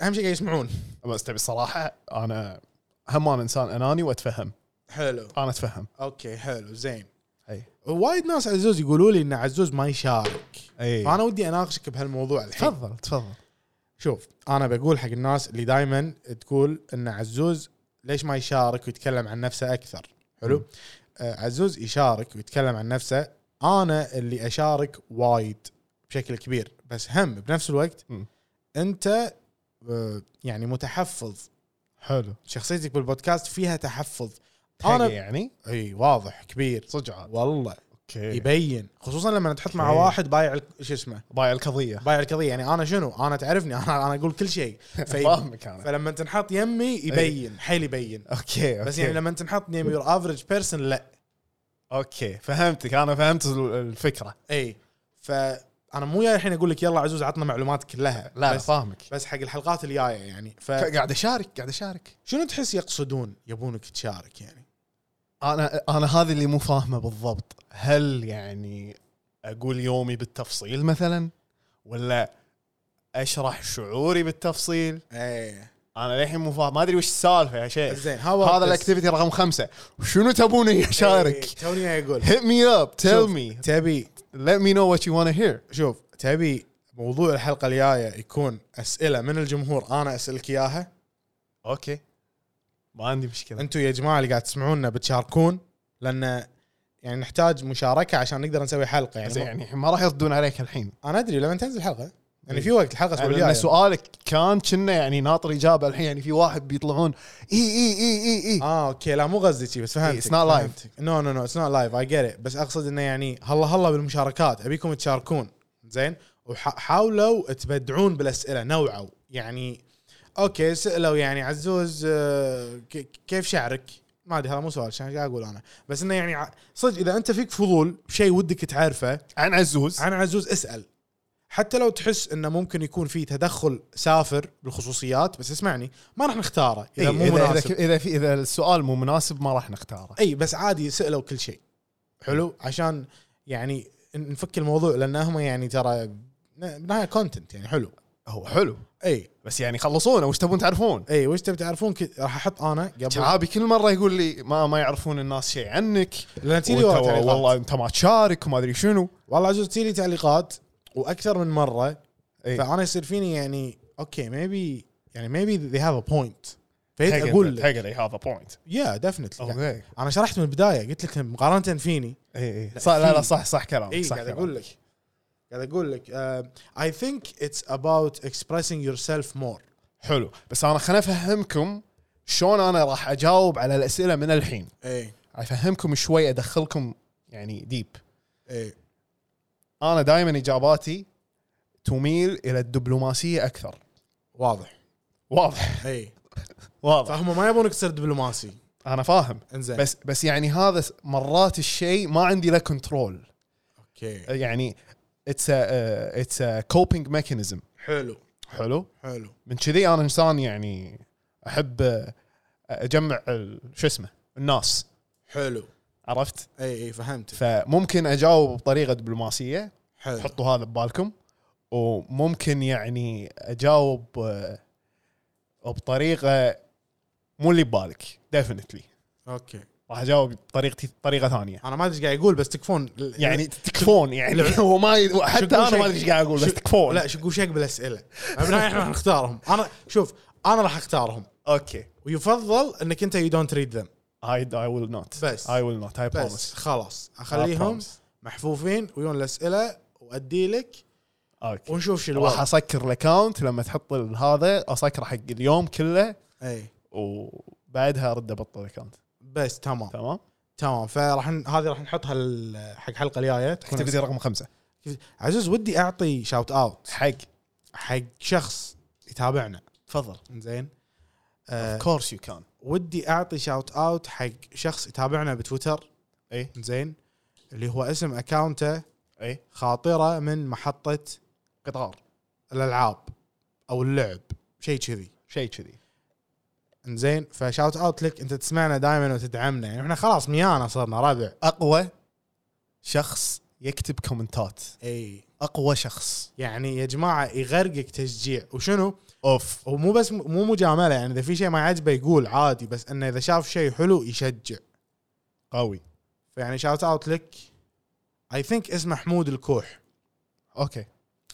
اهم شيء قاعد يسمعون بس تبي الصراحه انا هم انا انسان اناني واتفهم حلو انا اتفهم اوكي حلو زين اي وايد ناس عزوز يقولوا لي ان عزوز ما يشارك اي فانا ودي اناقشك بهالموضوع الحين إيه. تفضل تفضل شوف انا بقول حق الناس اللي دائما تقول ان عزوز ليش ما يشارك ويتكلم عن نفسه اكثر حلو آه عزوز يشارك ويتكلم عن نفسه انا اللي اشارك وايد بشكل كبير بس هم بنفس الوقت مم. انت آه يعني متحفظ حلو شخصيتك بالبودكاست فيها تحفظ انا انا يعني اي واضح كبير صدق عاد. والله اوكي يبين خصوصا لما تحط مع أوكي. واحد بايع ال- شو اسمه بايع القضيه بايع القضيه يعني انا شنو انا تعرفني انا انا اقول كل شيء في- فاهمك انا فلما تنحط يمي إيه. يبين حيل يبين اوكي بس يعني لما تنحط نيم يور افريج بيرسون لا اوكي فهمتك انا فهمت ال- الفكره اي فانا إيه. مو جاي الحين اقول لك يلا عزوز عطنا معلومات كلها لا بس بس, فاهمك بس حق الحلقات الجايه يعني قاعد اشارك قاعد اشارك فشنو تحس يقصدون يبونك تشارك يعني انا انا هذا اللي مو فاهمه بالضبط هل يعني اقول يومي بالتفصيل مثلا ولا اشرح شعوري بالتفصيل ايه انا للحين مو فاهم ما ادري وش السالفه يا شيخ زين إيه. هذا الاكتيفيتي رقم خمسة شنو تبوني اشارك إيه، توني اقول hit me up tell شوف، me تبي let me know what you want to hear شوف تبي موضوع الحلقه الجايه يكون اسئله من الجمهور انا اسالك اياها اوكي ما عندي مشكله انتم يا جماعه اللي قاعد تسمعونا بتشاركون لان يعني نحتاج مشاركه عشان نقدر نسوي حلقه يعني, زين يعني الحين ما راح يردون عليك الحين انا ادري لما تنزل الحلقه يعني في وقت الحلقه الاسبوع يعني لأن الجاي سؤالك كان كنا يعني ناطر اجابه الحين يعني في واحد بيطلعون اي اي اي اي اي اه اوكي لا مو قصدي شي، بس فهمت It's not live. نو نو نو اتس نوت لايف اي جيت ات بس اقصد انه يعني هلا هلا بالمشاركات ابيكم تشاركون زين وحاولوا تبدعون بالاسئله نوعوا يعني اوكي سالوا يعني عزوز آه، ك- كيف شعرك؟ ما ادري هذا مو سؤال عشان قاعد اقول انا بس انه يعني ع- صدق اذا انت فيك فضول بشيء ودك تعرفه عن عزوز عن عزوز اسال حتى لو تحس انه ممكن يكون في تدخل سافر بالخصوصيات بس اسمعني ما راح نختاره اذا إيه، مو مناسب إذا, اذا في اذا السؤال مو مناسب ما راح نختاره اي بس عادي سالوا كل شيء حلو عشان يعني ن- نفك الموضوع لان هم يعني ترى ن- بالنهايه كونتنت يعني حلو هو حلو اي بس يعني خلصونا وش تبون تعرفون اي وش تبي تعرفون كت- راح احط انا قبل شعابي كل مره يقول لي ما ما يعرفون الناس شيء عنك لان تيلي وأنت- ورا تعليقات. والله انت ما تشارك وما ادري شنو والله عزوز تيلي تعليقات واكثر من مره إي. فانا يصير فيني يعني اوكي ميبي يعني ميبي ذي هاف ا بوينت فجيت Take it- اقول لك take it, they have a point. يا ديفنتلي اوكي انا شرحت من البدايه قلت لك مقارنه فيني اي اي إيه، صح لا لا في- صح صح كلامك اي صح إيه، قاعد كلامك. اقول لك قاعد اقول لك آه، اي ثينك اتس اباوت اكسبريسنج يور سيلف مور حلو بس انا خليني افهمكم شلون انا راح اجاوب على الاسئله من الحين اي افهمكم شوي ادخلكم يعني ديب اي انا دائما اجاباتي تميل الى الدبلوماسيه اكثر واضح واضح اي واضح فهم ما يبونك تصير دبلوماسي انا فاهم انزين بس بس يعني هذا س- مرات الشيء ما عندي له كنترول اوكي يعني uh، اتس اتس كوبينج ميكانيزم حلو حلو حلو من كذي انا انسان يعني احب آه، اجمع ال- شو اسمه الناس حلو عرفت اي اي فهمت فممكن اجاوب بطريقه دبلوماسيه حلو حطوا هذا ببالكم وممكن يعني اجاوب آه، بطريقه مو اللي ببالك ديفنتلي اوكي راح اجاوب بطريقتي بطريقه ثانيه انا ما ادري ايش قاعد يقول بس تكفون يعني تكفون يعني هو ما يد... حتى شكو انا شك- ما ادري ايش قاعد اقول بس شك- تكفون لا شقوا شق بالاسئله بالنهاية احنا راح نختارهم انا شوف انا راح اختارهم اوكي ويفضل انك انت يو دونت ريد ذم اي اي ويل نوت بس. اي ويل نوت اي بس بروميس خلاص اخليهم محفوفين ويون الاسئله وادي لك اوكي ونشوف شو راح الوضع اسكر الاكونت لما تحط ال- هذا اسكره حق اليوم كله اي وبعدها ارد ابطل الاكونت بس تمام تمام تمام فراح ن... هذه راح نحطها ال- حق الحلقه الجايه تكون اكتيفيتي رقم خمسه عزوز ودي اعطي شاوت اوت حق حق شخص يتابعنا تفضل زين اوف كورس يو كان ودي اعطي شاوت اوت حق شخص يتابعنا بتويتر اي زين اللي هو اسم اكاونته اي خاطره من محطه قطار الالعاب او اللعب شيء كذي شيء كذي زين فشاوت اوت لك انت تسمعنا دائما وتدعمنا يعني احنا خلاص ميانا صرنا ربع اقوى شخص يكتب كومنتات اي اقوى شخص يعني يا جماعه يغرقك تشجيع وشنو اوف ومو بس مو مجامله يعني اذا في شيء ما يعجبه يقول عادي بس انه اذا شاف شيء حلو يشجع قوي فيعني شاوت اوت لك اي ثينك اسمه حمود الكوح اوكي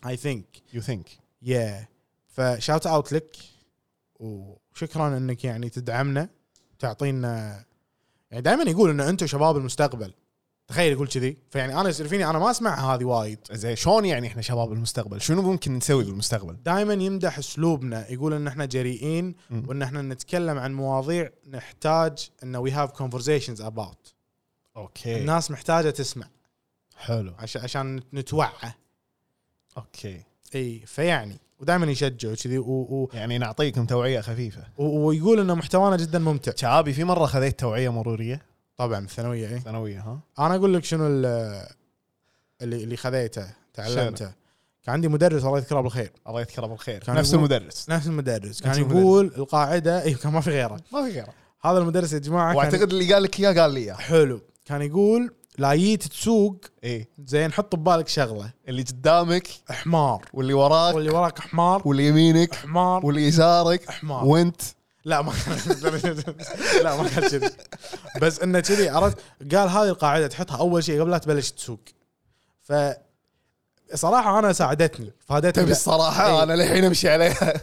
اي ثينك يو ثينك يا فشاوت اوت لك وشكرا انك يعني تدعمنا تعطينا يعني دائما يقول انه انتم شباب المستقبل تخيل يقول كذي فيعني انا يصير فيني انا ما اسمعها هذه وايد زين شلون يعني احنا شباب المستقبل شنو ممكن نسوي بالمستقبل دائما يمدح اسلوبنا يقول ان احنا جريئين مم. وان احنا نتكلم عن مواضيع نحتاج ان وي هاف conversations about اوكي الناس محتاجه تسمع إيه. حلو عشان عشان نتوعى اوكي اي فيعني ودائما يشجع وكذي و- و- يعني نعطيكم توعيه خفيفه و- ويقول ان محتوانا جدا ممتع شعابي في مره خذيت توعيه مروريه طبعا الثانويه اي ثانويه ها انا اقول إيه؟ لك شنو ال- اللي اللي خذيته تعلمته كان عندي مدرس الله يذكره بالخير الله يذكره بالخير كان نفس يقول- المدرس نفس المدرس كان نفس يقول القاعده اي كان ما في غيره ما في غيره هذا المدرس يا جماعه كان واعتقد اللي قال لك اياه قال لي اياه حلو كان يقول لا جيت تسوق اي زين حط ببالك شغله اللي قدامك حمار واللي وراك واللي وراك حمار واللي يمينك حمار واللي يسارك حمار وانت لا ما كان لا ما كان كذي بس انه كذي عرفت قال هذه القاعده تحطها اول شيء قبل لا تبلش تسوق ف صراحه انا ساعدتني فادتني تبي لا- الصراحه إي. انا للحين امشي عليها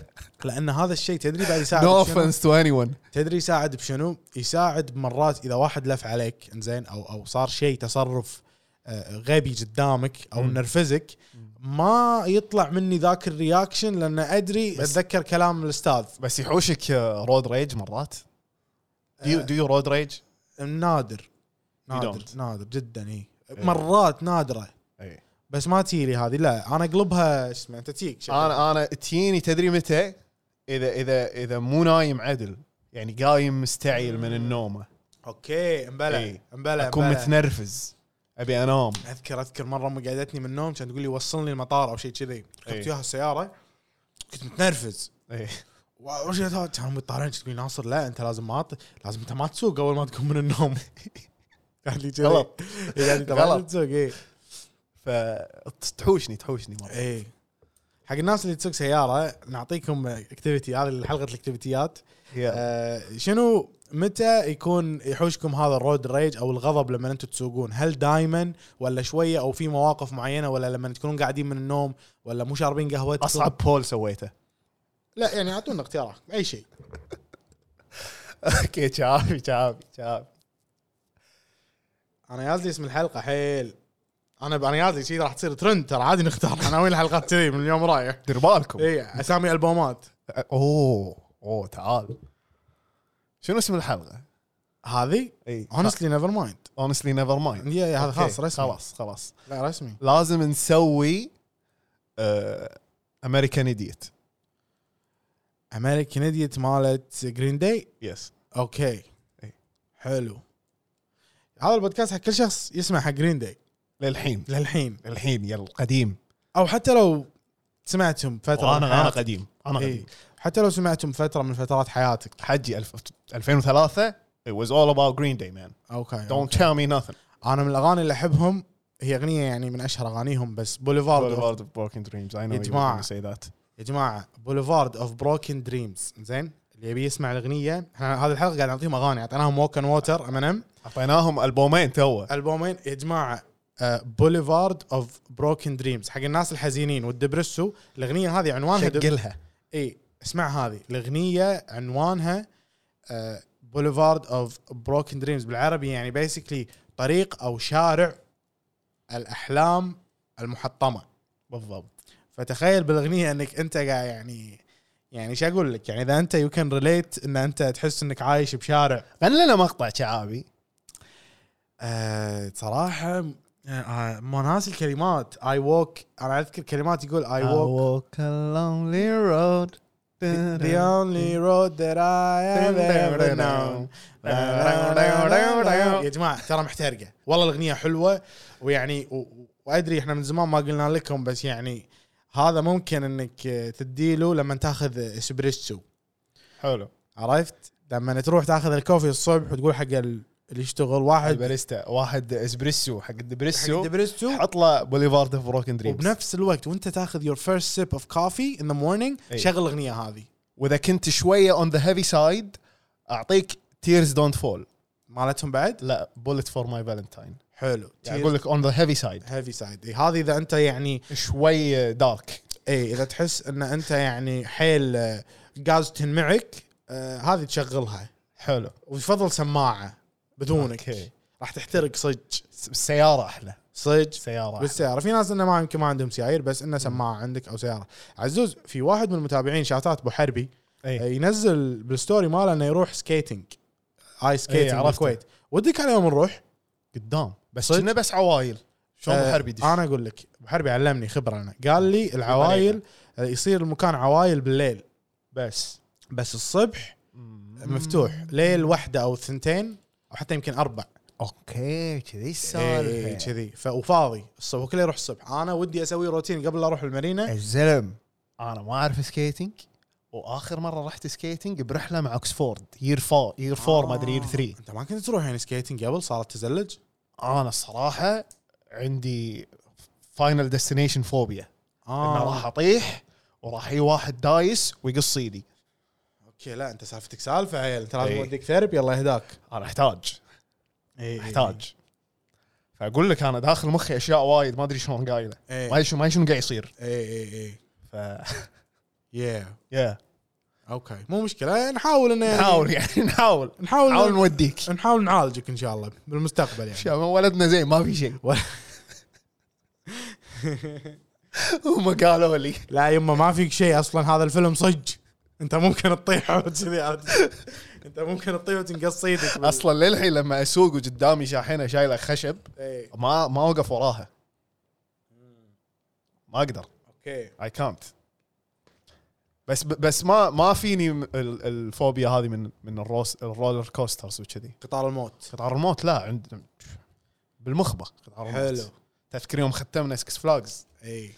لان هذا الشيء تدري بعد يساعد نو بشنو؟ اوفنس تو اني ون تدري يساعد بشنو؟ يساعد مرات اذا واحد لف عليك انزين او او صار شيء تصرف آه، غبي قدامك او مم. نرفزك ما يطلع مني ذاك الرياكشن لان ادري بس- اتذكر كلام الاستاذ بس يحوشك رود ريج مرات دو يو رود ريج نادر نادر don't. نادر جدا اي إيه. مرات نادره إيه. بس ما تيلي هذه لا انا اقلبها شو اسمه انت تيك شكل. انا انا تجيني تدري متى اذا اذا اذا مو نايم عدل يعني قايم مستعيل من النومه اوكي امبلا إيه. امبلا اكون امبلا. متنرفز ابي انام اذكر اذكر مره امي قعدتني من النوم كانت تقول لي وصلني المطار او شيء كذي إيه. ركبت وياها السياره كنت متنرفز إيه. ورجعت هاد- كان امي تطالعني تقول لي ناصر لا انت لازم ما ت- لازم انت ما تسوق اول ما تقوم من النوم قال لي كذي. غلط. إيه، قال لي انت ما غلط. تسوق اي فتحوشني تحوشني مره اي حق الناس اللي تسوق سياره نعطيكم اكتيفيتي هذه حلقه الاكتيفيتيات يا. آه، شنو متى يكون يحوشكم هذا الرود ريج او الغضب لما انتم تسوقون هل دائما ولا شويه او في مواقف معينه ولا لما تكونون قاعدين من النوم ولا مو شاربين قهوتكم اصعب بول سويته لا يعني اعطونا اختيارات اي شيء اوكي شعابي شعابي شعابي انا يازلي اسم الحلقه حيل انا انا يازلي شيء راح تصير ترند ترى عادي نختار عناوين الحلقات كذي من اليوم رايح دير بالكم اي اسامي البومات اوه اوه تعال شنو اسم الحلقه؟ هذه اي اونستلي نيفر مايند اونستلي نيفر مايند يا يا هذا خلاص رسمي خلاص خلاص لا رسمي لازم نسوي آه، امريكان ايديت امريكان ايديت مالت جرين داي يس اوكي إي. حلو هذا البودكاست حق كل شخص يسمع حق جرين داي للحين للحين للحين يا القديم او حتى لو سمعتهم فتره من انا انا حياتك. قديم انا إي. قديم حتى لو سمعتهم فتره من فترات حياتك حجي الف- 2003 it was all about Green Day man اوكي don't tell me nothing انا من الاغاني اللي احبهم هي اغنيه يعني من اشهر اغانيهم بس بوليفارد أوف- Boulevard of Broken Dreams I know يا you جماعة. were gonna say that يا جماعه بوليفارد اوف بروكن دريمز زين اللي يبي يسمع الاغنيه احنا هذه الحلقه قاعد نعطيهم اغاني اعطيناهم ووك اند ووتر ام ان ام اعطيناهم البومين توه البومين يا آه، جماعه بوليفارد اوف بروكن دريمز حق الناس الحزينين والدبرسو الاغنيه هذه عنوانها دب- شقلها اي إيه، اسمع هذه الاغنيه عنوانها آه، بوليفارد اوف بروكن دريمز بالعربي يعني بيسكلي طريق او شارع الاحلام المحطمه بالضبط فتخيل بالاغنيه انك انت قاعد يعني يعني شو اقول لك يعني اذا انت يو كان ريليت ان انت تحس انك عايش بشارع غني لنا مقطع شعابي أه صراحه آه، مو ناسي الكلمات اي ووك انا اذكر كلمات يقول اي ووك walk a lonely road The only road that I have ever known. يا جماعة ترى محترقة والله الأغنية حلوة ويعني و- و- وأدري إحنا من زمان ما قلنا لكم بس يعني هذا ممكن إنك تديله لما تاخذ إسبريسو حلو عرفت لما تروح تاخذ الكوفي الصبح وتقول حق ال- اللي يشتغل واحد الباريستا واحد اسبريسو حق حق الدبريسو إسبريسو حط له بوليفارد اوف بروكن دريمز وبنفس الوقت وانت تاخذ يور فيرست سيب اوف كوفي ان ذا مورنينج أي. شغل الاغنيه هذه واذا كنت شويه اون ذا هيفي سايد اعطيك تيرز دونت فول مالتهم بعد لا بولت فور ماي فالنتاين حلو يعني اقول لك اون ذا هيفي سايد هيفي سايد هذه اذا انت يعني شوي دارك اي اذا تحس ان انت يعني حيل آه، غاز تنمعك آه، هذه تشغلها حلو ويفضل سماعه بدونك أوكي. راح تحترق صج س- السياره احلى صج السياره أحلى. بالسياره في ناس انه ما يمكن ما عندهم سيايير بس انه سماعه عندك او سياره عزوز في واحد من المتابعين شاتات ابو حربي آه، اي ينزل بالستوري ماله انه يروح سكيتنج ايس إيه، سكيتنج عرفته. بالكويت ودك على يوم نروح قدام بس صدق؟ كنا بس عوايل شلون آه، الحرب يدش انا اقول لك ابو حربي علمني خبره انا قال لي العوايل آه، يصير المكان عوايل بالليل بس بس الصبح مفتوح ليل واحدة أو ثنتين أو حتى يمكن أربع اوكي كذي إيه، كذي ف- وفاضي الصبح وكله يروح الصبح أنا ودي أسوي روتين قبل لا أروح المارينا الزلم انا ما اعرف سكيتنج واخر مره رحت سكيتنج برحله مع اوكسفورد يير 4 يير 4 ما إيه، آه. ادري يير 3 انت ما كنت تروح يعني سكيتنج قبل صارت تزلج؟ انا الصراحه عندي فاينل ديستنيشن فوبيا آه، انه راح اطيح وراح يجي واحد دايس ويقص ايدي اوكي لا انت سالفتك سالفه عيل انت لازم إي. اوديك ثيربي الله يهداك إيه، انا احتاج إيه، احتاج احتاج فاقول لك انا داخل مخي اشياء وايد ما ادري شلون قايله ما اي ادري شو ما أدري شنو قاعد يصير اي اي ف يا يا اوكي مو مشكله نحاول ان نحاول يعني نحاول نحاول نحاول نوديك نحاول نعالجك ان شاء الله بالمستقبل يعني شباب ولدنا زين ما في شيء ولا- هم قالوا لي لا يما ما فيك شيء اصلا هذا الفيلم صج انت ممكن تطيح وكذي عرفت؟ انت ممكن تطيح وتنقص ايدك بال- اصلا للحين لما اسوق وقدامي شاحنه شايله خشب إي. ما ما اوقف وراها ما اقدر اوكي اي كانت بس بس ما ما فيني م- ال- الفوبيا هذه من من الروس الرولر كوسترز وكذي قطار الموت قطار الموت لا عند بالمخبه قطار الموت حلو تذكر يوم ختمنا سكس فلاجز اي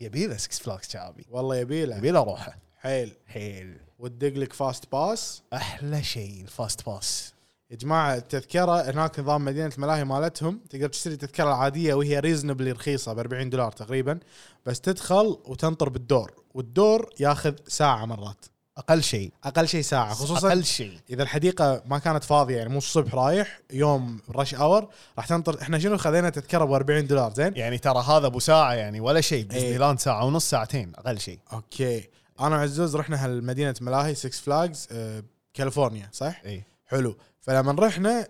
يبي له سكس فلاجز شعبي والله يبيله يبي له روحه حيل حيل وتدق لك فاست باس احلى شيء الفاست باس يا جماعه التذكره هناك نظام مدينه الملاهي مالتهم تقدر تشتري التذكره العاديه وهي ريزنبلي رخيصه ب 40 دولار تقريبا بس تدخل وتنطر بالدور والدور ياخذ ساعه مرات اقل شيء اقل شيء ساعه خصوصا اقل شيء اذا الحديقه ما كانت فاضيه يعني مو الصبح رايح يوم رش اور راح تنطر احنا شنو خذينا تذكره ب 40 دولار زين يعني ترى هذا ابو ساعه يعني ولا شيء إيه. ديزني لاند ساعه ونص ساعتين اقل شيء اوكي انا وعزوز رحنا هالمدينه ملاهي 6 فلاجز كاليفورنيا صح؟ اي حلو فلما رحنا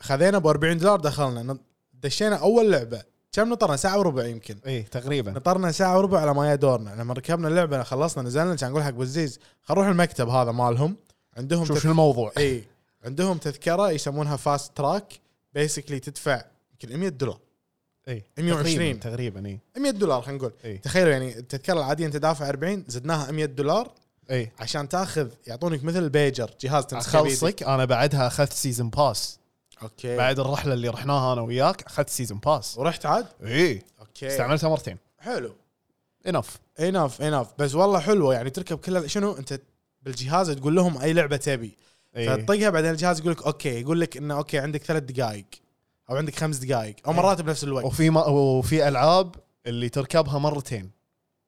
خذينا ب 40 دولار دخلنا نط- دشينا اول لعبه كم نطرنا ساعه وربع يمكن اي تقريبا نطرنا ساعه وربع على ما يا دورنا لما ركبنا اللعبه خلصنا نزلنا كان نقول حق بوزيز خل نروح المكتب هذا مالهم عندهم شوف تذ- شنو الموضوع اي عندهم تذكره يسمونها فاست تراك بيسكلي تدفع يمكن 100 دولار اي 120. تقريبا, تقريبا اي 100 دولار خلينا نقول إي. تخيلوا يعني التذكره العاديه انت دافع 40 زدناها 100 دولار اي عشان تاخذ يعطونك مثل البيجر جهاز تمسكه بيدك. اخلصك انا بعدها اخذت سيزون باس اوكي بعد بعد الرحله اللي رحناها انا وياك اخذت سيزون باس ورحت عاد اي اوكي إيه. استعملتها مرتين حلو انف اناف اناف بس والله حلوه يعني تركب كل شنو انت بالجهاز تقول لهم اي لعبه تبي اي فتطقها بعدين الجهاز يقول لك اوكي يقول لك انه اوكي عندك ثلاث دقائق او عندك خمس دقائق إيه. او مرات بنفس الوقت وفي ما وفي العاب اللي تركبها مرتين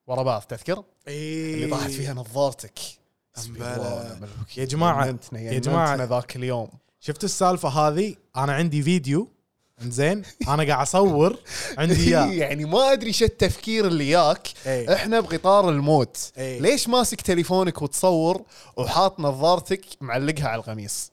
ورا بعض تذكر اي اللي طاحت فيها نظارتك إيه. أمبلا. والله ملوك. يا جماعة- يمنتنا- يا يمنتنا جماعة. يعني ذاك اليوم شفت السالفه هذه انا عندي فيديو زين انا قاعد اصور عندي إيه. اياه يعني ما ادري شو التفكير اللي ياك إيه. احنا بقطار الموت إيه. ليش ماسك تليفونك وتصور وحاط نظارتك معلقها على القميص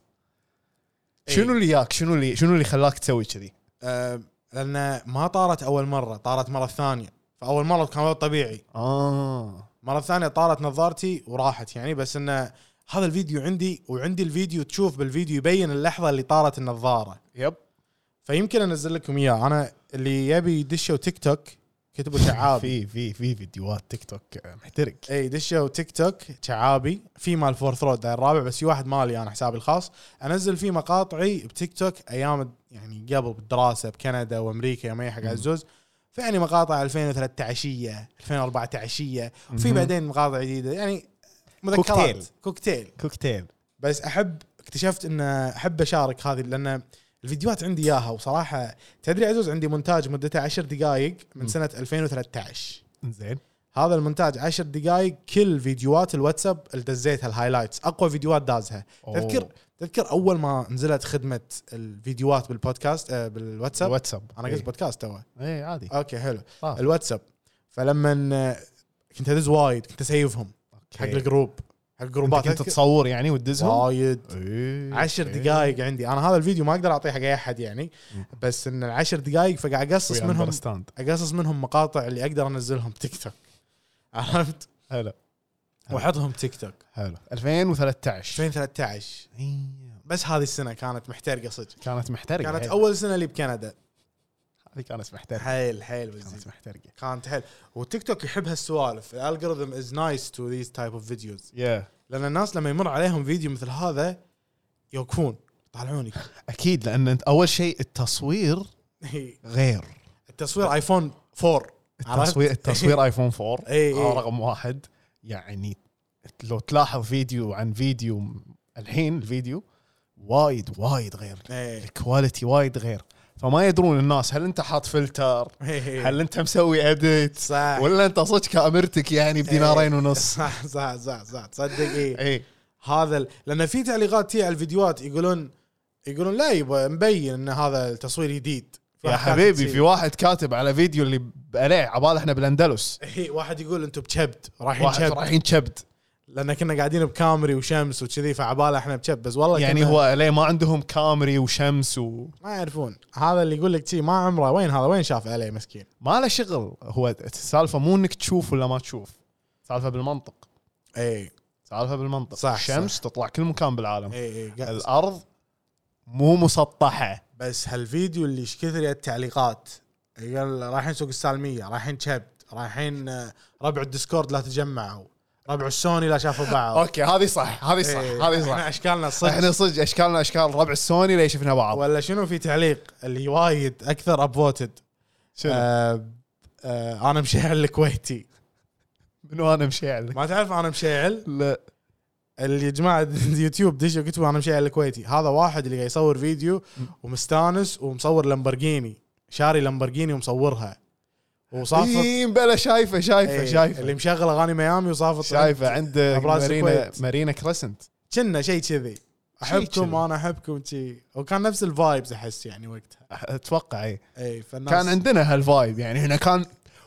إيه. شنو اللي ياك شنو اللي شنو اللي خلاك تسوي كذي آه، لان ما طارت اول مره طارت مره ثانيه فاول مره كان وضع طبيعي اه مره ثانيه طارت نظارتي وراحت يعني بس انه هذا الفيديو عندي وعندي الفيديو تشوف بالفيديو يبين اللحظه اللي طارت النظاره يب فيمكن انزل لكم اياه انا اللي يبي دشوا تيك توك كتبوا شعابي في في في فيديوهات تيك توك محترق اي دشوا تيك توك شعابي في مال فورث رود ده الرابع بس في واحد مالي انا حسابي الخاص انزل فيه مقاطعي بتيك توك ايام يعني قبل بالدراسه بكندا وامريكا يوم أي حق عزوز فيعني مقاطع 2013 2014 وفي بعدين مقاطع جديده يعني مذكرات كوكتيل. كوكتيل, كوكتيل. كوكتيل بس احب اكتشفت ان احب اشارك هذه لان الفيديوهات عندي اياها وصراحه تدري عزوز عندي مونتاج مدته 10 دقائق من سنه 2013 زين هذا المونتاج 10 دقائق كل فيديوهات الواتساب اللي دزيتها الهايلايتس اقوى فيديوهات دازها أوه. تذكر تذكر اول ما نزلت خدمه الفيديوهات بالبودكاست آه بالواتساب واتساب انا قلت بودكاست توه اي عادي اوكي حلو آه. الواتساب فلما آه، كنت ادز وايد كنت اسيفهم حق أوكي. الجروب حق الجروبات انت إيه. كنت تذكر؟ تصور يعني وتدزهم وايد إيه. عشر إيه. دقائق عندي انا هذا الفيديو ما اقدر اعطيه حق اي احد يعني بس ان العشر دقائق فقاعد اقصص We منهم understand. اقصص منهم مقاطع اللي اقدر انزلهم تيك توك عرفت هلا واحطهم تيك توك هلا 2013 2013 إيه. بس هذه السنه كانت محترقه صدق كانت محترقه كانت هي. اول سنه لي بكندا هذه كانت محترقه حيل حيل بالزيادة. كانت محترقه كانت حيل والتيك توك يحب هالسوالف الالجوريثم از نايس تو ذيز تايب اوف فيديوز يا لان الناس لما يمر عليهم فيديو مثل هذا يوقفون يطالعونك اكيد لان انت اول شيء التصوير غير التصوير ايفون 4 عرفت؟ التصوير إيه، التصوير ايفون 4 إي، إي. هذا رقم واحد يعني لو تلاحظ فيديو عن فيديو م- الحين الفيديو وايد وايد غير إيه. الكواليتي وايد غير فما يدرون الناس هل انت حاط فلتر إيه. هل انت مسوي اديت صح إيه. ولا انت صدق كاميرتك يعني بدينارين ونص إيه. صح صح صح صح تصدق اي اي هذا ال- لان في تعليقات تي على الفيديوهات يقولون يقولون لا يبا مبين ان هذا التصوير جديد يا حبيبي في واحد كاتب على فيديو اللي ب- عليه عبال احنا بالاندلس في واحد يقول انتم بشبت رايحين واحد شبت رايحين شبد لان كنا قاعدين بكامري وشمس وكذي فعباله احنا بشب بس والله يعني كنا- هو عليه ما عندهم كامري وشمس وما ما يعرفون هذا اللي يقول لك شي ما عمره وين هذا وين شاف عليه مسكين له شغل هو السالفه مو انك تشوف ولا ما تشوف سالفه بالمنطق إيه. اي سالفه بالمنطق صح، الشمس تطلع كل مكان بالعالم اي اي الارض مو مسطحه بس هالفيديو اللي ايش كثر التعليقات قال رايحين سوق السالميه رايحين شبت رايحين آه، ربع الديسكورد لا تجمعوا ربع السوني لا شافوا بعض اوكي هذه صح هذه صح إيه، هذه احنا صح اشكالنا احنا صدق صدق اشكالنا اشكال ربع السوني لا شفنا بعض ولا شنو في تعليق اللي وايد آه، اكثر ابفوتد شنو انا مشيعل الكويتي منو انا مشيعل ما تعرف انا مشيعل لا اللي يا جماعه اليوتيوب دشوا كتبوا انا مشيعل الكويتي هذا واحد اللي قاعد يصور فيديو ومستانس ومصور لمبرجيني شاري لمبرجيني ومصورها وصافط إيه، بلا شايفه شايفه إيه، شايفه اللي مشغل اغاني ميامي وصافط شايفه عند أبراج مارينا الكويت. مارينا كريسنت كنا شيء كذي احبكم كذي. وانا احبكم شي وكان نفس الفايبز احس يعني وقتها اتوقع اي اي فالناس كان عندنا هالفايب يعني هنا كان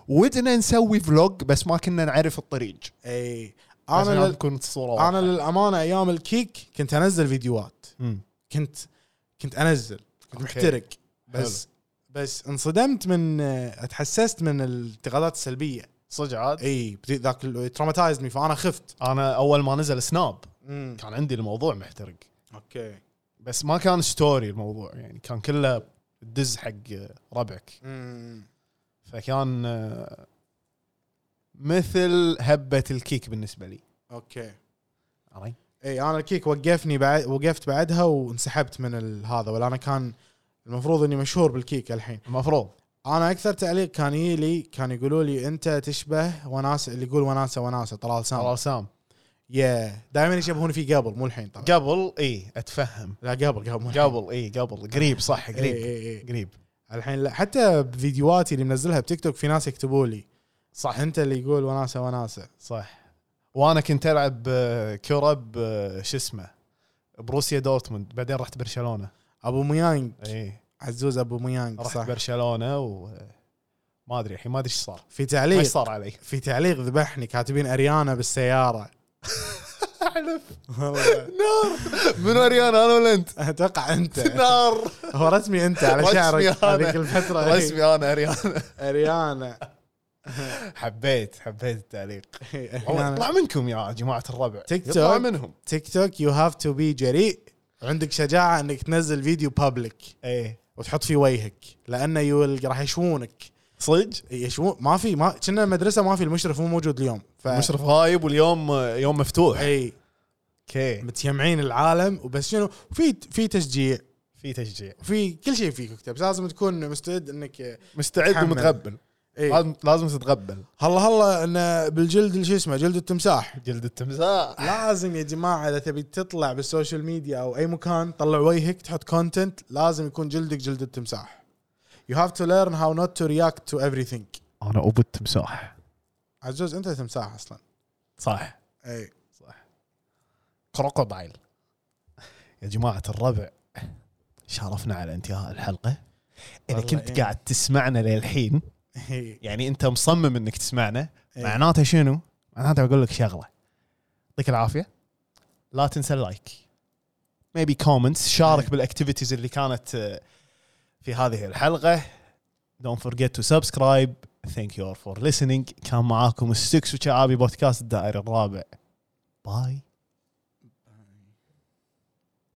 ودنا نسوي فلوج بس ما كنا نعرف الطريق اي انا انا لل... تكون الصوره انا واضحة. للامانه ايام الكيك كنت انزل فيديوهات مم. كنت كنت انزل كنت أوكي. محترق بس بس انصدمت من آه، اتحسست من الانتقادات السلبيه صدق عاد اي بدي- ذاك تروماتايزني فانا خفت انا اول ما نزل سناب امم كان عندي الموضوع محترق اوكي بس ما كان ستوري الموضوع يعني كان كله دز حق ربعك امم فكان آه، مثل هبه الكيك بالنسبه لي اوكي عرفت؟ اي انا الكيك وقفني بعد وقفت بعدها وانسحبت من ال- هذا ولا انا كان المفروض اني مشهور بالكيك الحين المفروض انا اكثر تعليق كان يجي لي كان يقولوا لي انت تشبه وناسه اللي يقول وناسه وناسه طلال سام طلال سام يا دائما يشبهون فيه قبل مو الحين طبعا قبل اي اتفهم لا قبل قبل مو الحين. قبل اي قبل قريب صح إي قريب اي اي قريب الحين لا حتى بفيديوهاتي اللي منزلها بتيك توك في ناس يكتبوا لي صح انت اللي يقول وناسه وناسه صح وانا كنت العب آه، كره ب- آه، شو اسمه بروسيا دورتموند بعدين رحت برشلونه ابو ميانج اي عزوز ابو ميانج رحت صح برشلونه وما ادري الحين ما ادري ايش صار في ما تعليق ايش صار علي في تعليق ذبحني كاتبين اريانا بالسياره اعلف والله. نار من اريان انا ولا انت اتوقع انت نار هو رسمي انت على رسمي شعرك أنا. هذيك الفتره إي. طيب. رسمي انا اريان اريانا حبيت حبيت التعليق والله أريانا. اطلع منكم يا جماعه الربع تيك يطلع توك. منهم تيك توك يو هاف تو بي جريء عندك شجاعه انك تنزل فيديو بابليك ايه وتحط فيه وجهك لانه يول راح يشوونك صدق يشوون إيه، ما في ما كنا مدرسه ما في المشرف مو موجود اليوم ف مشرف غايب واليوم آه، يوم مفتوح اي اوكي متجمعين العالم وبس شنو في في تشجيع في تشجيع في كل شيء فيك اكتب بس لازم تكون مستعد انك مستعد تحمل. ومتغبل اي لازم لازم تتغبل هلا هلا ان بالجلد اللي شو اسمه جلد التمساح جلد التمساح لازم يا جماعه اذا تبي تطلع بالسوشيال ميديا او اي مكان طلع وجهك تحط كونتنت لازم يكون جلدك جلد التمساح يو هاف تو ليرن هاو نوت تو رياكت تو everything انا ابو التمساح عزوز انت تمساح اصلا صح اي كروكودايل يا جماعه الربع شرفنا على انتهاء الحلقه اذا والله كنت إيه. قاعد تسمعنا للحين إي. يعني انت مصمم انك تسمعنا إيه. معناته شنو معناته اقول لك شغله يعطيك العافيه لا تنسى اللايك ميبي كومنتس شارك إيه. بالاكتيفيتيز اللي كانت آه، في هذه الحلقه دونت فورجيت تو سبسكرايب ثانك يو فور listening كان معاكم السكس وشعابي بودكاست الدائري الرابع باي